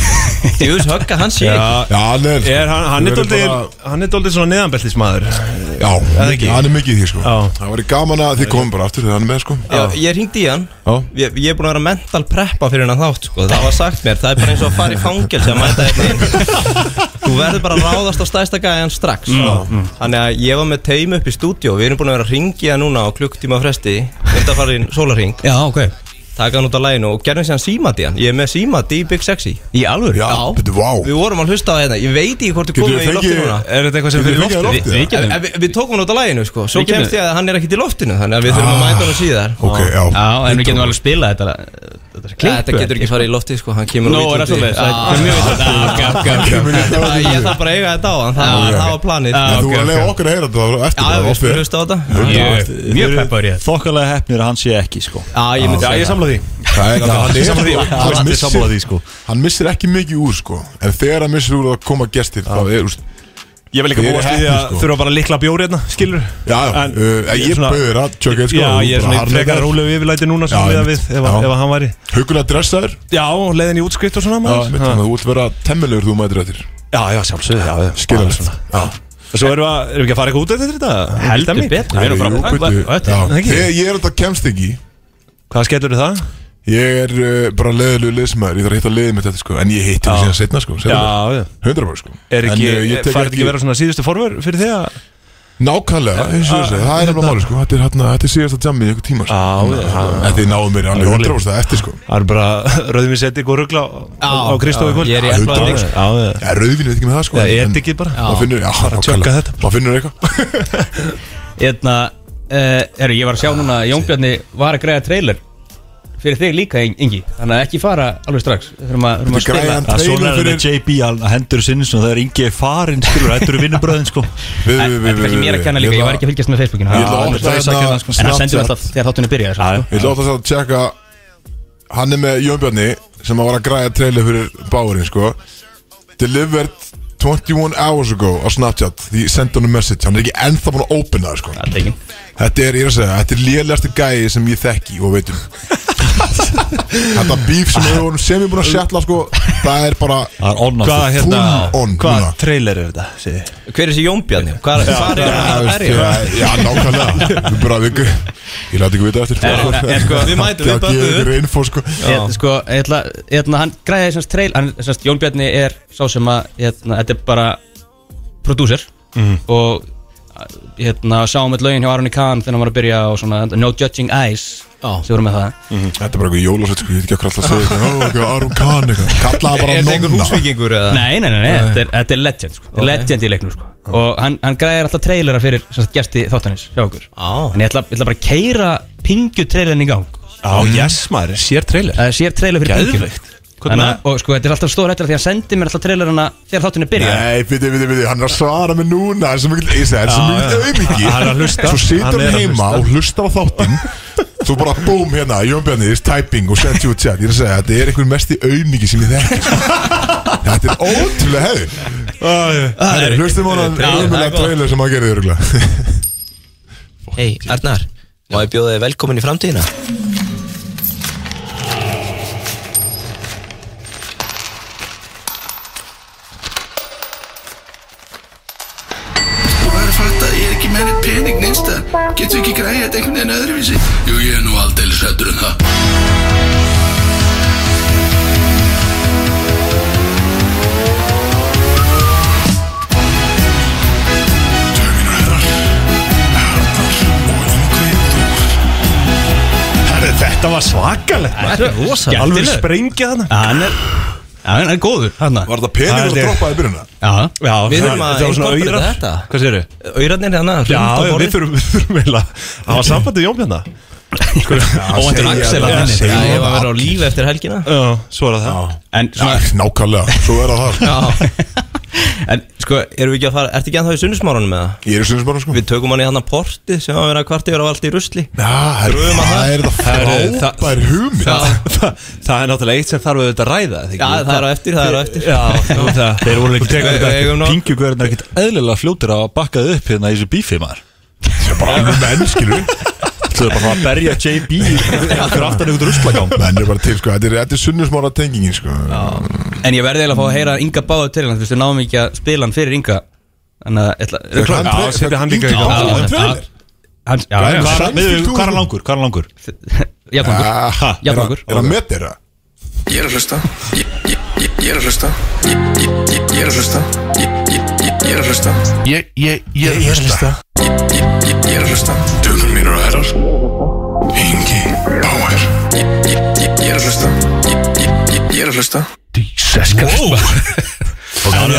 Speaker 8: Jú, þessu högg að hann sé
Speaker 2: Já, hann er sko.
Speaker 8: Er hann, hann er
Speaker 2: Við erum
Speaker 8: doldið
Speaker 2: bara-
Speaker 8: Hann er doldið svona neðanbeltis maður
Speaker 2: Já,
Speaker 8: ekki?
Speaker 2: hann er mikið í því sko
Speaker 8: Já.
Speaker 2: Það var gaman að þið komum bara aftur þegar hann er með sko
Speaker 9: Já, ég ringdi í hann
Speaker 2: Já.
Speaker 9: ég, ég er búin að vera mental preppa fyrir hennan þátt sko. Það var sagt mér, það er bara eins og að fara í fangels að mæta hérna inn Þú verður bara að ráðast á stæsta gæjan strax mm. Þannig að ég var með teim upp í stúdíó Við erum búin að vera að ringi hann núna á klukktíma fresti Þetta farið inn sólarring
Speaker 3: Já, ok
Speaker 9: Taka hann út af læginu og gerðum sér hann símat í hann Ég er með símat í Big Sexy
Speaker 3: Í alvöru?
Speaker 2: Já, betur, vá
Speaker 9: Við vorum að hlusta á þetta Ég veit ekki hvort þú
Speaker 2: Getum
Speaker 9: komið
Speaker 2: við
Speaker 9: í loftinu
Speaker 2: fengið-
Speaker 9: núna
Speaker 8: Er þetta eitthvað sem
Speaker 2: Getum
Speaker 8: fyrir
Speaker 2: við
Speaker 8: loftið?
Speaker 2: fengið að
Speaker 3: Við,
Speaker 2: loftið
Speaker 3: við getum
Speaker 9: En Við, við tókum hann út af læginu sko Svo
Speaker 3: Við getum-
Speaker 9: kemst ég að hann er ekkit í loftinu Þannig að við þurfum að mæta hann síðar
Speaker 2: Ah. Ok, já
Speaker 3: Já, en við getum alveg spila þetta Þetta er klippu,
Speaker 9: Þetta getur ekki farið í Ah. loftið sko, hann kemur
Speaker 3: Nú,
Speaker 9: út
Speaker 3: er það
Speaker 9: úti.
Speaker 3: svolítið
Speaker 9: Já.
Speaker 3: Það er mjög vitað Já, ok, ok, ok
Speaker 9: Æ, Ég þarf bara að eiga þetta á hann, það,
Speaker 2: Já,
Speaker 9: það
Speaker 2: ok.
Speaker 9: var planið
Speaker 3: Já,
Speaker 2: En þú
Speaker 3: ok,
Speaker 2: var að lega
Speaker 3: ok.
Speaker 2: okkur að heyra þetta þá eftir
Speaker 9: Ah, Já,
Speaker 2: það
Speaker 9: við
Speaker 2: var
Speaker 9: skulum
Speaker 2: fyrir
Speaker 9: hlusta á þetta
Speaker 3: Ég- Mjög hérna.
Speaker 4: Þeir eru
Speaker 3: peppar í þetta.
Speaker 4: Þokkalega hefnir að hann sé ekki sko
Speaker 9: Já, ég myndi
Speaker 8: Já, ég samla því
Speaker 2: Það er
Speaker 4: Hann er sammála því,
Speaker 2: hann
Speaker 4: hann er allir
Speaker 2: missir-
Speaker 4: sammála því, sko.
Speaker 2: Hann missir ekki mikið úr sko En þegar hann missir úr að koma gestir Þá er, úst
Speaker 8: Ég vil líka
Speaker 2: Ég er
Speaker 8: búast við því
Speaker 2: heppni,
Speaker 8: að
Speaker 2: sko.
Speaker 8: þurfa bara líkla bjóri hérna, skilur
Speaker 2: Já, já,
Speaker 8: En-
Speaker 2: uh,
Speaker 8: ég er
Speaker 2: ég
Speaker 8: svona-
Speaker 2: bauður að tjöka eitt sko
Speaker 8: Já,
Speaker 2: þú
Speaker 8: ég er
Speaker 2: bara
Speaker 8: svona
Speaker 2: harðneikar.
Speaker 8: frekar rólegu yfirlæti núna
Speaker 2: Já,
Speaker 8: sem við að við
Speaker 2: einmitt.
Speaker 8: ef, að-
Speaker 2: Já.
Speaker 8: ef að hann væri
Speaker 2: Huggulega dressaður
Speaker 8: Já, og leiðin í útskrift og svona
Speaker 2: Já,
Speaker 8: maður
Speaker 2: mitt, þannig að Þú vilt vera temmilegur þú mætir eftir
Speaker 8: Já, já, sjálfsögðu, já, já
Speaker 2: Skiljanlegt. Já.
Speaker 8: Og Svo erum við, að- erum við ekki að fara eitthvað út eftir þetta?
Speaker 3: Heldur
Speaker 8: Stemmi?
Speaker 3: betur Við erum
Speaker 2: Jú,
Speaker 3: bara
Speaker 2: bíddu, já.
Speaker 3: Þetta-
Speaker 8: ekki?
Speaker 2: Þegar ég er þetta kemst ekki
Speaker 8: Hvað skellur það?
Speaker 2: Ég er uh, bara leðilegu leðsmaður Ég þarf að hitta leðið mitt eftir sko En ég hitti það síðan setna sko setna.
Speaker 8: Já, já
Speaker 2: Hundra bara sko
Speaker 8: Er ekki,
Speaker 2: En, uh, ég tek
Speaker 8: farið ekki að vera svona síðustu forvör fyrir því að
Speaker 2: Nákvæmlega, eins og ég segi, það er nefnilega máli sko Þetta er, hérna, þetta er síðasta jammi í einhver tíma sko.
Speaker 8: Já, já, já.
Speaker 2: Þetta er náðum mér alveg 100% eftir sko
Speaker 8: Það er bara rauðvins etik og ruggla á Kristofi kvöld
Speaker 9: Ég er í
Speaker 2: Já,
Speaker 9: eflaðan
Speaker 2: hundrað.
Speaker 9: leik
Speaker 8: Já, já
Speaker 2: Já, rauðvínu veit ekki með það sko
Speaker 8: Já,
Speaker 2: en-
Speaker 8: etikið bara.
Speaker 2: Maður finnur, já,
Speaker 8: tjökka þetta.
Speaker 2: nákvæmlega Maður finnur eitthvað
Speaker 3: Eðna, uh, heru, Ég var að sjá núna að Jón Bjarni var að greiða trailer Fyrir þig líka, Ing- Ingi Þannig að ekki fara alveg strax Þurfum að, þurfum að
Speaker 2: Þetta er
Speaker 3: spila
Speaker 2: græjan.
Speaker 4: Það er svona
Speaker 2: Trailer
Speaker 4: er með JB hann hendur sinni svona, það er ingi farin skilur, þetta eru vinnubröðin sko
Speaker 2: Við-
Speaker 3: Æ,
Speaker 2: við- við-
Speaker 3: Þetta er ekki mér að kenna
Speaker 2: við-
Speaker 3: líka, ég
Speaker 2: við-
Speaker 3: var ekki að fylgjast með Facebookinu
Speaker 2: Ég
Speaker 3: Já.
Speaker 2: ætla að opna
Speaker 4: það er
Speaker 2: hérna
Speaker 4: sakirnar, sko.
Speaker 3: En það sendur
Speaker 2: Snapchat.
Speaker 3: alltaf þegar þáttunni byrjar
Speaker 4: Já,
Speaker 3: sko.
Speaker 4: já.
Speaker 2: Ég ætla alltaf að tjekka Hann er með Jón Bjarni sem að var að græja trailer fyrir báurinn sko Delivered 21 hours ago á Snapchat Því ég sendi honum message, hann er ekki ennþá búin að opena það sko
Speaker 3: Það er tekin.
Speaker 2: Þetta er, ég er að segja, þetta er lélægasti gæi sem ég þekki og veitum Þetta bíf sem við vorum sem ég búin að setla sko Það er bara
Speaker 4: Það er sko. on
Speaker 2: Hvað, hérna, Full on
Speaker 4: Ah, Hvað
Speaker 2: núna.
Speaker 4: trailer er þetta? Sigur?
Speaker 9: Hver er þessi Jónbjarni? Hvað hvað er hann að berja?
Speaker 2: Ah, Já, nákvæmlega Við bara, við, ég láti ekki vita eftir
Speaker 3: En- en sko,
Speaker 9: við mætum, við
Speaker 2: Það
Speaker 9: böttum
Speaker 2: gefur ykkur info sko
Speaker 3: Ég- sko, ég ætla, ég ætla, hann græði þessast trail hann, þessast, Jón Bjarni er sá sem að hérna, þetta er bara prodúser og hérna, sáum við lögin hjá Aronni Kahn þegar hann var að byrja og svona No Judging Eyes
Speaker 9: Já.
Speaker 3: sem voru með það
Speaker 2: Þetta er bara eitthvað jólasett sko, ég veit ekki hvað alltaf að segja eitthvað, ó, eitthvað Aron Kahn eitthvað, kallaða bara
Speaker 9: Er þetta einhver
Speaker 2: nonna
Speaker 9: húsvikingur eða?
Speaker 3: Nei, nei, nei, nei, Þetta, er, þetta er legend sko. okay. legend í leiknum sko. og hann, hann græðir alltaf trailera fyrir sem sagt, gesti þáttanins hjá okkur
Speaker 9: Á.
Speaker 3: en ég ætla, ég ætla bara að keira pingju trailerin í gang
Speaker 4: Á, yes maður, sér trailer
Speaker 3: það sér trailer fyrir pingju
Speaker 4: Geðveikt.
Speaker 3: Þannig, að- og sko, þetta er alltaf stór hættilega því að hann sendi mér alltaf trailerina þegar þáttunni byrja
Speaker 2: Nei, viti, viti, viti, hann er að svara mig núna Það er svo mikil, ég segi, það er svo mikil auðmiki
Speaker 4: Hann er að hlusta.
Speaker 2: Svo
Speaker 4: Hann
Speaker 2: situr
Speaker 4: er
Speaker 2: hann
Speaker 4: að
Speaker 2: heima
Speaker 4: hlusta.
Speaker 2: og hlustar á þáttinn Svo bara búm hérna, Jón Bjarni, þess typing og sent you a chat Ég er að segja, þetta er einhver mesti auðmiki sem ég þekki sko. Þetta er ótrúlega hefði Hlustum á hann auðmilega trailer sem að gera þið örgulega
Speaker 9: Hei, Arnar, má ég bjóða þig velkomin í framtíðina?
Speaker 6: Þú verður fatt að ég er ekki með neitt pening neinsta Getur ekki græðið þetta einhvern veginn öðruvísi Jú, ég er nú aldeilis hættur en það
Speaker 4: Þetta var svakalegt
Speaker 3: Þetta er rosa
Speaker 4: Alveg sprengja þannig
Speaker 3: hann er, já, hann er góður hann
Speaker 2: Var þetta peningur að droppa í byrjunna?
Speaker 3: já, já,
Speaker 9: Við þurfum
Speaker 4: Það
Speaker 9: að
Speaker 4: var svona
Speaker 9: inkorporera
Speaker 4: auðrat
Speaker 9: þetta.
Speaker 4: Hvað séru?
Speaker 9: Auðrarnir hérna,
Speaker 4: Já,
Speaker 9: hlumt á
Speaker 4: já, við
Speaker 9: borðið
Speaker 4: þurfum við þurfum eiginlega Það var sambandið Jónbjörna
Speaker 3: óvendur Axel að henni
Speaker 9: Já, ég var að vera á lífi eftir helgina
Speaker 4: Já, svo er það
Speaker 3: en, svona,
Speaker 2: Nákvæmlega, svo er það það
Speaker 9: En sko, erum við ekki að fara, ertu ekki að það í sunnismárunum með það?
Speaker 2: Ég er sinns bara sko
Speaker 9: Við tökum hann í hann að porti sem að vera kvart yfir á allt í rusli
Speaker 2: Já, það er- það er það frábær hugmynd
Speaker 4: Það er náttúrulega eitt sem þarf auðvitað að ræða þig
Speaker 9: Já, það er á eftir, það er á eftir
Speaker 4: Já, þú- það- þeir voru ekki
Speaker 9: tekur þetta ekki.
Speaker 4: Pingjugverðin er ekkert eðlilega fljótir að bakkaði upp hérna í þessu bífi maður
Speaker 2: Það er bara alveg menn, skilur
Speaker 4: Þú er bara að berja JB fyrir aftan ykkur ruslagám
Speaker 2: Menn er bara til, sko, þetta er, þetta er sunnusmára tengingin, sko
Speaker 3: en ég verði eiginlega að fá að heyra Inga báðu til hann þú veist, við náum ekki að spila hann fyrir Inga þannig að ætla,
Speaker 2: Er hann-
Speaker 10: Já, setja hann líka í gang.
Speaker 2: Já, hann trailer.
Speaker 3: hann, já, já,
Speaker 4: Hvað
Speaker 2: Samþykkt
Speaker 4: miðju-
Speaker 2: þú?
Speaker 4: hvað er hann langur? Hvað er hann langur?
Speaker 3: jafnangur
Speaker 2: Aha, er
Speaker 3: Já,
Speaker 2: hann-
Speaker 3: okkur.
Speaker 2: Er hann með þeirra?
Speaker 6: Ég er að hlusta Ég, ég, ég, ég er að hlusta Ég, ég, ég, ég er að hlusta Ég, ég, ég, ég er að hlusta Ég, ég, ég er að hlusta Ég, ég, ég, ég er að hlusta Döður mínur og herrar Ingi Bauer Ég, ég, ég, ég er að hlusta Ég, ég, ég, ég er að hlusta
Speaker 4: Háan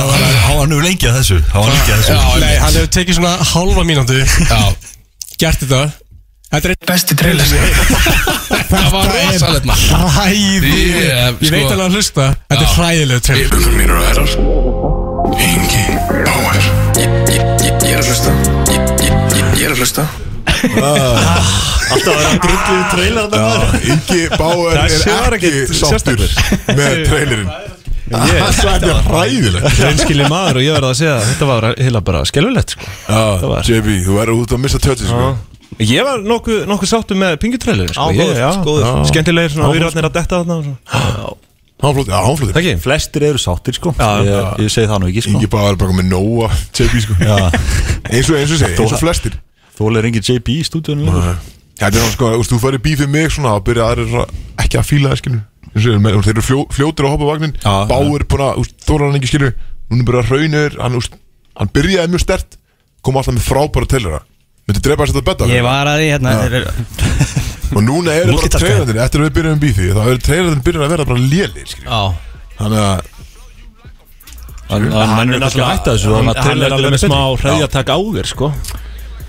Speaker 4: hefur lengi að þessu Háan lengi að þessu
Speaker 7: Nei, hann hefur tekið svona halva mínútu Gert þetta Þetta er eitt
Speaker 10: Besti trailer sem ég
Speaker 7: Það var rosalegt maður Hræði
Speaker 10: Ég,
Speaker 7: Ég veit
Speaker 10: sko-
Speaker 7: alveg að hlusta Þetta er hræðilegu trailer
Speaker 6: Döður mínur og herrar Ingi Bauer Ég, ég, ég, ég er að hlusta Ég, ég, ég, ég er að hlusta
Speaker 4: Ah. Alltaf að vera drullið í trailer
Speaker 2: Ah. Já,
Speaker 4: þarna maður.
Speaker 2: Ingi Bauer
Speaker 4: Þessi var
Speaker 2: er ekki
Speaker 4: ekkit
Speaker 2: sáttur með trailerinn Það er ræðilegt
Speaker 4: Reynskilið maður og ég verði að segja að Þetta var heila bara skelvilegt sko. var-
Speaker 2: JB, þú verður út að missa tötið, sko
Speaker 10: Ég var nokkuð nokku sáttu með pingjutrailer sko.
Speaker 9: Ágóður, góður
Speaker 10: Skemmtilegir svona výrarnir að detta þarna og svona.
Speaker 2: Hann flótið, sko. já, hann flótið
Speaker 10: Takk ég
Speaker 4: sko, Flestir eru sáttir sko Ég ég segi það nú ekki sko
Speaker 2: Ingi Bauer er bara með nóa JB, sko
Speaker 4: Já.
Speaker 2: Eins og eins og segi, eins og flestir
Speaker 4: Þólir engin JB í stúdíunum
Speaker 2: Þetta er hann, sko, þú veist, þú farir bífið mig svona og byrja aðrir svona ekki að fíla það, skilur Eins og ég, menn, Þeir eru fjó, fljótir að hoppa á vagnin
Speaker 4: Já,
Speaker 2: Bauer bara, þú veist, þóra hann ekki, skilur Hún er bara hraunir, hann, þú veist, hann byrjaði mjög stert Kom alltaf með frábæra tellera Myndi drepa þess að betta
Speaker 3: ég var að því hérna þetta er-
Speaker 2: Og núna eru bara
Speaker 4: Multitasker.
Speaker 2: treyðarnir Eftir að við byrjum um bífi Þá eru treyðarnir byrjun að vera bara lélir skilur.
Speaker 9: Já,
Speaker 2: Þannig að
Speaker 4: Hann hann er náttúrulega hætt að þessu Þannig að
Speaker 10: Hann
Speaker 4: trailer
Speaker 10: er
Speaker 4: er
Speaker 10: alveg
Speaker 4: alveg
Speaker 10: með smá
Speaker 4: smá
Speaker 10: hreðjatak á þér sko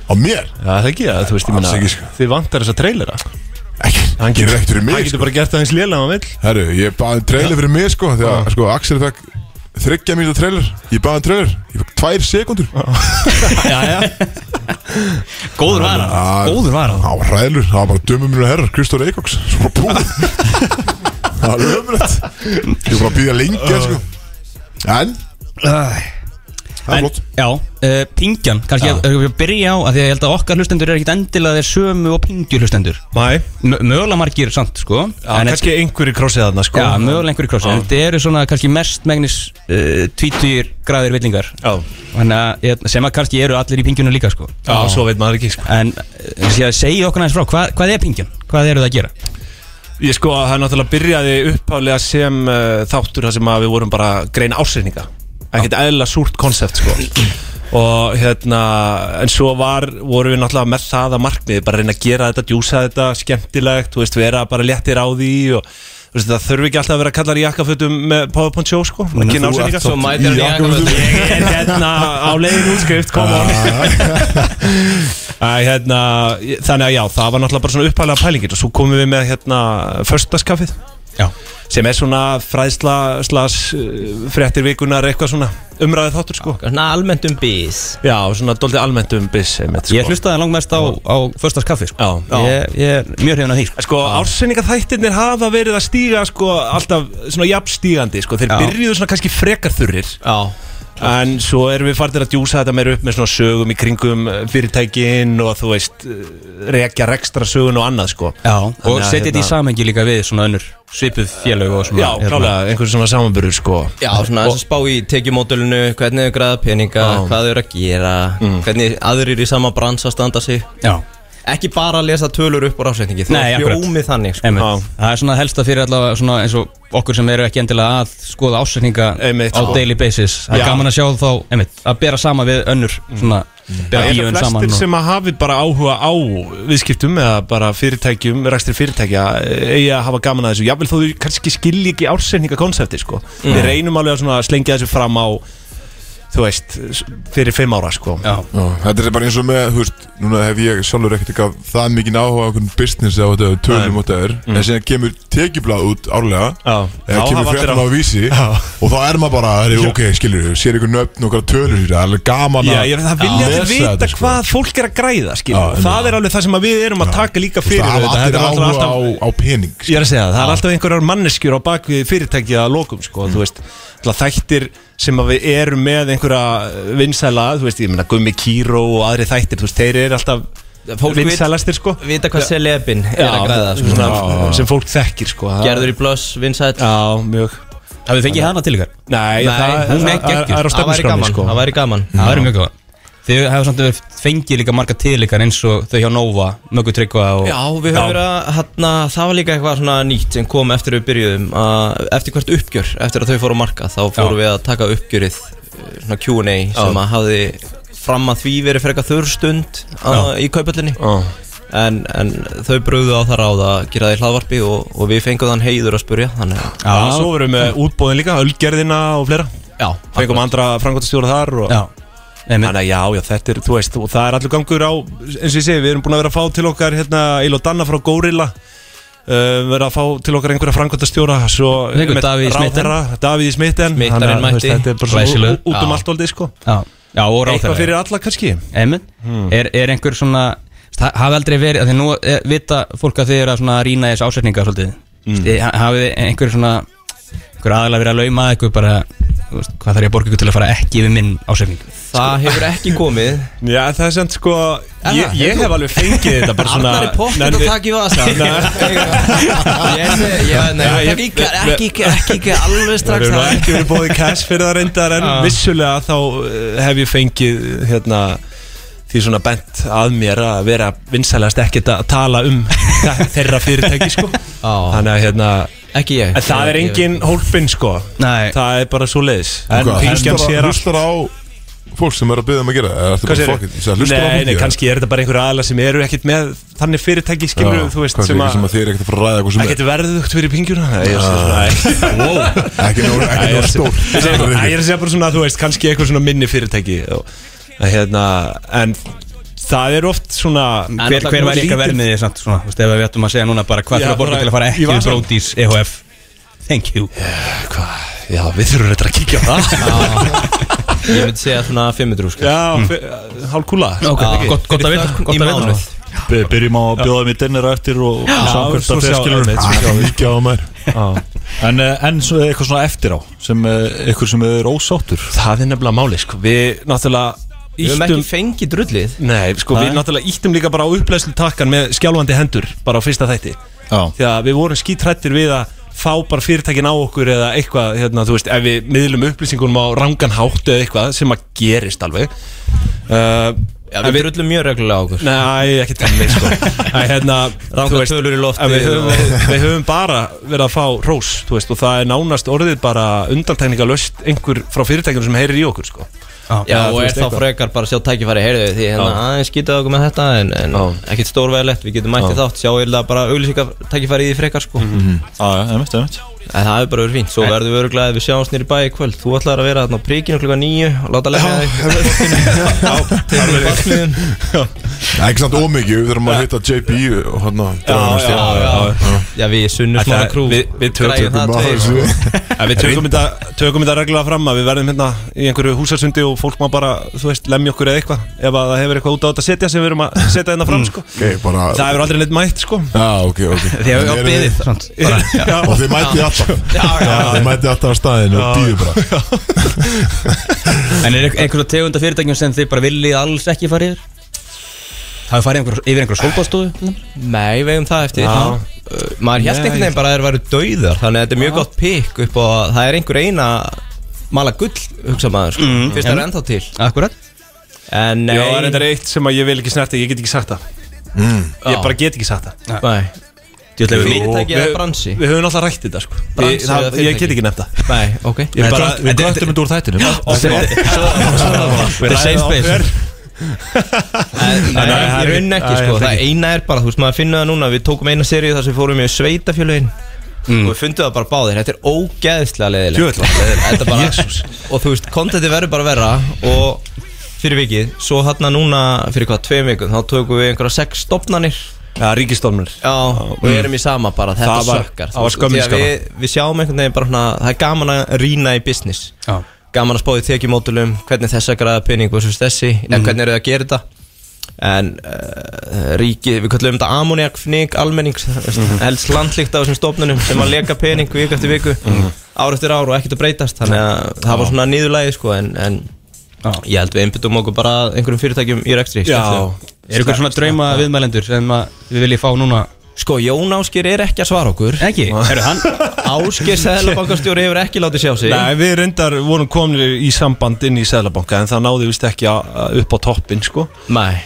Speaker 2: Á mér?
Speaker 4: Já, það ekki, já, þú veist, ég
Speaker 2: Alls
Speaker 4: meina
Speaker 2: ekki, sko.
Speaker 4: Þið vantar þessa trailera
Speaker 2: Ekki,
Speaker 4: hann
Speaker 2: gerir ekkert fyrir mig, sko.
Speaker 4: Hann getur bara gert það eins lélega hann vill
Speaker 2: Herru, ég baði trailer fyrir mig sko Þegar sko, Axel fekk þryggja mínúta trailer Ég baði trailer, ég fekk tvær sekundur
Speaker 3: Góður var hann Góður var hann
Speaker 2: Það var ræðlur, það var bara dömur mínu herrar Kristóri Eikoks, svo bara búið Það var lömulegt Ég var bara að býða lengi sko. En Það er flott
Speaker 3: Já, uh, pingjan, kannski ef- ef við byrja á að því að ég held að okkar hlustendur er ekkit endilega þeir sömu og pingju hlustendur
Speaker 10: Nei
Speaker 3: Mögulega margir samt, sko
Speaker 10: Já,
Speaker 3: En-
Speaker 10: kannski einhverju krossið þarna sko
Speaker 3: Já, mögulega einhverju krossi En þetta eru svona kannski mest megnis uh, Tvítýr græðir villingar
Speaker 10: Já.
Speaker 3: Þannig að ég- sem að kannski eru allir í pingjunum líka sko
Speaker 10: Já, svo veit maður ekki sko
Speaker 3: En uh, sé- segið okkur næst frá, hvað, hvað er pingjan? Hvað eru það að gera?
Speaker 10: Ég sko, það er náttúrulega byrjaði upphálega sem uh, þáttur þar sem að við vorum bara að greina ásynninga Ekkert eðla súrt konsept sko Og hérna, en svo var, vorum við náttúrulega með það að markmiði Bara reyna að gera þetta, djúsa þetta, skemmtilegt, þú veist, vera bara léttir á því og Þú veist, það þurfi ekki alltaf að vera kallar í jakkafutum með PowerPoint show sko Að kynna ásynninga
Speaker 9: Svo mætir hann í jakkafötum.
Speaker 10: Ég er hérna á leiðin útskrift, koma Æ, hérna, ég- þannig að já, það var náttúrulega bara svona upphæðlega pælingir og svo komum við með hérna förstaskaffið
Speaker 3: Já.
Speaker 10: sem er svona fræðsla slas uh, fréttir vikunar eitthvað svona umræðið þáttur sko
Speaker 9: Svona almennt um bís
Speaker 10: Já, svona doldið almennt um bis einmitt, sko.
Speaker 3: Ég hlustaði langmest á, á föstas kaffi sko.
Speaker 10: Já, já.
Speaker 3: ég, ég er mjög hrifin af því sko.
Speaker 10: Sko, ársynningaþættirnir hafa verið að stíga sko alltaf svona jafnstígandi sko þeir
Speaker 3: Já.
Speaker 10: byrjuðu svona kannski frekar þurrir
Speaker 9: Já
Speaker 10: En svo erum við farnir að djúsa þetta meira upp með svona sögum í kringum eh, fyrirtækin og þú veist, eh, rekja rekstra sögun og annað sko
Speaker 3: Já,
Speaker 10: Þannig
Speaker 3: og
Speaker 10: að,
Speaker 3: setja þetta í
Speaker 10: hérna-
Speaker 3: samhengi líka við svona önnur svipuð félög og svona hérna.
Speaker 10: Já, klálega, einhvern svona samanburður sko
Speaker 9: Já, svona þess að spá í tekjumódulinu, hvernig þau græða peninga, hvað þau eru að gera, hvernig aðrir í sama brans að standa sig.
Speaker 3: Já,
Speaker 9: Ekki bara að lesa tölur upp úr ásveitningi, þú
Speaker 3: Nei,
Speaker 9: er
Speaker 3: akkurat.
Speaker 9: fjómið þannig. Sko.
Speaker 3: einmitt Það er svona helsta fyrir allavega svona eins og okkur sem eru ekki endilega að skoða ásækninga
Speaker 10: Einmitt,
Speaker 3: á
Speaker 10: sko.
Speaker 3: daily basis Það
Speaker 10: Já.
Speaker 3: er gaman að sjá þá, einmitt, að bera sama við önnur svona, bera
Speaker 10: Það er
Speaker 3: bíun
Speaker 10: Mm. hérna flestir
Speaker 3: saman og,
Speaker 10: sem að hafi bara áhuga á viðskiptum eða bara fyrirtækjum, rækstir fyrirtækja eh, eigi að hafa gaman að þessu, jável þó þú kannski skilji ekki ársendinga konsepti sko Við reynum alveg að svona slengja þessu fram á þú veist, s- fyrir fimm ára sko
Speaker 3: Já,
Speaker 2: Já, Þetta er bara eins og með, þú veist, núna hef ég sjálfur ekkert eitthvað það mikið áhuga á einhvern business eða þetta tölum og þetta er En síðan kemur tekjublað út árlega
Speaker 10: Mm. Já.
Speaker 2: Eða
Speaker 10: Þá
Speaker 2: kemur
Speaker 10: hafa allir
Speaker 2: fréttum á
Speaker 10: á-
Speaker 2: vísi Og þá er maður bara, er, ok, skilur við, sér ykkur nöfn og hvað tölur sér Það er alveg gaman
Speaker 10: Já, ég, það vilja allir vita
Speaker 2: sko."
Speaker 10: hvað fólk er að græða skilur,
Speaker 2: Já,
Speaker 10: og það er alveg það sem að við erum að taka líka fyrir
Speaker 2: Það hafa
Speaker 10: auðvitað.
Speaker 2: allir
Speaker 10: Þetta er
Speaker 2: áhuga
Speaker 10: náttúrulega
Speaker 2: á, á pening skilurðu.
Speaker 10: Ég er að segja það, það er alltaf einhverjar manneskjur á bakvið fyrirtækið að lokum sko, þú veist, alltaf þættir sem að við erum með einhverja vinsæla, þú veist, ég meina Gummi Kíró og aðri þættir, þú veist, þeir eru alltaf
Speaker 9: Fólk veit-
Speaker 10: vinsælastir sko
Speaker 9: Vita hvað celebin er að græða, sko.
Speaker 10: svona, sem fólk þekkir sko það-
Speaker 9: gerður í blöss, vinsætt.
Speaker 10: Já, mjög
Speaker 3: hafið þið fengið hana til ykkar?
Speaker 10: Nei,
Speaker 9: Nei,
Speaker 10: það, það,
Speaker 9: hún er
Speaker 10: það,
Speaker 9: geggjur.
Speaker 10: það er á
Speaker 9: væri
Speaker 10: stefnuskránni
Speaker 9: gaman,
Speaker 10: sko
Speaker 9: það væri gaman.
Speaker 3: Það verður mjög gaman Þið hefur samt verið fengið líka marga til ykkar eins og þau hjá Nova, Möggu Tryggva og
Speaker 9: Já, við höfum verið að, hérna, það var líka eitthvað svona nýtt sem kom eftir við byrjuðum að, Eftir hvert uppgjör, eftir að þau fóru að marka Þá fórum við að taka uppgjörið, eh, svona Q&A Sem að hafði fram að því verið frekar þurrstund í kaupallinni en, en þau bröðu á það ráð að gera því hlaðvarpi og, og við fengum þann heiður að spurja Þannig að,
Speaker 10: Já, svo verum við útbóðin líka, Ölgerðina og fleira
Speaker 9: já,
Speaker 10: Fengum andra frangotastjóra þar og
Speaker 3: Já, einmitt
Speaker 10: Þannig að já, já, þetta er, þú veist, og það er allur gangur á, eins og ég segi, við erum búin að vera að fá til okkar, hérna, Eil og Danna frá Gorilla, uh, vera að fá til okkar einhverja frangöndastjóra, svo
Speaker 3: Leikur Davíð í
Speaker 10: Davíð Smitten, þú
Speaker 9: Smittarinn
Speaker 10: veist,
Speaker 9: mætti.
Speaker 10: þetta er bara svo
Speaker 3: Glæsilegur.
Speaker 10: ú- út um
Speaker 9: Já.
Speaker 10: allt oldið, sko.
Speaker 3: Já, já og ráðherra
Speaker 10: Eitthvað fyrir alla kannski.
Speaker 3: Einmitt
Speaker 9: Hmm.
Speaker 3: er, er einhver svona það hafi aldrei verið, af því nú eh, vita fólk að þið eru að svona rýna þessu ásetninga svolítið
Speaker 9: Hmm.
Speaker 3: mm. hafið þið einhver svona einhver aðalega verið að lauma að ykkur bara þú veist, hvað þarf ég að borga ykkur til að fara ekki yfir minn ásetning Sko.
Speaker 9: það hefur ekki komið
Speaker 10: Já, það er sem, sko, ég, ég hef alveg fengið þetta bara svona.
Speaker 9: Arnar er
Speaker 10: Nei,
Speaker 9: pottið að
Speaker 10: við-
Speaker 9: taka í vasa Ég sé- ég- nei,
Speaker 10: Já, ég-
Speaker 9: Ekki, ekki, ekki, ekki alveg
Speaker 10: Það
Speaker 9: strax
Speaker 10: eru nú
Speaker 9: það.
Speaker 10: ekki verið bóðið cash fyrir það reyndar en vissulega þá eh, hef ég fengið hérna því svona bent að mér að vera vinsælast ekkert að tala um þe- þeirra fyrirtæki sko
Speaker 9: Já.
Speaker 10: þannig að hérna
Speaker 9: Ekki ég
Speaker 10: en það er
Speaker 9: Ég-
Speaker 10: engin hólpin sko
Speaker 3: Nei.
Speaker 10: það er bara svo leiðis en
Speaker 2: sko. Hvað,
Speaker 10: pingjan
Speaker 2: hlustar á-
Speaker 10: sér allt
Speaker 2: Hlustar á fólk sem er að byggja um að gera það? Eða ertu
Speaker 10: Hvað
Speaker 2: bara,
Speaker 10: segirðu?
Speaker 2: fuck it, ég sagði, hlustar á
Speaker 10: Nei,
Speaker 2: fólkið,
Speaker 10: nei,
Speaker 2: eða?
Speaker 10: kannski er þetta bara einhverja aðla sem eru ekkert með þannig fyrirtæki
Speaker 2: Já,
Speaker 10: skilur þú veist
Speaker 2: kannski
Speaker 10: sem
Speaker 2: ekki sem
Speaker 10: að
Speaker 2: að þið er ekkert að fara að Ah. ræða eitthvað sem
Speaker 10: Það
Speaker 2: er
Speaker 10: getur verðugt fyrir pingjuna Nei, ég er svona- Nei.
Speaker 2: Ekki nóg- ekki
Speaker 10: Ég er
Speaker 2: nóg
Speaker 10: að segja-
Speaker 2: stór
Speaker 10: Ég segi- Æ, ég er að segja bara svona að þú veist kannski eitthvað svona minni fyrirtæki og, að, hérna, en Það er oft svona
Speaker 3: Hver, hver var ykkar vermið þið samt svona, þú veist, ef við ættum að segja núna bara hvað
Speaker 10: Já,
Speaker 3: fyrir að borga
Speaker 10: bara
Speaker 3: til að fara
Speaker 10: í
Speaker 3: ekki við
Speaker 10: vasann.
Speaker 3: Brodís EHF Thank you
Speaker 10: Já, við þurfum reyndar að kíkja á það
Speaker 9: Ég myndi segja svona 500 skall
Speaker 10: Já, hálf kúla
Speaker 9: Ok, gott- gott að vita, gott að vita.
Speaker 4: Be- Byrjum á að bjóða mér dinner á eftir og
Speaker 10: Já,
Speaker 4: samkvæmt
Speaker 10: svo
Speaker 4: að
Speaker 10: sjá-
Speaker 4: feskilur
Speaker 10: einmitt, svo sjá við.
Speaker 2: Líka á mér
Speaker 4: En, eh, en svo er eitthvað svona eftir á sem eh, eitthvað sem er ósáttur
Speaker 10: Það er nefnilega máli sko Við náttúrulega
Speaker 9: Við höfum
Speaker 10: ýttum-
Speaker 9: ekki fengið drullið
Speaker 10: Nei, sko
Speaker 9: Nei.
Speaker 10: við náttúrulega íttum líka bara á upplæslu takkan með skjálfandi hendur bara á fyrsta þætti
Speaker 4: Já.
Speaker 10: því að við vorum skítrættir við að fá bara fyrirtækin á okkur eða eitthvað hérna, þú veist, ef við miðlum upplýsingunum á rangan hátt eða eitthvað sem að gerist alveg uh,
Speaker 9: Já, við drullum mjög reglulega á okkur
Speaker 10: Nei, ekki tenni sko Æ, hérna,
Speaker 9: Rangar
Speaker 10: þú veist,
Speaker 9: tölur í lofti
Speaker 10: að við höfum,
Speaker 9: og-
Speaker 10: við höfum bara verið að fá rós þú veist, og það er nánast orðið bara undantekninga löst einhver frá fyrirtækinu sem heyrir í okkur sko.
Speaker 9: Já,
Speaker 10: Eða, þú
Speaker 9: og er
Speaker 10: veist,
Speaker 9: þá
Speaker 10: eitthvað.
Speaker 9: frekar bara að sjá tækifæri heyrðu því hérna,
Speaker 10: Já.
Speaker 9: aðeins skýtaðu okkur með þetta en, en ekkert stórvegilegt, við getum mættið þátt sjá eða bara auglýsingar tækifæri í því frekar sko
Speaker 10: Mhm.
Speaker 4: Já, einmitt, einmitt
Speaker 9: En það hefur bara verið fínt, svo verðum við öruglega að við sjáumst nýri bæ í kvöld Þú ætlar að vera þarna á príkinu klukka nýju og láta leggja þig
Speaker 2: Það er ekki samt ómikið, við þurfum að hitta JB og hann að draga
Speaker 10: já, já.
Speaker 9: Já, við sunnum
Speaker 10: Ætla,
Speaker 9: smára krú
Speaker 10: við- við tökum
Speaker 9: Græjum það tveir, sko.
Speaker 2: hans
Speaker 10: Ja, við tökum þetta, tökum þetta reglulega fram að við verðum hérna í einhverju húsarsundi og fólk má bara, þú veist, lemja okkur eða eitthvað ef að það hefur eitthvað út á þetta að setja sem við erum að setja hérna fram, sko
Speaker 2: Ok, bara
Speaker 10: Það hefur aldrei neitt mætt, sko
Speaker 2: Já, ok, ok
Speaker 3: Því að við á
Speaker 2: Eruð þið-
Speaker 3: byðið samt, bara.
Speaker 2: Og þið mætið alltaf Þið mætið alltaf á staðinu og býðu bara
Speaker 3: En er einhverja tegunda fyrirtækjum sem þið bara viljið alls ekki fara yfir? Það hefur farið einhver, yfir einhverja sólbáðstofu?
Speaker 9: Nei, við eigum það eftir
Speaker 10: Já.
Speaker 9: Uh, Maður hérst einhvern veginn bara að þeir væru dauðar Þannig að þetta er mjög gott pikk upp á að það er einhver eina mala gull, hugsa maður sko.
Speaker 3: Mm,
Speaker 9: Fyrst það er
Speaker 3: einmitt.
Speaker 9: ennþá til
Speaker 3: Akkurat
Speaker 9: En nei,
Speaker 10: Já, það er þetta eitt sem að ég vil ekki snerta, ég get ekki sagt það Ég bara get ekki sagt það
Speaker 9: nei.
Speaker 3: Djöfull hefur-
Speaker 9: Fyrirtæki
Speaker 10: við-
Speaker 9: eða bransi?
Speaker 10: Við höfum alltaf rætt þetta, sko Við-
Speaker 9: Bransi
Speaker 10: það- Ég
Speaker 9: eða
Speaker 10: get
Speaker 9: fyrirtæki?
Speaker 10: ekki nefnt það
Speaker 9: Nei, ok
Speaker 10: Ég bara,
Speaker 4: Við glöttum þetta úr þættinu
Speaker 3: Þetta er safe space
Speaker 9: Nei,
Speaker 10: Nei,
Speaker 9: ég
Speaker 10: það er-
Speaker 9: raun ekki
Speaker 10: Æ,
Speaker 9: sko
Speaker 10: það er
Speaker 9: Það eina er bara, þú veist, maður finnur það núna Við tókum eina seríu þar sem við fórum í sveitafjölögin
Speaker 10: Mm.
Speaker 9: Og við fundum það bara báðir Þetta er ógeðslega leiðilegt Þetta er bara, Og þú veist, kontenti verður bara verra Og fyrir vikið Svo þarna núna, fyrir hvað, tveim vikum Þá tókum við einhverja sex stopnanir
Speaker 10: Já, ríkistofnur
Speaker 9: Já, og við erum í sama bara, þetta
Speaker 10: Það var-
Speaker 9: sökkar
Speaker 10: það var
Speaker 9: þú veist, því að
Speaker 10: skömminskara.
Speaker 9: við, við sjáum einhvern veginn bara svona, það er gaman að rýna í business
Speaker 3: Já.
Speaker 9: Gaman að spáði tekjumódulum, hvernig þess að græða pening versus þessi
Speaker 10: Mhm.
Speaker 9: Eða hvernig eru það að gera þetta En uh, ríkið, við kallum þetta ammoniak, fnik, almenning
Speaker 10: Mhm.
Speaker 9: mm. Helst landlíkt á þessum stofnunum sem að leka pening viku eftir viku
Speaker 10: Mhm.
Speaker 9: Ár eftir ár og ekkert að breytast Þannig að það var svona niðurlægi sko En, en ég held við einbyttum okkur bara að einhverjum fyrirtækjum í rekstri skemmtilegum.
Speaker 3: Er einhver svona drauma viðmælendur sem að við viljið fá núna?
Speaker 9: Sko, Jón Ásker er ekki að svara okkur
Speaker 3: Ekki, eru hann?
Speaker 9: Ásker Sæðlabankastjóri hefur ekki látið sjá sig
Speaker 10: Nei, við reyndar vorum komin í samband inn í Sæðlabanka en það náði vist ekki að- að- upp á toppin, sko
Speaker 9: Nei.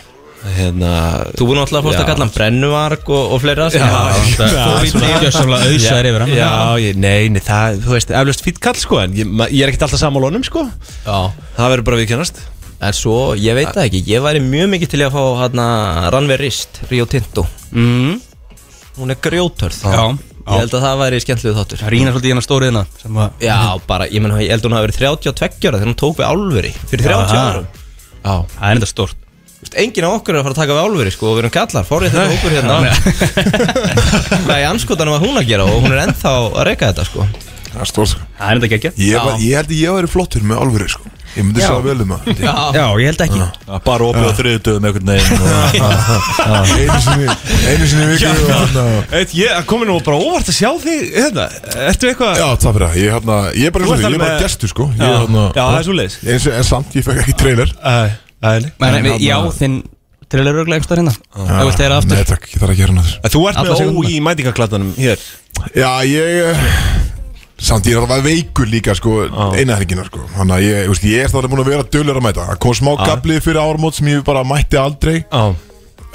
Speaker 10: Hérna,
Speaker 9: Þú búinn alltaf að fórst að
Speaker 10: Já.
Speaker 9: kalla hann Brennuvarg og, og fleira sem hafa-
Speaker 3: Fór í djössamlega auðsaður yfir hann
Speaker 10: Já, ég, nei, nei, það, þú veist, eflaust fýtt kall sko En ég, ma- ég er ekkert alltaf sammálunum sko
Speaker 9: Já.
Speaker 10: Það verður bara viðkennast
Speaker 9: En svo, ég veit það ekki, ég væri mjög mikið til í að fá hana Ranveir Rist, Rio Tinto
Speaker 3: Mm,
Speaker 9: Hún er grjótörð
Speaker 3: Já,
Speaker 9: Ég held að það væri skemmtilegu þáttur
Speaker 3: það rýna svolítið í hennar stóriðina sem að
Speaker 9: Já, bara, ég menn, ég held að hún hafi verið 32 ára þegar hún tók við álveri Fyrir 30
Speaker 3: Aha.
Speaker 9: árum
Speaker 3: Það er enda stórt
Speaker 9: Þú veist, Enginn af okkur er að fara að taka við álveri, sko, og við erum kallar, fórrið þetta okkur hérna Hvað er anskotanum að hún að gera og hún er ennþá að reyka þetta, sko
Speaker 2: Það er stórt sko.
Speaker 3: Það er enda geggja
Speaker 2: Ég var- ég held að ég væri flottur með alvöru sko Ég myndi sjá vel um það
Speaker 3: Já, ég held ekki
Speaker 4: Bara opið á þriðutöðum einhvern veginn og-
Speaker 2: Einu sinni, einu sinni í viku og hérna- hann að
Speaker 10: Eitt, ég, það komið nú bara óvart að sjá þig hérna, Ertu eitthvað
Speaker 2: Já, takk fyrir það, ég, hérna, ég er bara,
Speaker 10: Þú ert
Speaker 2: svona, ég er bara
Speaker 10: alveg-
Speaker 2: gestur sko ég,
Speaker 10: Já,
Speaker 2: hérna,
Speaker 10: já, það er svo leiðis
Speaker 2: eins og en samt, ég fekk ekki trailer
Speaker 3: Men, en, Já, þinn trailer örglega einhver starf hérna Það vilt þeirra aftur
Speaker 2: Nei takk, ég þarf ekki að gera hann aftur
Speaker 10: Þú ert
Speaker 3: Alla
Speaker 10: með ó
Speaker 3: sekúndurnar.
Speaker 10: í mætingaklatanum hér
Speaker 2: Já, ég eh, Samt ég er alltaf veikur líka sko eina helgina sko Þannig að ég, þú veist, ég er það búin að vera dölur að mæta Það kom smá gabli fyrir ármót sem ég bara mætti aldrei
Speaker 10: Já
Speaker 2: uh,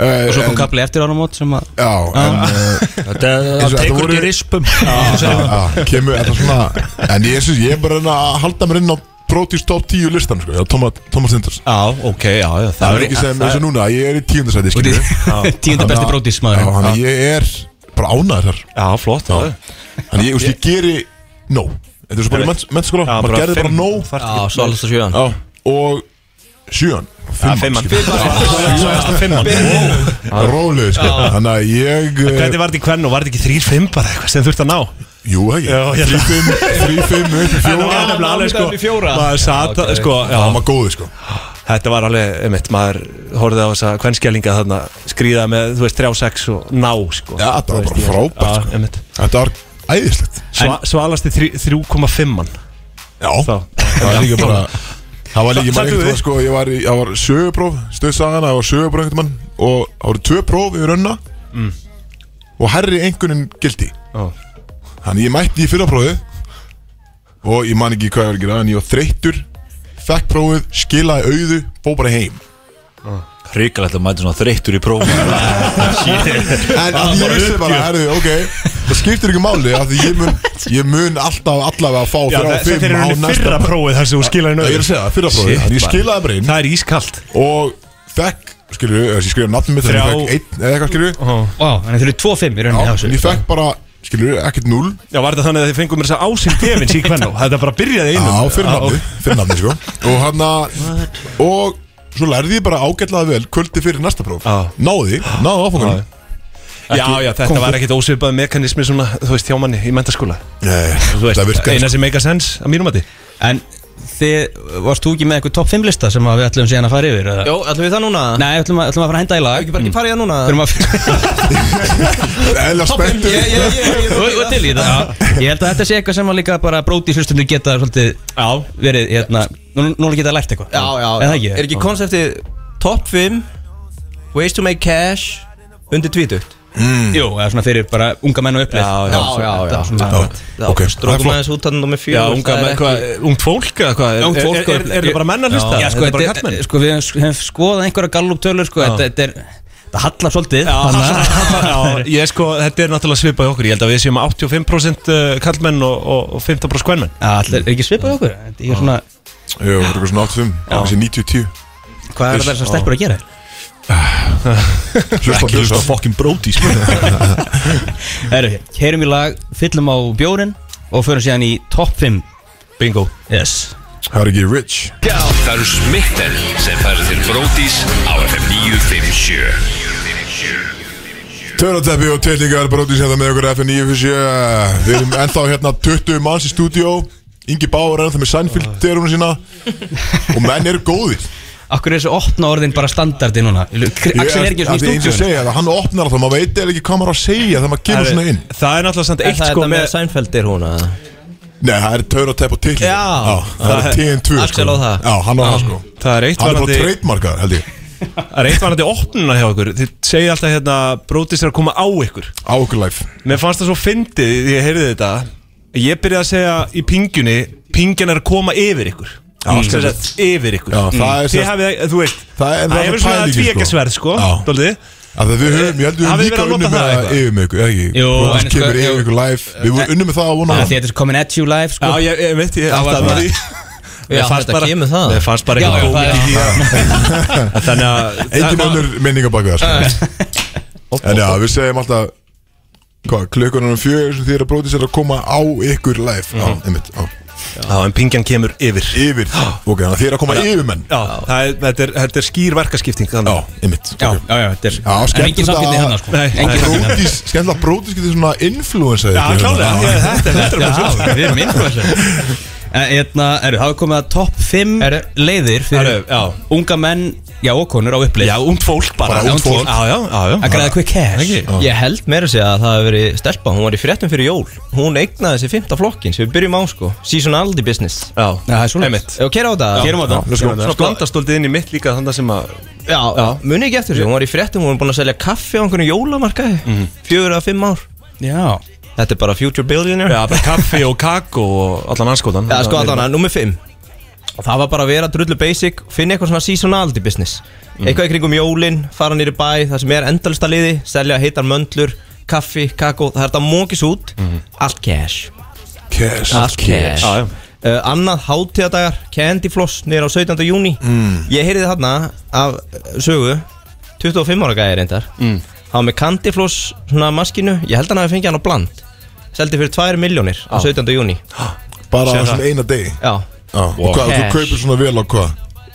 Speaker 3: Og svo kom kapli eftir árum mót sem að
Speaker 2: Já, en eh, eins og Þetta
Speaker 4: Tekur
Speaker 2: voru-
Speaker 4: ekki rispum
Speaker 2: Já, kemur þetta svona En ég, syns, ég er bara að reyna að halda mér inn á Protis top 10 listan sko, eða Thomas, Thomas Sinders
Speaker 10: Já, ok, já, já
Speaker 2: Það er ekki sem eins og núna, ég er í tíundasæti skilur við.
Speaker 3: Tíundi besti brótis
Speaker 2: Já,
Speaker 3: maður
Speaker 2: þannig að ég er bara ánæður þar
Speaker 10: Já, flott Já,
Speaker 2: Þannig að ég, þú veist, ég geri nóg Þetta er svo bara í mennskóla, maður gerði bara nóg
Speaker 9: Já, svo allast að sjöðan
Speaker 2: Já, og Sjön
Speaker 10: Ja, fimman.
Speaker 2: Fimman Róluðu sko
Speaker 10: Já.
Speaker 2: Þannig að ég eh,
Speaker 10: Hvernig var þetta í kvennu? Var þetta ekki þrýr fimm bara eitthvað sem þurft að ná?
Speaker 2: Jú, ekki Þrír, fimm, þrír, fimm, upp í fjóra.
Speaker 10: Það var nefnilega alveg sko
Speaker 2: Upp í fjóra.
Speaker 10: Maður sat
Speaker 2: Já, ok.
Speaker 10: sko
Speaker 2: Það var góði sko
Speaker 10: Þetta var alveg, einmitt, maður horfði á þessa kvennskjælinga þarna Skrýða með, þú veist, 3-6 og ná sko
Speaker 2: Já, þetta var bara frábært, sko.
Speaker 10: frábært
Speaker 2: Þetta var æðislegt
Speaker 10: Sva, Svalasti þrí- 3,5-an
Speaker 2: Já Það var líka bara Það var líka maður
Speaker 10: Sa- sagði
Speaker 2: einhvern
Speaker 10: þið?
Speaker 2: veginn sko Ég var í, það var sögupróf Stöðsagan, það var sögupróf einhvern mann Og það voru tvö próf yfir önna
Speaker 10: Mm.
Speaker 2: Og herri einhvernin gildi
Speaker 10: Já.
Speaker 2: Þannig ég mætti í fyrra prófið Og ég man ekki hvað ég var að gera En ég var þreyttur Fekk prófið, skilaði auðu, fó bara heim
Speaker 4: Ríkalegt að mæta svona þreyttur í prófum
Speaker 2: En að því ég vissi bara, herðu, ok Það skiptir ekki máli af Því ég mun, ég mun alltaf allavega að fá
Speaker 10: Já,
Speaker 2: þrjá
Speaker 10: þetta
Speaker 2: fimm
Speaker 10: er í
Speaker 2: á
Speaker 10: rauninni
Speaker 2: næsta
Speaker 10: fyrra prófið þar sem þú
Speaker 2: Já,
Speaker 10: skilaði nauðu
Speaker 2: Ég er að segja það, fyrra prófið Þannig Ég skilaði bara inn
Speaker 10: Það er ískalt
Speaker 2: Og fekk, skilju, ég skrifaði nafnum mitt Þannig
Speaker 10: Þrjá-
Speaker 2: ég fekk einn eða eitthvað, skilju
Speaker 3: Vá, þannig þurfið 2-5 í
Speaker 2: Já,
Speaker 3: rauninni hjá þessu.
Speaker 2: en ég fekk bara, skilju, ekkert núl
Speaker 10: Já, var þetta þannig að þið fengum mér þess að ásinn gefins í kvennu Þetta bara byrjaði einum
Speaker 2: Já, fyrir nafni, fyrir nafni, sko Og hann að, og svo lærði ég bara ágætlega vel Kvöldi fyrir næsta próf Náði, náði áfangan
Speaker 10: Já, já, þetta
Speaker 2: Kom-
Speaker 10: var ekkit ósvipað mekanismi svona, þú veist, hjá manni í mentaskóla
Speaker 2: Nei,
Speaker 10: Þú veist,
Speaker 2: það virkar
Speaker 10: eina sem make a sense að mínum að
Speaker 3: En þið, varst þú ekki með eitthvað top 5 lista sem að við ætlum síðan að fara yfir? eða?
Speaker 9: Jó, ætlum við það núna?
Speaker 3: Nei, ætlum að, ætlum að fara að henda í lag Ekki
Speaker 9: Ekki farið það núna?
Speaker 3: Þurfum að
Speaker 2: Eða spenntu
Speaker 9: Ég, ég, ég, ég,
Speaker 3: Og- og til í þetta Ég held að þetta sé eitthvað sem að líka bara bróti hlustundur geta svolítið verið hérna, nú, núna geta lært eitthvað
Speaker 9: Já, já,
Speaker 3: Er
Speaker 9: já.
Speaker 3: það ekki?
Speaker 9: Er ekki konseptið Top 5 Ways to make cash Undir tvítugt
Speaker 3: Jú, eða svona fyrir bara unga menn og uppleið
Speaker 10: Já,
Speaker 9: já,
Speaker 3: svona-
Speaker 9: já, já
Speaker 2: ok, það er
Speaker 9: Strókum
Speaker 2: flott.
Speaker 9: aðeins út hann nummer
Speaker 10: Já,
Speaker 9: fjögur
Speaker 10: unga,
Speaker 9: það er
Speaker 10: menn, hvað, ungt fólk eða hvað?
Speaker 3: Ungt fólk
Speaker 10: Er, er, er, er það bara menn að hlusta?
Speaker 3: Já,
Speaker 10: Er
Speaker 3: sko,
Speaker 10: það bara
Speaker 3: þetta
Speaker 10: kallmenn?
Speaker 3: er- sko, við hefum- hefum skoðað einhverja gallup tölur sko, þetta þetta er Það hallar svolítið
Speaker 10: Já,
Speaker 3: þannig að-
Speaker 10: já, ég sko, þetta er náttúrulega svipað í okkur Ég held að við séum 85% kallmenn uh, og, og- og 15% kvenmenn
Speaker 3: Já, allir- er ekki svipað í okkur Þetta er svona,
Speaker 2: Jú, þetta er eitthvað svona 85, þessi 90-10
Speaker 3: Hvað er það sem stelpur að gera?
Speaker 2: Hlusta, hlusta,
Speaker 4: Fucking bróti sko.
Speaker 3: Herru, heyrum í lag, fyllum á bjórin og förum síðan í top 5
Speaker 10: Bingo
Speaker 3: Yes
Speaker 2: það er ekki rich
Speaker 5: Það eru smitten sem færir til Brótis á FM 957
Speaker 2: Törnateppi og tilningar brótið sem það með okkur FN 957 Við erum ennþá hérna 20 manns í stúdíó Ingi Báur er ennþá með sænfildiruna sína Og menn eru góðir
Speaker 3: Akkur er þessu opna orðin bara standardi núna Axel er
Speaker 2: Af því
Speaker 3: ekki svona í
Speaker 2: eins og ég
Speaker 3: stúdíun
Speaker 2: segja það, hann opnar alltaf, maður veit eða ekki hvað maður á að segja þegar maður kemur svona inn
Speaker 10: Það er náttúrulega samt
Speaker 9: Er
Speaker 10: eitt
Speaker 9: það
Speaker 10: sko
Speaker 9: þetta með
Speaker 10: með
Speaker 9: Seinfeld er hún að
Speaker 2: Nei, það er törnatepp og tilningar
Speaker 9: Já.
Speaker 2: Það er TN2
Speaker 9: Axel á það.
Speaker 2: Já, hann á það sko
Speaker 10: Það er eitt
Speaker 2: Hann er bara
Speaker 10: varandi,
Speaker 2: trademarkað, held ég
Speaker 10: það er eitt varandi opnuna hjá ykkur Þið segið alltaf hérna, brótis er að koma á ykkur
Speaker 2: Á okkur life
Speaker 10: Mér fannst það svo fyndið því ég heyrði þetta Ég byrjaði að segja í pingjunni Pingjan er að koma yfir ykkur
Speaker 2: Já,
Speaker 10: mm.
Speaker 2: skemmtilegt.
Speaker 10: Sett, Yfir ykkur
Speaker 2: Já,
Speaker 10: Mm.
Speaker 2: það er
Speaker 10: Þið
Speaker 2: sem-
Speaker 10: hafið, þú veist
Speaker 2: Það er- það er
Speaker 10: hefur svona
Speaker 2: pælingin, sko.
Speaker 10: tvíekasverð sko,
Speaker 2: Já.
Speaker 10: dólið
Speaker 2: Af því að við höfum, ég held við höfum
Speaker 10: Hafið þið
Speaker 2: líka
Speaker 10: verið að
Speaker 2: unnum
Speaker 10: nota
Speaker 2: með það
Speaker 10: það eitthvað?
Speaker 2: yfir mig, eða ekki?
Speaker 3: Jú,
Speaker 2: Bróðis
Speaker 3: en sko,
Speaker 2: kemur
Speaker 3: jú.
Speaker 2: yfir ykkur live Við vorum unnum með það á vona
Speaker 3: Því að þetta er komin at you live sko.
Speaker 10: Já, ég, ég veit, ég
Speaker 3: var
Speaker 10: áttaði
Speaker 3: bara-
Speaker 10: með því
Speaker 9: Já,
Speaker 10: Mér fannst
Speaker 9: þetta
Speaker 10: bara-
Speaker 9: kemur það.
Speaker 10: Mér fannst bara
Speaker 3: Já, já,
Speaker 10: eitthvað
Speaker 3: það
Speaker 10: gómið
Speaker 3: er-
Speaker 10: í því að- Þannig að
Speaker 2: Engin önnur minninga baka það sko. En já, við segjum alltaf Hvað, klukkanum fjögur sem þið eru að bróti sér að koma á ykkur live Já, einmitt, já
Speaker 10: Já, en pingjan kemur yfir
Speaker 2: Yfir, ok, þannig að þið eru að koma yfir menn
Speaker 10: Já, það er, þetta, er, þetta er skýr verkaskipting
Speaker 2: Já,
Speaker 10: þannig
Speaker 2: einmitt
Speaker 3: Já, já, já, þetta er
Speaker 2: Já,
Speaker 3: En
Speaker 2: skemmtilegt
Speaker 3: engin samkynni
Speaker 2: að-
Speaker 3: hann sko.
Speaker 10: Nei,
Speaker 3: Engin samkynni hann
Speaker 2: Brótis, skemmtilega að brótis getur svona influensa
Speaker 10: Já, klálega, ég- þetta er þetta er bara svo
Speaker 3: Já, við erum influencer En hérna, eru, það er komið að top 5 leiðir fyrir
Speaker 10: Herru, já.
Speaker 3: unga menn, já, og konur á upplið
Speaker 10: Já, umt fólk bara
Speaker 2: Bara ungt fólk.
Speaker 10: Já, já, já, já
Speaker 3: Að græða quick cash
Speaker 10: Ekki.
Speaker 9: Ég held meira að segja að það hefur verið stelpa Hún var í fréttum fyrir jól Hún eignaði þessi fymta flokkin sem við byrjum á sko Seasonality business
Speaker 10: Já,
Speaker 3: Já, það er svoleiðis.
Speaker 10: Einmitt.
Speaker 9: Ef kera á þetta
Speaker 3: Gerum á það
Speaker 10: Svona sko, blandastóldið inn í mitt líka þannig sem að
Speaker 9: Já, já. muni ekki eftir þessu Hún var í fréttum, hún var búin að selja kaffi á einhvern jólamarkaði Fjögur að fimm ár
Speaker 3: Já,
Speaker 9: Þetta er bara future billionaire
Speaker 10: Já, bara kaffi og kakó og allan anskótan
Speaker 9: Já, sko allan, nummer 5 Og það var bara að vera drullu basic Finna eitthvað svona seasonality business Eitthvað í kringum jólin, fara nýri bæ Það sem er endalista liði, selja heitar möndlur Kaffi, kakó, það er þetta mókis út Allt cash
Speaker 2: Cash
Speaker 9: Allt Mhm. cash
Speaker 10: Já, já.
Speaker 9: Uh, annað hátíðadagar, Candy Floss nýra á 17. júni ég heyrði þarna af uh, sögu 25 ára gæði reyndar mm. hann var með Candy Floss svona maskinu ég held hann að við fengið hann á bland seldi fyrir 2 miljónir á 17. júni
Speaker 2: Bara á
Speaker 10: Sér
Speaker 2: svona eina degi
Speaker 9: já,
Speaker 2: Já, og hvað, þú
Speaker 9: Cash.
Speaker 2: kaupir svona vel á hvað?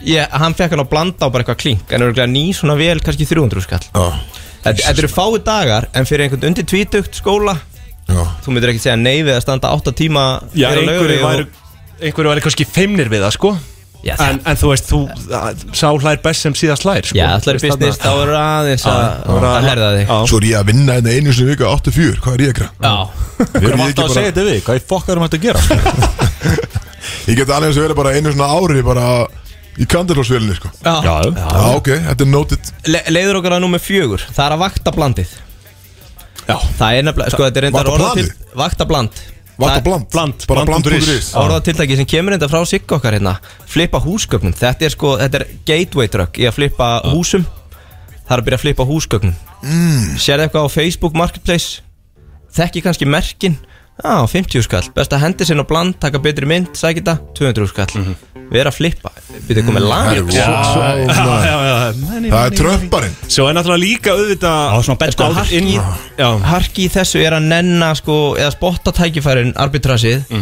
Speaker 9: ég, hann fekk hann að blanda á bara eitthvað klink en örgulega ný svona vel kannski 300 skall Þetta þetta eru fáið dagar en fyrir einhvern undir tvítugt skóla
Speaker 2: Já.
Speaker 9: þú myndir ekki segja nei við að standa 8 tíma
Speaker 10: Já,
Speaker 9: fyrir að
Speaker 10: einhverju
Speaker 9: laugavegi og-
Speaker 10: væri, einhverju væri kannski feimnir við það, sko
Speaker 9: Já,
Speaker 10: en, en þú veist, þú að- sá hlær best sem síðast hlær, sko
Speaker 9: Já, ætlar í business, þá eru aðeins að að herða þig
Speaker 2: Svo er ég að vinna þetta einu sinni í viku 8-4, hvað er ég að gera?
Speaker 9: Já,
Speaker 2: Við erum alltaf að segja
Speaker 4: þetta við, hvað í fokk erum þetta að gera?
Speaker 2: Ég get alveg eins og verið bara einu svona ári bara í kandilósvélinni sko
Speaker 9: Já. Já.
Speaker 2: Já, ok, þetta er noted
Speaker 9: Le leiður okkar að nummer fjögur Það er að vakta blandið Já Það er nefnilega, sko, þetta er reyndar
Speaker 2: Vakta
Speaker 9: orða til
Speaker 2: blandið?
Speaker 9: Vakta bland
Speaker 2: Vakta
Speaker 9: Það-
Speaker 2: bland? Bland, Bara bland bland.is. punktur is.
Speaker 9: Orða tiltæki sem kemur reyndar frá sig okkar hérna Flippa húsgögnum Þetta er sko, þetta er gateway drug Í að flippa húsum Það er að byrja að flippa húsgögnum
Speaker 1: Mm.
Speaker 9: Sérðu eitthvað á Facebook Marketplace Þekki kannski merkin Já, 50 skall Best að hendi sinna á bland Taka betri mynd, sækja þetta 200 skall mm Vera að flippa Byrja að koma lag
Speaker 2: Mm, Herru,
Speaker 9: Já,
Speaker 2: vá,
Speaker 9: svo-
Speaker 2: maður.
Speaker 10: Já, já, já.
Speaker 2: Það er trömparinn
Speaker 10: Svo er náttúrulega líka auðvitað
Speaker 3: svona
Speaker 9: Sko, harki, harki í þessu er að nenna sko, eða spotta tækifærin arbitrasið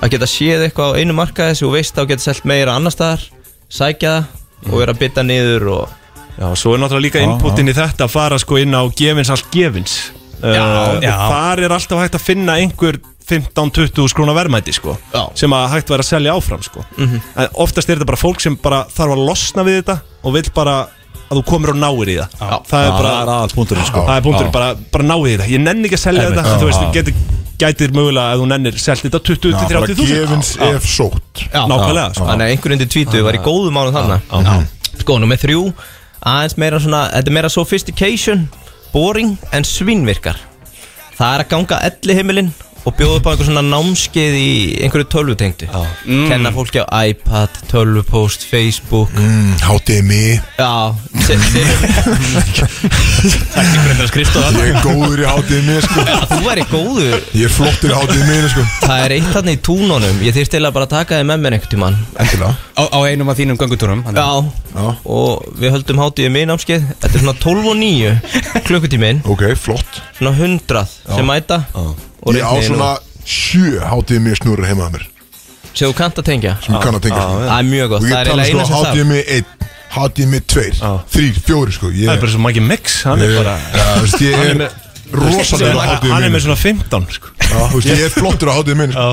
Speaker 9: að geta séð eitthvað á einu markaði sem þú veist þá geta selt meira annar staðar sækja það og vera að bytta niður og
Speaker 10: Já, svo er náttúrulega líka inputin í þetta að fara sko inn á gefins allt gefins Eh,
Speaker 9: Já, já.
Speaker 10: Þar er alltaf hægt að finna einhver 15-20 skrúna verðmæti sko já. sem að hægt væri að selja áfram sko
Speaker 9: Mhm.
Speaker 10: en oftast er þetta bara fólk sem bara þarf að losna við þetta og vill bara að þú komir og náir í það já. það er
Speaker 4: Já,
Speaker 10: bara
Speaker 4: það er aðalpunkturinn, sko.
Speaker 10: það er punkturinn,
Speaker 4: Já.
Speaker 10: bara, bara náið í þetta ég nenni ekki að selja
Speaker 4: Einmitt.
Speaker 10: þetta
Speaker 4: Já.
Speaker 10: þú veist, þú
Speaker 4: Já.
Speaker 10: getur gætir mögulega að þú nennir selja þetta 20-30 þúsund
Speaker 2: sótt
Speaker 10: nákvæmlega sko.
Speaker 9: þannig að einhver undir tvítu var í góðum ánum þannig sko, nummer þrjú aðeins meira svona, þetta er meira sophistication boring en svinnvirkar það er að ganga elli heimilinn og bjóða upp á einhver svona námskeið í einhverju tölvutengdu
Speaker 2: Mm.
Speaker 9: kenna fólki á iPad, tölvupost, Facebook
Speaker 2: mm, HDMI
Speaker 9: Já Takk fyrir þetta skrifstofa
Speaker 2: Ég er góður í HDMI sko
Speaker 9: Þú væri góður
Speaker 2: Ég er flottur í HDMI sko
Speaker 9: Það er eitt þarna í túnunum Ég þyrst til að bara taka þið með mér einhvern tímann
Speaker 2: Endilega
Speaker 3: á, á einum af þínum göngutúrum hann-
Speaker 9: Já. Og við höldum hátíð í miðnámskeið Þetta er svona 12 og 9 klukkutíminn
Speaker 2: Ok, flott
Speaker 9: Svona 100 sem mæta og
Speaker 2: Ég á
Speaker 9: reikniði nú.
Speaker 2: svona sjö HDMI snurur heima að mér
Speaker 9: Sem þú kannt að tengja
Speaker 2: sem ég kann að tengja
Speaker 9: Það er mjög gott
Speaker 2: Og
Speaker 9: Það
Speaker 2: ég
Speaker 9: er
Speaker 2: tala
Speaker 9: eiginlega
Speaker 2: sko
Speaker 9: eina sem það
Speaker 2: HDMI 1, HDMI 2, 3, 4 sko ég,
Speaker 10: það er bara svo mikið mix hann er
Speaker 2: Ég-
Speaker 10: bara
Speaker 2: Já, þú veist, ég
Speaker 10: Hann
Speaker 2: er
Speaker 10: er með-
Speaker 2: rosalegur á HDMI
Speaker 10: hann er með svona 15 sko
Speaker 2: Já, þú veist, ég er flottur á hátíðu minni
Speaker 10: Já,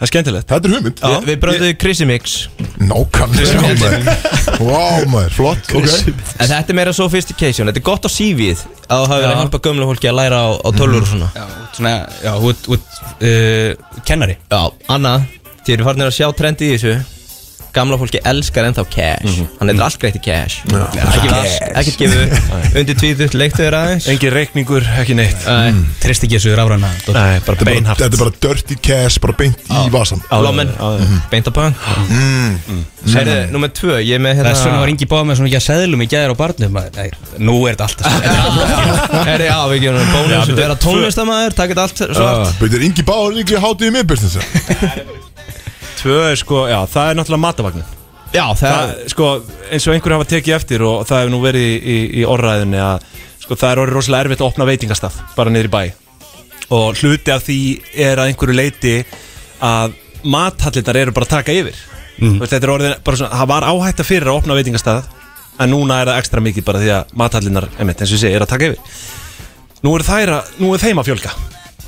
Speaker 10: það er skemmtilegt
Speaker 2: Þetta er hugmynd
Speaker 9: Við- Við bröndum Chrissy Mix
Speaker 2: Nákvæmlega
Speaker 9: Chrissy
Speaker 2: maður. Vá maður, flott, ok
Speaker 9: En þetta er meira sophistication Þetta er gott á CV-ið að þú hafi verið að hjálpa gömlu fólki að læra á, á tölvur og svona
Speaker 3: svona, já, hú ert- hú ert uh, kennari
Speaker 9: Já, annað, þið eru farinir að sjá trendi í þessu Gamla fólki elskar ennþá cash Hann er allt greitt í cash Ekki vass, ekkert gefu Undir tvíðut, leiktu þér aðeins
Speaker 10: Engin reikningur, ekki neitt
Speaker 9: mm.
Speaker 3: Trist ekki þessu rafræna
Speaker 10: Nei, bara
Speaker 2: Þetta er bara- þetta er bara dirty cash, bara beint í vasan
Speaker 9: Lómen, Mhm. beint á bank Herðu, nummer tvö, ég er með
Speaker 3: Það
Speaker 9: hérna
Speaker 3: er svona var Ingi báð með svona ekki að seðlum í gæðir á barnum maður. Nei, Nú er þetta alltaf
Speaker 9: Herðu, já, við gefum
Speaker 3: Já,
Speaker 9: hann um bónus
Speaker 3: betur-
Speaker 9: Verða tónlistamæður, takk þetta allt svart
Speaker 2: Þetta er Ingi Báður líka í hátíðu minni business
Speaker 10: Tvö er sko, já, það er náttúrulega matavagnin
Speaker 9: Já,
Speaker 10: það,
Speaker 9: það
Speaker 10: sko, eins og einhverju hafa tekið eftir og það hefur nú verið í, í, í orðræðinni að sko, það er orðið rosalega erfitt að opna veitingastaf bara niður í bæ og hluti af því er að einhverju leiti að mathallitar eru bara að taka yfir mm. veist, þetta er orðið bara svona, það var áhætta fyrir að opna veitingastaf en núna er það ekstra mikið bara því að mathallinar, einmitt, eins og ég segi, eru að taka yfir nú er, þær að, nú er þeim að fjölga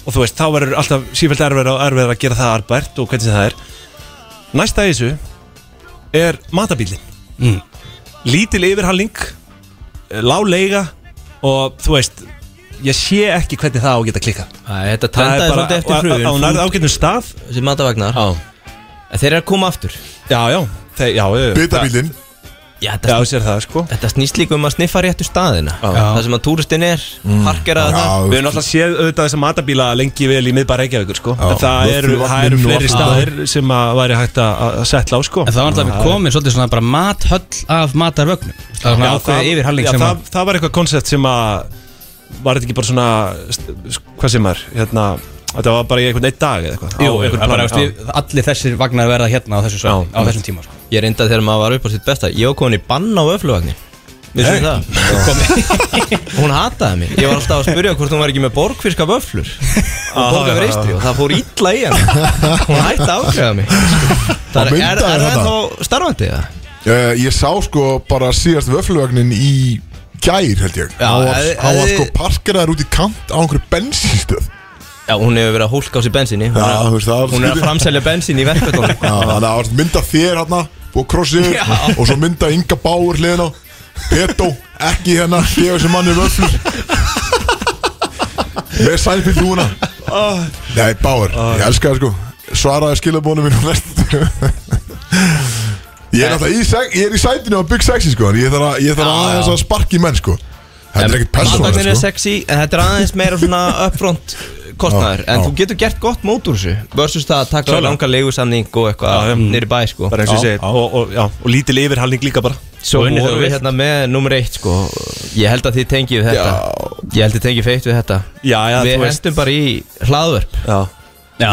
Speaker 10: og þú veist, þá verður alltaf sífælt erfið að gera það arbært og hvernig sem það er næsta í þessu er matabílin
Speaker 3: Mm.
Speaker 10: Lítil yfirhalling Láleiga Og þú veist Ég sé ekki hvernig það á að geta klikka
Speaker 9: Æ, Þetta trendaði svolítið eftir hröðun
Speaker 10: Á nærð ágætnum stað
Speaker 9: Þessi matavagnar En Þeir eru að koma aftur
Speaker 10: Já, já, þeir, já já,
Speaker 2: Bitabílin
Speaker 9: Já, þetta
Speaker 10: Já, sér það sko
Speaker 9: Þetta snýst líka um að sniffa réttu staðina Það sem að túristinn er, mm. parkeraða það
Speaker 10: Við höfum alltaf séð auðvitað þessa matabíla lengi vel í miðbæra Reykjavíkur sko
Speaker 2: Já.
Speaker 10: En það eru, það eru
Speaker 2: Vöffluvagnin og
Speaker 10: fleiri
Speaker 2: allt
Speaker 10: staðir sem að væri hægt að að setla á sko
Speaker 3: En það var alltaf komin svolítið svona bara mathöll af matarvögnum Það var svona
Speaker 10: Já, það-
Speaker 3: ákveðið yfirhalling
Speaker 10: já,
Speaker 3: sem
Speaker 10: það, það var eitthvað koncept sem að Var þetta ekki bara svona st- Hvað sem er hérna, Þetta var bara í einhvern einn dag eða eitthvað á
Speaker 3: Jú,
Speaker 10: einhvern
Speaker 3: það bara,
Speaker 10: plan,
Speaker 3: veist,
Speaker 10: já.
Speaker 3: við- allir þessir vagnar verða hérna á þessu, svæði, á þessum tíma sko.
Speaker 9: Ég reynda þegar maður var upp á sitt besta Ég var komin í bann á öfluvagnin Vissum
Speaker 10: Nei.
Speaker 9: það? Komin- hún hataði mig Ég var alltaf að spyrja hvort hún var ekki með borgfirska vöflur og borga
Speaker 10: já,
Speaker 9: fyrir eistri og það fór illa í hann Hún hætti að ákveða mig Það
Speaker 2: Á
Speaker 9: er, er,
Speaker 2: myndaði
Speaker 9: er
Speaker 2: þetta?
Speaker 9: það þá starfandi það?
Speaker 2: Uh, ég sá sko bara síðast vöfluvagnin í gær held ég
Speaker 9: Já,
Speaker 2: Hann var,
Speaker 9: ef-
Speaker 2: hann var
Speaker 9: ef-
Speaker 2: sko parkeraður út í kant á einhverju bensinstöð
Speaker 9: Já, hún hefur verið að hólka á sér bensinni Hún,
Speaker 2: Já, þú
Speaker 9: er,
Speaker 2: veist, það var
Speaker 9: hún er að
Speaker 2: skrítið.
Speaker 9: framselja bensin í verkvöldunum
Speaker 2: Já, Þannig að það var mynda þér hérna og krossið
Speaker 9: Já.
Speaker 2: og svo mynda Inga Báur hliðina Petó, ekki hérna, gefa þessi manni vöflur Með sælpilt núna Nei, Báur, ég elska það sko Svaraði skilabónu mínu næst Ég er náttúrulega í, seg- ég er í sætinu á Big Sexy sko en Ég þarf að, ég þarf
Speaker 9: Já,
Speaker 2: að aðeins
Speaker 9: já.
Speaker 2: að sparki menn sko Þetta er ekkert
Speaker 9: Matvagnin
Speaker 2: persónulega
Speaker 9: er
Speaker 2: sko
Speaker 9: sexy, en þetta er aðeins meira svona upfront kostnæður
Speaker 2: Já,
Speaker 9: En
Speaker 2: já.
Speaker 9: þú getur gert gott mót úr þessu Versus það að taka
Speaker 10: Klálega.
Speaker 9: langa leigusamning og eitthvað nýri bæ sko
Speaker 10: bara eins og ég segi
Speaker 9: Já.
Speaker 10: og, og, já, og lítil yfirhalning líka bara
Speaker 9: Svo
Speaker 10: unnið þegar
Speaker 9: vorum
Speaker 10: þú
Speaker 9: við
Speaker 10: vilt.
Speaker 9: hérna með nummer eitt sko Ég held að þið tengið þetta Ég held þið tengið feitt við þetta
Speaker 10: já, já,
Speaker 9: Við
Speaker 10: þú veist
Speaker 9: hendum bara í hlaðvörp
Speaker 10: já. Já,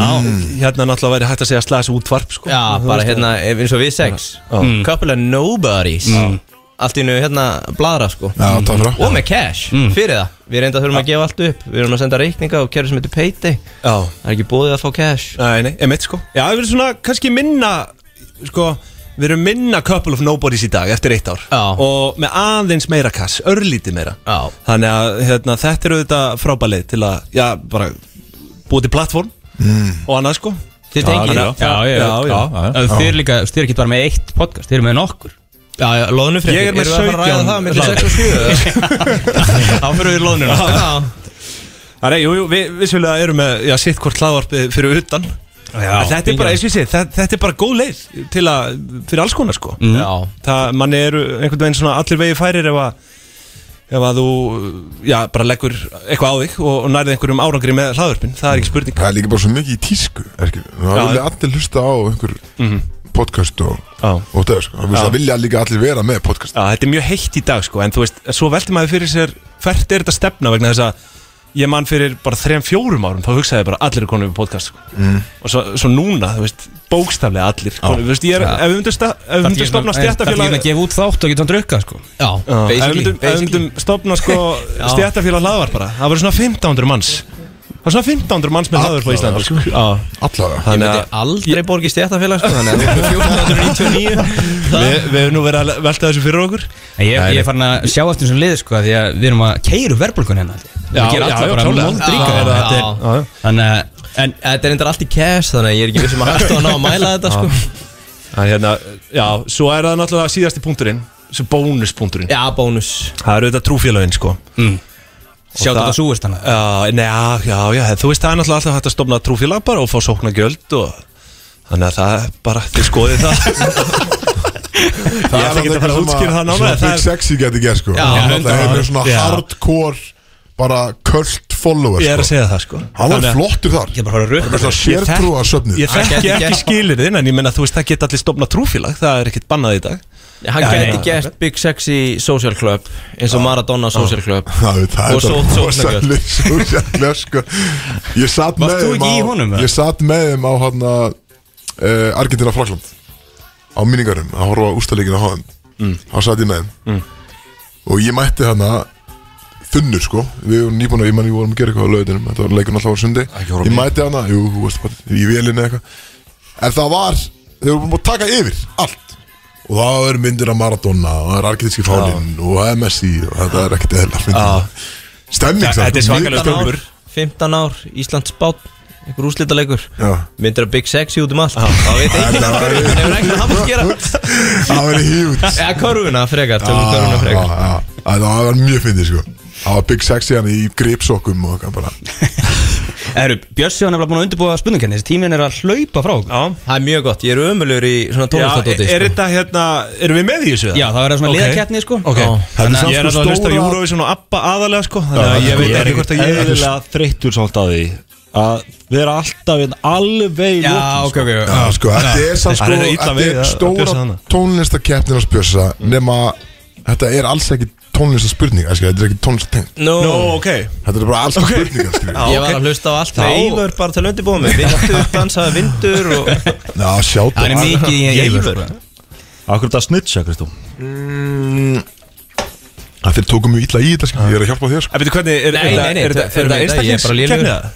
Speaker 10: hérna náttúrulega væri hægt að segja slags útvarp sko.
Speaker 9: Já,
Speaker 10: Þú
Speaker 9: bara
Speaker 10: veist
Speaker 9: hérna eins og við sex
Speaker 10: Mm.
Speaker 9: Couple of nobodies
Speaker 3: Mm.
Speaker 9: Allt í nú hérna bladra sko
Speaker 2: Já, takk fyrir
Speaker 9: Og með cash, fyrir það Við reynda þurfum að gefa allt upp Við erum að senda reikninga og kerfi sem heitir Payday
Speaker 10: Já,
Speaker 9: Það er ekki bóðið að fá cash
Speaker 10: nei, nei, emitt sko Já, við erum svona kannski minna sko, við erum minna couple of nobodies í dag eftir eitt ár
Speaker 9: Já.
Speaker 10: og með aðeins meira kass, örlítið meira
Speaker 9: Já.
Speaker 10: Þannig að hérna, þetta eru auðvitað frábælið til að, já, bara búið til platform og annað sko
Speaker 9: Þið tengið það
Speaker 3: Já, já, já, já, já. Þið er líka, þið er ekki bara með eitt podcast, þið eru með nokkur
Speaker 9: Já, já, loðnufréttir
Speaker 10: Ég er með
Speaker 9: Erum við að fara að
Speaker 10: 17
Speaker 9: ræða það með 6 og 7
Speaker 3: Þá fyrir við lóðnum
Speaker 9: Já,
Speaker 10: Það er, jú, jú, við vissulega erum með já, sitt hvort hlaðvarpið fyrir utan já, Þetta er bara, eins og ég sé, þetta, þetta er bara góð leið til að, fyrir alls konar sko
Speaker 9: já
Speaker 10: Það, manni eru einhvern veginn svona allir vegi færir ef að ef að þú, já, bara leggur eitthvað á þig og, og nærði einhverjum árangri með hlaðvarpin það er ekki spurning
Speaker 2: Það er líka bara svo mikið í tísku erkir. Það
Speaker 10: Já,
Speaker 2: vilja
Speaker 10: já.
Speaker 2: allir hlusta á einhver
Speaker 9: Mhm.
Speaker 2: podcast og,
Speaker 10: Já.
Speaker 2: og það, sko. Það
Speaker 10: Já.
Speaker 2: vilja líka allir vera með podcast
Speaker 10: Já, þetta er mjög heitt í dag sko, en þú veist, svo velti maður fyrir sér hvert er þetta stefna vegna þess að ég mann fyrir bara þrejum, fjórum árum þá hugsaði ég bara allir er konum við podcast sko. mm. og svo, svo núna, þú veist, bókstaflega allir konum, þú veist, ég er, ef við myndum sta- ef við myndum stopna
Speaker 3: Það er
Speaker 10: stjættafélag
Speaker 3: ekki að gefa út þátt og geta hann drukka sko
Speaker 9: Já,
Speaker 10: ef við
Speaker 9: basically,
Speaker 10: myndum- ef við myndum stopna sko stjættafélag hlaðvar bara, það verður svona 1500 manns það er svona 1500 manns með hlaðvar på Íslandi sko. Já,
Speaker 2: Allavega
Speaker 10: þannig
Speaker 9: Ég
Speaker 10: að
Speaker 9: aldrei borgi stjættafélag sko Þannig að 1499
Speaker 10: við, við hefum nú verið að velta þessu fyrir okkur
Speaker 3: En Ég, ég er farin að sjá eftir þessum liði sko Því að við erum að keiru verðbólkun hérna held ég.
Speaker 10: Já,
Speaker 3: Við gerum
Speaker 10: já,
Speaker 3: alla
Speaker 10: já,
Speaker 3: bara
Speaker 10: klálega.
Speaker 3: moldríka
Speaker 9: Já,
Speaker 3: hérna,
Speaker 9: já.
Speaker 3: þetta er- Þannig að
Speaker 9: En þetta er endar allt í cash Þannig að ég er ekki vissum að hægt að ná að mæla þetta sko
Speaker 10: Það er hérna, já, svo er það náttúrulega síðasti punkturinn, svo bónuspunkturinn
Speaker 9: Já, bónus
Speaker 10: Það eru auðvitað trúfélagin sko
Speaker 9: Mm.
Speaker 3: sjá
Speaker 10: það-
Speaker 3: þetta súist hana
Speaker 10: Já, nei, já, já, já, þú veist það er náttúrulega alltaf hægt að stofna trúfélag bara og fá sókna gjöld og Þannig að það er bara, þið skoðið það Ég ætla ekki að fara að útskýra það náma
Speaker 2: Svona big sexy geti gert sko
Speaker 9: Já,
Speaker 2: Hann alltaf
Speaker 10: reyndar.
Speaker 2: hefur svona
Speaker 10: Já.
Speaker 2: hardcore Bara cult follower
Speaker 10: Ég er að
Speaker 2: sko
Speaker 10: segja það sko
Speaker 2: Hann var
Speaker 10: Þannig að-
Speaker 2: flottur þar
Speaker 3: Ég er bara að fara að
Speaker 2: Með
Speaker 3: rukka
Speaker 2: svona sértrúa söfnið
Speaker 10: Ég þekki
Speaker 9: gæti
Speaker 10: ekki
Speaker 9: gert-
Speaker 10: skilirðin en ég menna þú veist það geta allir stofna trúfélag, það er ekkert bannað í dag
Speaker 9: Já, Hann
Speaker 3: Já,
Speaker 9: gæti
Speaker 3: nei.
Speaker 9: gert Big Sexy Social Club Eins og Maradona Social Club
Speaker 2: Það er
Speaker 9: Og
Speaker 2: það
Speaker 9: sót- sótnagjöld.
Speaker 2: rosaleg sótnagjöld, sko. Ég satt með
Speaker 3: Varst þú
Speaker 2: þeim
Speaker 3: ekki í
Speaker 2: á-
Speaker 3: honum, eða?
Speaker 2: Ég satt með þeim á hann að Argentina Frakland Á minningarum Að horfa ústalegin á hann
Speaker 3: Mm.
Speaker 2: Hann satt ég með þeim Og ég mætti hann að Þunnur sko Við vorum nýbúin að Ég mann ég vorum að gera eitthvað á löðinum Þetta var leikun alltaf á sundi Ég mætti hann að Jú, þú veist bara Í velinni eitthvað En það var Þeir voru búin að taka yfir Allt Og það er myndir af Maradona og það er arkitektíski fáninn og það er Messi og þetta er ekkert eðla fyndið. Stemming samt,
Speaker 10: Þetta er
Speaker 2: sko.
Speaker 10: svakalega
Speaker 9: 15 ár,
Speaker 10: stömbur
Speaker 9: 15 ár, Íslands bát Einhver úrslitaleikur
Speaker 2: Já.
Speaker 9: Myndir að Big Sexy út um allt Það veit enginn að hverju Það hefur ekkert að hafa að gera
Speaker 2: Það var hjút
Speaker 9: Eða körfuna frekar Tölum um körfuna frekar
Speaker 2: Það var mjög fyndið sko Það var Big Sexy hann í gripsokkum og eitthvað bara
Speaker 3: Eru, Bjössi var nefnilega búin að undirbúa spurningarni Þessi tíminn er að hlaupa frá okkur
Speaker 10: Já,
Speaker 9: Það er mjög gott Ég er ömulur í svona
Speaker 10: já
Speaker 9: sko. tónlistadóti
Speaker 10: er þetta hérna, erum við með í þessu?
Speaker 3: Já, það verður svona
Speaker 10: Ok.
Speaker 3: okay. liðakettni sko
Speaker 10: Ok,
Speaker 3: Já.
Speaker 10: þannig að
Speaker 2: samt
Speaker 10: ég
Speaker 2: sko
Speaker 10: er alltaf að hlusta á
Speaker 2: stóra-
Speaker 10: Eurovision og Abba aðalega sko Þannig að ég veit ekki hvort að ég er
Speaker 4: eðlilega þreyttur svolítið að því að vera alltaf einn alveg í
Speaker 3: Já,
Speaker 4: lokin,
Speaker 3: Ah, ok, ok, ok
Speaker 2: Já, sko, þetta er samt
Speaker 10: Það
Speaker 2: sko
Speaker 10: er illa
Speaker 2: Þetta
Speaker 10: við
Speaker 2: er
Speaker 10: að- að
Speaker 2: stóra
Speaker 10: bjössa hana.
Speaker 2: tónlistakeppnin að spjösa nema þetta er alls ekki tónlistaspurning skilur, Þetta er ekki tónlistatengt
Speaker 9: Nú,
Speaker 10: Nó, ok
Speaker 2: Þetta er bara alls ekki spurningar skilur.
Speaker 9: Ég var að hlusta á allt
Speaker 10: Þá-
Speaker 9: Það Ívar bara til undirbúið mig Vindur, dansaði vindur og
Speaker 2: Já, sjá
Speaker 3: Það er mikið í eifur sko.
Speaker 4: Akkur þetta snitsa, Kristó
Speaker 2: Það þeir tókum mjög illa í þetta skilur, Ég er að hjálpa þér sko
Speaker 10: En veitu hvernig, er,
Speaker 9: Nei,
Speaker 10: er,
Speaker 9: nei, nei,
Speaker 10: er, er,
Speaker 9: fyrir
Speaker 10: er, er
Speaker 9: mig, ég er bara
Speaker 10: einstaklingskeppni
Speaker 9: lélegur.
Speaker 10: það?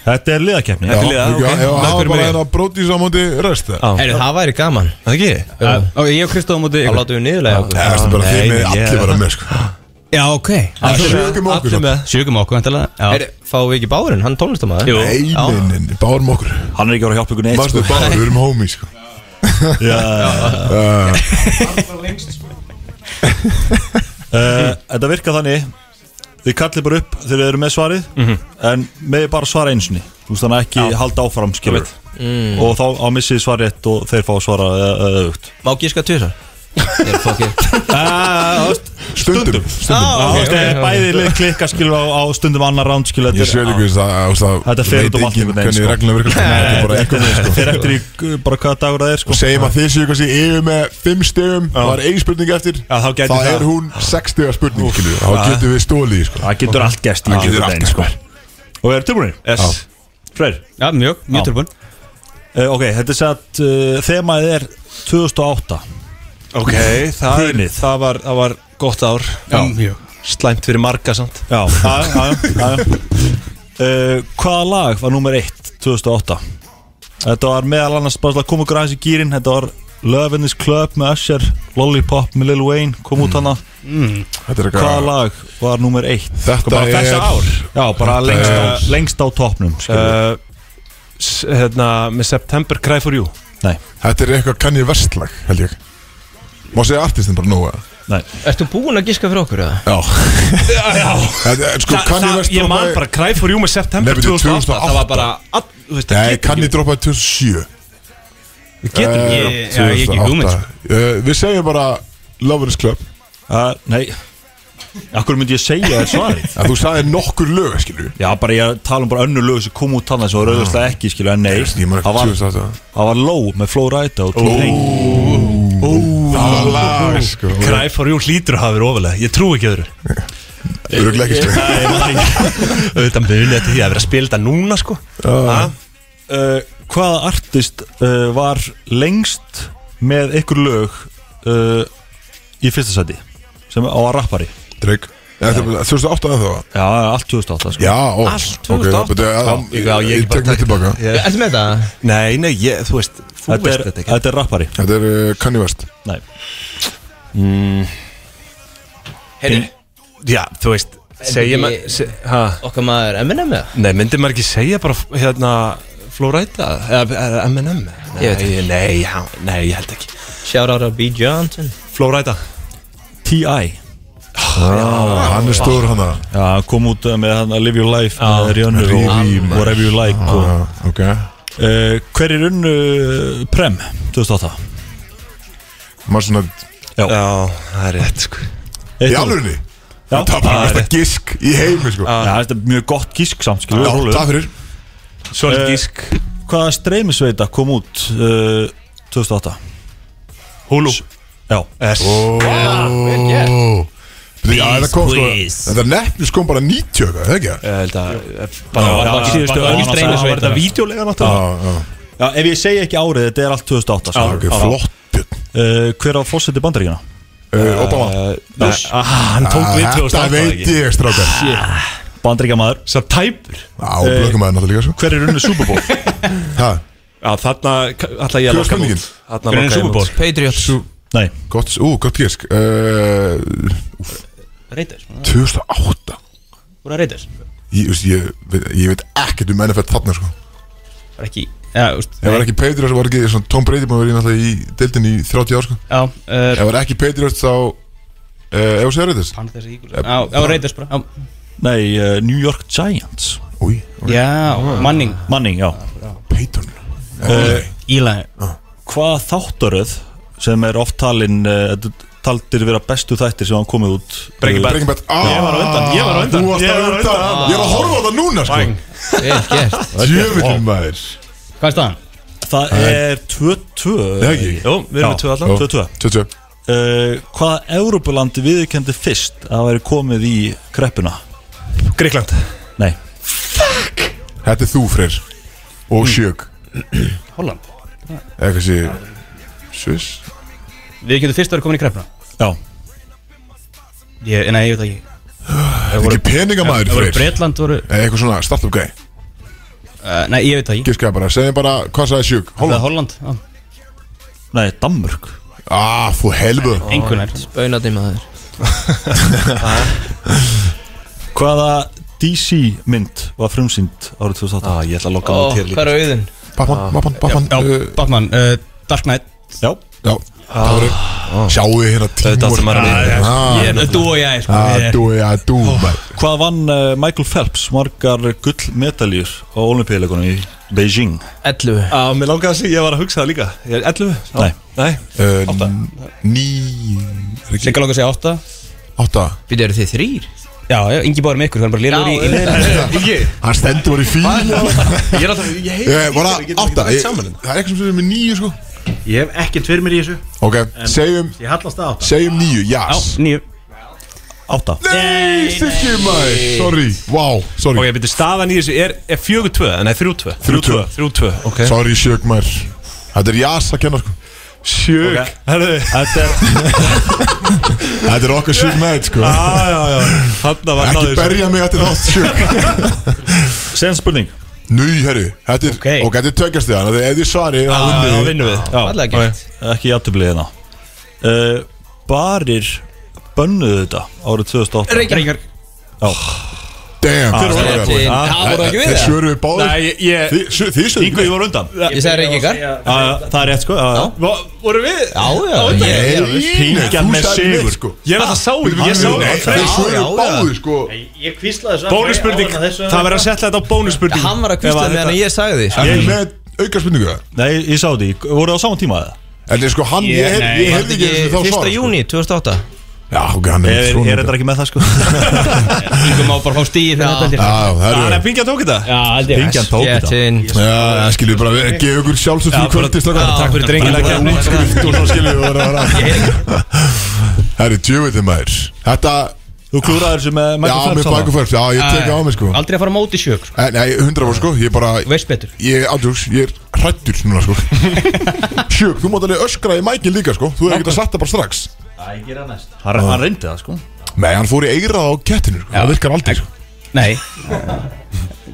Speaker 4: Þetta er liðakefni
Speaker 2: Þetta er liða, ok. Já,
Speaker 4: Með
Speaker 2: það var
Speaker 4: hverjum
Speaker 2: bara
Speaker 4: byrjum?
Speaker 2: hérna brótis á móti rest
Speaker 9: Heyrðu, það væri gaman
Speaker 10: Það ekki?
Speaker 3: Uh, Ok, ég og Kristóð á móti
Speaker 9: Það látum við niðurlega okkur.
Speaker 2: Það er bara
Speaker 9: Nei,
Speaker 2: þið með
Speaker 9: ég-
Speaker 2: allir vera með sko
Speaker 3: Já, ok
Speaker 2: Sjögum okkur sko. samt.
Speaker 3: Sjögum okkur,
Speaker 9: Heyrðu,
Speaker 3: veintilega
Speaker 9: Fáum við ekki báðurinn, hann tónlistamæður
Speaker 2: Nei, nei, nei, nei, bárum okkur
Speaker 4: Hann er ekki að vera að hjálpa ykkur neitt
Speaker 2: Varstu bárum, við erum homies sko Já
Speaker 4: Eh, Þetta virka þannig Þið kallið bara upp þegar þið eru með svarið En með bara svara einsinni Þú veist þannig að ekki halda áfram skilur Og þá á missið svarið eitt Og þeir fá að svara eh, öðugt
Speaker 9: Má gíska tvisar Ég er fokkið
Speaker 4: Ah,
Speaker 2: Stundum Stundum
Speaker 4: okay, okay, Ah, Bæði lið klikka skilur á, á stundum annar ránd skilur
Speaker 2: Ég sé líka þess að ást
Speaker 4: Þetta
Speaker 2: að
Speaker 4: fer út
Speaker 2: veit
Speaker 4: um allt
Speaker 2: enginn
Speaker 4: einhvern veginn,
Speaker 2: hvernig regluna
Speaker 4: sko.
Speaker 2: virkar sko. Þetta er bara
Speaker 4: Þetta
Speaker 2: eitthvað
Speaker 4: er-
Speaker 2: sko.
Speaker 4: Fer eftir í uh, bara hvaða dagur það er sko
Speaker 2: Og segjum að þið séu kannski yfir með 5 stegum Það er ein spurning eftir
Speaker 4: Já, þá gæti
Speaker 2: Það
Speaker 4: það.
Speaker 2: er hún 6 stegar spurning skilur við. Þá getum við stólið í, sko.
Speaker 4: Það getur allt gæst í
Speaker 2: Það getur
Speaker 4: einhvern
Speaker 2: allt
Speaker 4: veginn,
Speaker 2: gæst,
Speaker 4: sko. Og eru tilbúinir?
Speaker 10: Yes.
Speaker 4: Freyr
Speaker 3: Já, mjög, mjög tilbúin
Speaker 4: uh, Ok, þetta er satt uh, Þemaðið er 2008
Speaker 10: Ok, það, er,
Speaker 4: Hrunið.
Speaker 10: það, var, það var gott ár Mm.
Speaker 3: mjög
Speaker 10: Slæmt fyrir marga samt
Speaker 4: Já, já, já, já, já. Uh, Hvaða lag var nummer 1 2008? Þetta var meðal annars bara til að koma okkur aðeins í gýrin Þetta var Love in this club með Usher Lollipop með Lil Wayne kom út hana
Speaker 2: Þetta er
Speaker 4: Hvaða
Speaker 2: eitthvað
Speaker 4: lag var nummer 1?
Speaker 2: Þetta
Speaker 4: Sko, bara
Speaker 2: er
Speaker 10: Eh,
Speaker 4: þessi ár Já, bara
Speaker 2: Þetta
Speaker 4: lengst á,
Speaker 2: er-
Speaker 4: Eh, lengst á topnum uh,
Speaker 10: uh, s- hérna, Með September Cry for You
Speaker 4: Nei,
Speaker 2: Þetta er eitthvað kannið vestlag held ég Má segja artistin bara nú eða?
Speaker 4: nei
Speaker 9: Ertu búinn að gíska fyrir okkur eða?
Speaker 2: Já Þetta er- Sko
Speaker 10: Þa,
Speaker 2: kannið
Speaker 10: það, ég man bara
Speaker 2: vestlag
Speaker 10: Cry for You með September
Speaker 2: Nei, byrju,
Speaker 10: 2008.
Speaker 2: 2008.
Speaker 10: Það var bara all, þú veist, það
Speaker 2: Nei,
Speaker 10: getur
Speaker 2: kannið
Speaker 10: ekki-
Speaker 2: droppaði 2007
Speaker 10: Við getum
Speaker 2: Eh,
Speaker 10: ekki
Speaker 3: Ég- já, ég ekki hugmynd,
Speaker 2: 2008. Eh, Við segjum bara Lovers Club
Speaker 4: uh, Nei Akkur myndi ég segja þér svarið
Speaker 2: að Þú sagði nokkur lög skilur
Speaker 4: Já, bara ég tala um bara önnur lög sem kom út þannig sem var auðvitað ekki, skilja, en nei
Speaker 2: Ah. Ég man
Speaker 4: Það
Speaker 2: ekki
Speaker 4: var,
Speaker 2: 2008
Speaker 4: það var Low með Flow Rida og Too Pain
Speaker 2: Það var lag sko
Speaker 10: Cry for You hlýtur að hafa verið ofalega Ég trú ekki öðru
Speaker 2: Örugglega ekki, sko.
Speaker 10: Nei, ég man það ekki. Auðvitað muni þetta því að vera að spila þetta núna sko Ha?
Speaker 4: uh, Hvaða artist uh, var lengst með ykkur lög uh, í fyrsta sæti sem á að rappari
Speaker 2: Drake Þetta er 2008 að það var
Speaker 4: Já, allt 2008 sko.
Speaker 2: Já, ó
Speaker 10: Allt
Speaker 2: ok,
Speaker 10: 2008.
Speaker 2: þá byrju, já,
Speaker 10: Já,
Speaker 2: já,
Speaker 10: já, ég
Speaker 2: Ég
Speaker 10: bara
Speaker 2: tek mig
Speaker 10: tek-
Speaker 2: tilbaka
Speaker 10: Ég-
Speaker 9: Ertu með þetta?
Speaker 10: Nei, nei, ég, þú veist Þú
Speaker 4: þetta,
Speaker 10: veist
Speaker 4: er,
Speaker 10: þetta ekki
Speaker 4: þetta er rappari
Speaker 2: Þetta er eh, Kanye West
Speaker 4: Nei.
Speaker 9: Heyrðu,
Speaker 10: Já, þú veist Segja
Speaker 9: ekki-
Speaker 10: maður se- ha?
Speaker 9: okkar maður Eminem eða?
Speaker 10: Nei, myndi maður ekki segja bara hérna Florida eða eða M&M Nei,
Speaker 9: Ég veit ekki.
Speaker 10: nei, já, nei, ég held ekki
Speaker 9: Shout out to B. Johnson
Speaker 10: Florida
Speaker 4: T.I.
Speaker 2: ah, Hann er stór hann að
Speaker 4: Já, hann kom út uh, með hann að Live Your Life
Speaker 10: Já.
Speaker 4: með Rihanna
Speaker 2: Riri,
Speaker 4: og
Speaker 2: maður.
Speaker 4: Whatever You Like og,
Speaker 2: ah, Ok
Speaker 4: uh, Hver er unnu uh, Prem 2008?
Speaker 2: Maður svona
Speaker 10: Já, það er rétt sko
Speaker 2: Í alvörinni
Speaker 4: Já,
Speaker 2: Það var bara
Speaker 4: það er Ah,
Speaker 2: mesta gisk í heimi sko
Speaker 10: Ah.
Speaker 4: Já, þetta er mjög gott gísk samt skilur
Speaker 2: Já,
Speaker 4: við, Rúlu.
Speaker 2: það fyrir
Speaker 10: Svolítið
Speaker 4: Eh,
Speaker 10: gísk
Speaker 4: Hvaða streymisveita kom út uh, 2008?
Speaker 10: Hulu
Speaker 4: Já, Oh.
Speaker 10: S
Speaker 2: Ó Byrju, Já, þetta kom sko
Speaker 9: Please.
Speaker 2: Þetta nefnist kom bara 90 eitthvað, eða ekki?
Speaker 10: Ég held að Bara
Speaker 4: var það ekki síðustu
Speaker 10: var það
Speaker 4: öld
Speaker 10: ekki streyna
Speaker 4: streymisveita?
Speaker 10: Var þetta vídeolega
Speaker 2: Já,
Speaker 10: náttúrulega
Speaker 2: já
Speaker 4: Já, ef ég segi ekki árið, þetta er allt
Speaker 2: ah.
Speaker 4: 2008
Speaker 2: Það er
Speaker 4: sko.
Speaker 2: ekki flott Björn
Speaker 4: uh, Hver á fórseti bandaríkina?
Speaker 2: Eh, Obama
Speaker 10: Nei, ah, Hann tók
Speaker 2: Ah,
Speaker 10: við til og
Speaker 2: Þetta
Speaker 10: stoppaði
Speaker 2: veit
Speaker 10: ekki
Speaker 2: ég strákar
Speaker 4: Bandaríkjamaður
Speaker 10: Svo tæpur
Speaker 2: Á, blökum aðeins náttúrulega sko
Speaker 4: Hver er unni Super Bowl?
Speaker 2: Ha,
Speaker 10: Já, þarna ætla ég
Speaker 2: Hver
Speaker 10: að
Speaker 2: var spurningin?
Speaker 10: loka mút Þarna
Speaker 3: Hver er
Speaker 10: loka ég
Speaker 3: Super Bowl?
Speaker 10: mút Patriots
Speaker 4: Nei,
Speaker 2: gott, ú, gott gisk uh,
Speaker 3: Reiters, hún
Speaker 2: 2008
Speaker 3: er að Reiters
Speaker 2: Ég, þú veist, ég, veit- ég veit ekkert um NFL þarna sko
Speaker 3: Var ekki Já, úst
Speaker 2: Ef það var ekki Patriots, var ekki svona, Tom Brady búin að vera í náttúrulega í deildinni í 30 ár sko
Speaker 3: Já, uh,
Speaker 2: Ef það var ekki Patriots þá uh, Ef þú segir þetta
Speaker 3: Panthers Eagles Já, já, Raiders bara Já,
Speaker 4: nei uh, New York Giants
Speaker 2: Új,
Speaker 3: já Manning
Speaker 4: Manning, já
Speaker 2: Peyton
Speaker 10: Eh,
Speaker 2: uh,
Speaker 3: Eli
Speaker 4: Hvaða þáttaröð sem er oft talin uh, taldir vera bestu þættir sem hann komið út eh,
Speaker 10: Breaking Bad
Speaker 2: Breaking Bad ah,
Speaker 10: Ég var á undan, ég var á undan,
Speaker 2: Þú varst
Speaker 10: ég
Speaker 2: á
Speaker 10: var á
Speaker 2: undan,
Speaker 10: undan.
Speaker 2: Ég er að horfa á það núna sko
Speaker 9: Vel gert
Speaker 2: Djöfullin maður
Speaker 3: Hvað er staðan?
Speaker 4: Það er 2-2
Speaker 2: Nei, ekki.
Speaker 4: Jú, við erum með 2 allan
Speaker 2: Jó.
Speaker 4: 2-2
Speaker 2: Tjötjö
Speaker 4: uh, Hvaða Evrópulandi viðurkendi fyrst að það væri komið í kreppuna?
Speaker 10: Gríkland
Speaker 4: Nei,
Speaker 2: Þetta er þú freyr
Speaker 10: Hmm.
Speaker 2: Og sjög
Speaker 3: Holland
Speaker 2: Eða kannski Sviss
Speaker 3: Við getum fyrst að vera komin í kreppna
Speaker 4: já
Speaker 3: Ég, nei, ég veit það ekki
Speaker 2: Þetta er ekki peningamæður
Speaker 3: Það voru
Speaker 2: freyr
Speaker 3: Breitland voru
Speaker 2: Eða eitthvað svona startup guy
Speaker 3: Uh, nei, ég veit það ekki
Speaker 2: Giskaði bara, segjum bara, hvað sagði sjúk?
Speaker 3: Holland? Holland, já
Speaker 4: Nei, Danmörk
Speaker 2: Ah, fú helbu
Speaker 3: Engunar
Speaker 9: Spaunaði maður
Speaker 4: Hvaða DC mynd var frumsýnd árið 2008? Ah, ég ætla að lokka
Speaker 9: Ó, Hvað er auðin?
Speaker 10: Ah.
Speaker 2: Batman, Batman, Batman
Speaker 3: Já, Batman, uh, Dark Knight
Speaker 4: Já
Speaker 2: Eh, Já, það voru
Speaker 10: Ah.
Speaker 2: Sjáu þið hérna
Speaker 4: Þetta átti maður að vita.
Speaker 2: að
Speaker 3: Ég- Þú og ég, sko
Speaker 2: Ah,
Speaker 3: ég-
Speaker 2: Þú, já, þú maður.
Speaker 4: Hvað vann uh, Michael Phelps margar gullmedaljur á olimpíuleikunum í Beijing?
Speaker 9: 11
Speaker 10: Á, mér langaði að segja, ég var að hugsa það líka Ég er 11 Já.
Speaker 4: Nei.
Speaker 10: Nei
Speaker 2: Uh, Ný er ekki-
Speaker 3: Sigga langar að segja 8
Speaker 2: Átta
Speaker 9: Býtu eru þið þrýr?
Speaker 3: Já, já, Ingi báður með ykkur, hann er bara lélugur í, í
Speaker 2: Hann stendur bara í fíl
Speaker 10: Ég er alltaf, ég heyri
Speaker 2: Ég var
Speaker 10: Ég
Speaker 2: að
Speaker 10: get ekki
Speaker 2: átta
Speaker 10: rætt
Speaker 2: ég-
Speaker 10: saman hérna.
Speaker 2: Það er eitthvað sem er með nýju sko
Speaker 11: Ég hef ekki tveir mér í þessu
Speaker 2: Ok, segjum
Speaker 11: Ég hallast að átta
Speaker 2: Segjum nýju, jás
Speaker 3: nýju
Speaker 4: Átta
Speaker 2: Nei, styrkir maður Sorry, wow,
Speaker 10: Ok,
Speaker 2: sorry
Speaker 10: byrju, staðan í þessu er, er 4-2, en það er 3-2
Speaker 2: 3-2.
Speaker 10: 3-2, ok
Speaker 2: Sorry, sjök maður Þetta er jás að kenna sko
Speaker 10: Sjög okay. Herðu Þetta er
Speaker 2: Þetta er okkar sjök maður sko
Speaker 10: Já, já, já Hanna var
Speaker 2: Ekki berja mig eftir þátt sjök
Speaker 4: Sen spurning
Speaker 2: Nú, herru, þetta er,
Speaker 3: Ok.
Speaker 2: okay. og þetta er tökjast þér, þannig að ef þið svarið, þá
Speaker 10: Já,
Speaker 2: vinnum við.
Speaker 10: vinnum við
Speaker 4: Ah, Já,
Speaker 9: Fallega gert.
Speaker 4: ok. Ekki játtublið hérna uh, Barir bönnuðu þetta árið 2008
Speaker 3: Reykjavík
Speaker 2: Damn,
Speaker 4: Ah,
Speaker 2: þeir voru
Speaker 9: þetta
Speaker 2: verið.
Speaker 9: er-
Speaker 2: Ah,
Speaker 3: voru ekki við
Speaker 2: Þeir
Speaker 3: það?
Speaker 2: svöruðu báðir.
Speaker 10: Nei, ég, ég
Speaker 2: Þið svö- þið
Speaker 4: Ingu, ég
Speaker 2: svöruðu.
Speaker 4: var undan Já,
Speaker 9: Ég sagði reykingar Já,
Speaker 4: já, Það er rétt sko já, já.
Speaker 10: Voru við?
Speaker 9: já ég-
Speaker 2: Nei,
Speaker 9: ég-
Speaker 4: Pingjan
Speaker 2: þú
Speaker 4: með
Speaker 2: sagðir
Speaker 4: sigur.
Speaker 2: mig, sko.
Speaker 10: Ég er alltaf sá
Speaker 2: Nei,
Speaker 10: ykkur, Ég sá
Speaker 2: Þeir
Speaker 10: ykkur
Speaker 2: svöruðu
Speaker 9: já, já.
Speaker 2: báðir, sko.
Speaker 11: Ég kvíslaði þessu
Speaker 10: Bónusspurning Það verður að setja þetta á bónusspurning
Speaker 9: Hann var að kvista
Speaker 4: Ef að
Speaker 9: meðan
Speaker 4: þetta-
Speaker 9: ég sagði því sko.
Speaker 2: Ég er með auka spurningu það.
Speaker 4: Nei, ég sá því Voru það á saman tíma eða?
Speaker 2: En þeir sko, hann, ég
Speaker 3: Ég-
Speaker 2: heyrði-
Speaker 3: nei,
Speaker 2: ég
Speaker 9: Var
Speaker 2: heyrði
Speaker 9: þetta
Speaker 2: ekki einu sinni þá
Speaker 9: ekki
Speaker 2: svar.
Speaker 9: 1. júni 2008
Speaker 2: sko. Já, ok, hann
Speaker 4: Er,
Speaker 2: er svona.
Speaker 4: er þetta ekki með það sko?
Speaker 3: Ingi má bara fá stíði fyrir þetta heldur.
Speaker 2: Já, það
Speaker 10: Þannig að
Speaker 2: eru.
Speaker 10: Pingja tók þetta
Speaker 3: Já, held ég
Speaker 4: Pingjan tók
Speaker 9: Get
Speaker 4: þetta
Speaker 9: in
Speaker 2: Já, það skilur bara, við- gefa ykkur sjálfsögt fyrir kvöldi, slakar.
Speaker 10: Takk fyrir drengilega kemni
Speaker 2: Útskrift og svo skilur við að vera. Herri, djöfullinn, maður. Þetta,
Speaker 4: Þú klúraði þessu með
Speaker 2: já,
Speaker 4: Michael
Speaker 2: með
Speaker 4: Phelps
Speaker 2: Michael
Speaker 4: hana
Speaker 2: Phelps, já, ég tek á mig, sko.
Speaker 3: Aldrei að fara á móti sjök sko.
Speaker 2: Eh, Nei, hundra var sko, ég bara
Speaker 3: Þú veist betur
Speaker 2: Ég, aldjúks, ég er hrættur núna sko Sjög, þú mátt alveg öskra í mækin líka sko Þú hefur ekkert að sagt það bara strax
Speaker 11: Það ég gera næst
Speaker 4: Hann hann reyndi það sko
Speaker 2: Nei, hann fór í eirað á kettinu sko. Það virkar aldrei sko
Speaker 3: Nei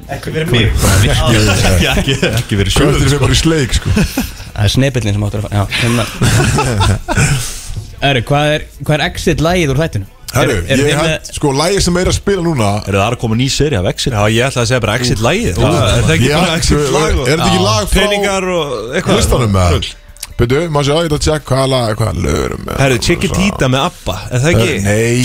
Speaker 11: Ekki fyrir mig
Speaker 4: Ekki, ekki, ekki verið sjöður
Speaker 2: Köttir sem bara í sleik sko
Speaker 3: Það er sneipillin sem áttur að fara Já, hérna Erri, hvað er, hvað er exit lagið úr þættinu?
Speaker 2: Herru,
Speaker 3: er,
Speaker 2: ég held, sko, lægi sem er að spila núna
Speaker 4: Er það að koma ný seri af Exit?
Speaker 10: Já, ég ætla að segja bara exit lagið Já, Er það ekki
Speaker 2: Ég-
Speaker 10: bara exit
Speaker 2: Er
Speaker 10: lag
Speaker 2: er þetta ekki lag frá
Speaker 10: Peningar og eitthvað
Speaker 2: listanum með það? Byrju, maður sé að ég ætla að tjekka hvaða lag, hvaða lögur með
Speaker 10: Herru, Chicky Tita með Abba Er það ekki?
Speaker 2: Nei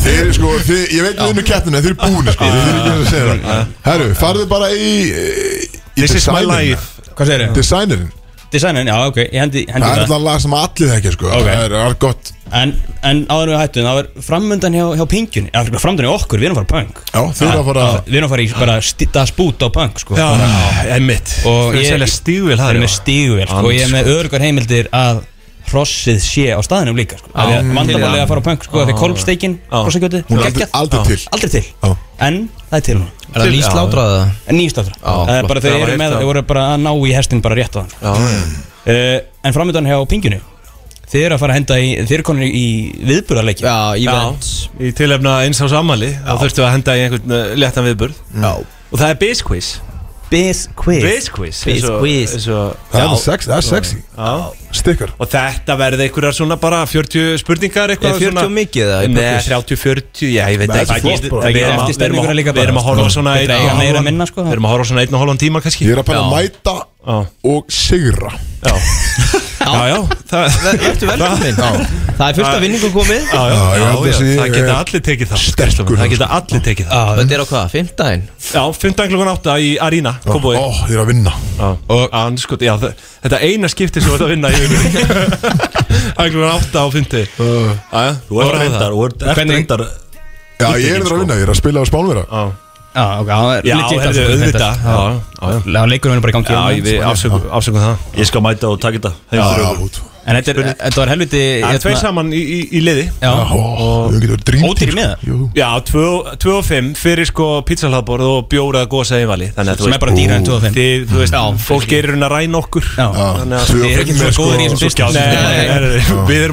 Speaker 2: Þeir eru sko, þeir, ég veit við unnu kettinu Þeir eru búin
Speaker 10: Ah.
Speaker 2: sko, þeir eru ekki að segja það Herru, farðu bara í, í, í
Speaker 10: This is my
Speaker 2: designinn.
Speaker 10: life
Speaker 3: Hvað segir þið?
Speaker 2: Designerinn
Speaker 3: Designin, já, ok, ég hendi, hendi
Speaker 2: Það er
Speaker 3: það
Speaker 2: alltaf lag sem allir þekkja sko
Speaker 3: Ok.
Speaker 2: Það er allt gott
Speaker 3: En, en áður en við hættum, þá er framöndan hjá, hjá pingjunni Já, framöndan hjá okkur, við erum að fara punk
Speaker 2: Já, þú eru að fara
Speaker 10: Ah.
Speaker 3: Við erum að fara í bara stýta spút á punk, sko
Speaker 10: Emmitt
Speaker 3: Og
Speaker 10: Ég
Speaker 3: ég-
Speaker 10: selja stígvél
Speaker 3: Það
Speaker 10: það
Speaker 3: er með stíguvel, sko Og ég er með örugar heimildir að hrossið sé á staðinum líka, sko Af því að Vandamálið að fara á punk, sko, af því að kolbsteikin, hrossakjötið
Speaker 2: Hún er
Speaker 3: geggjað.
Speaker 2: aldrei- aldrei til.
Speaker 3: Aldrei til
Speaker 2: Já.
Speaker 3: En það er til núna
Speaker 9: Er það nýslátraða það?
Speaker 3: En nýjastáttra Það er bara þau
Speaker 10: Það var
Speaker 3: eru
Speaker 10: eitt
Speaker 3: með
Speaker 10: af-
Speaker 3: Þau voru bara að ná í hestin bara rétt á þann
Speaker 9: Mm.
Speaker 3: uh, En framöndan hjá pingjunni Þið eru að fara að henda í Þið eru konir í viðburðarleiki
Speaker 9: Já, event
Speaker 10: Já, í tilefna eins ás ammali þá þurftu að henda í einhvern uh, léttan viðburð
Speaker 9: Já
Speaker 10: og það er Biz Quiz
Speaker 3: Biz quiz
Speaker 10: Biz Quiz
Speaker 9: Biz
Speaker 10: eins og-
Speaker 9: Quiz.
Speaker 10: eins og-
Speaker 2: Það er
Speaker 10: Já,
Speaker 2: nú sex, það er sexy Stikkar
Speaker 10: og þetta verði einhverjar svona bara 40 spurningar
Speaker 9: Er
Speaker 10: eitthvað
Speaker 9: 40 og mikið það? í
Speaker 10: Nei,
Speaker 9: Bókus?
Speaker 10: 30-40, já, ég veit
Speaker 2: Það er
Speaker 10: ekki
Speaker 2: ekki flott, bara.
Speaker 10: Við erum
Speaker 3: Eftir
Speaker 10: að- við erum að-
Speaker 3: stemninguna líka
Speaker 10: Við erum að
Speaker 3: bara.
Speaker 10: horfa á svona
Speaker 3: Þetta
Speaker 10: einn
Speaker 3: eiga
Speaker 10: og
Speaker 3: meira
Speaker 10: hálfan-
Speaker 3: að minna, sko.
Speaker 10: Við erum að horfa á svona einn og hálfan tíma kannski
Speaker 2: Ég er að pæla að mæta
Speaker 10: Já.
Speaker 2: og sigra
Speaker 10: Já, já, já það-
Speaker 9: Vertu velkomin Það er fullt af vinningum komið
Speaker 10: Já, já,
Speaker 2: Já, ég held að
Speaker 10: já,
Speaker 2: sé-
Speaker 10: það geta allir tekið það
Speaker 2: Sterkur.
Speaker 10: Það geta allir tekið það
Speaker 9: Þetta er á hvað? Fymtdæðin?
Speaker 10: Já, 15 klukkan 8 í Arena,
Speaker 2: Ó,
Speaker 10: komboði
Speaker 2: ég er að vinna
Speaker 10: og anskot, já, þa- þetta eina skipti sem þú ert að vinna í vikunni Það er klukkan 8 á fyndi Aja,
Speaker 4: Þú ert reyndar, þú ert ert
Speaker 3: Hvernig-
Speaker 4: reyndar
Speaker 2: Já, ég er að vinna, ég er að spila á spánvera
Speaker 3: Já, ok, það er
Speaker 10: Já,
Speaker 3: legit
Speaker 10: herðu,
Speaker 3: allt, sko, þetta.
Speaker 10: auðvitað Já, já, já.
Speaker 3: Já, leikurinn er bara í gangi
Speaker 10: Já,
Speaker 3: hérna,
Speaker 10: ég við
Speaker 3: sko.
Speaker 10: afsökum, afsökum það
Speaker 4: Ég skal mæta og taka þetta Heim
Speaker 2: Já,
Speaker 4: fyrir okkur.
Speaker 2: út
Speaker 3: En þetta er- þetta var helviti
Speaker 10: Það er
Speaker 3: hérna,
Speaker 10: tveir saman í, í, í liði
Speaker 3: Já,
Speaker 2: Ó, Við getum verið drýmt
Speaker 3: Ódýr í miða?
Speaker 10: Já, 2 og 5 fyrir sko pizzahlaðborð og bjóra að gósa einvali Þannig að þú
Speaker 3: sem er
Speaker 10: veist,
Speaker 3: bara dýra en 25
Speaker 10: þið, þú veist fólk gerir hún að ræna okkur
Speaker 3: Já,
Speaker 2: Já,
Speaker 10: Þannig að
Speaker 2: tvö og
Speaker 3: þið er ekki
Speaker 2: fimm
Speaker 3: svo
Speaker 2: er sko-
Speaker 3: góðir í þessum
Speaker 2: svo
Speaker 3: business.
Speaker 2: gjálfur.
Speaker 10: Nei, nei, nei, nei, við erum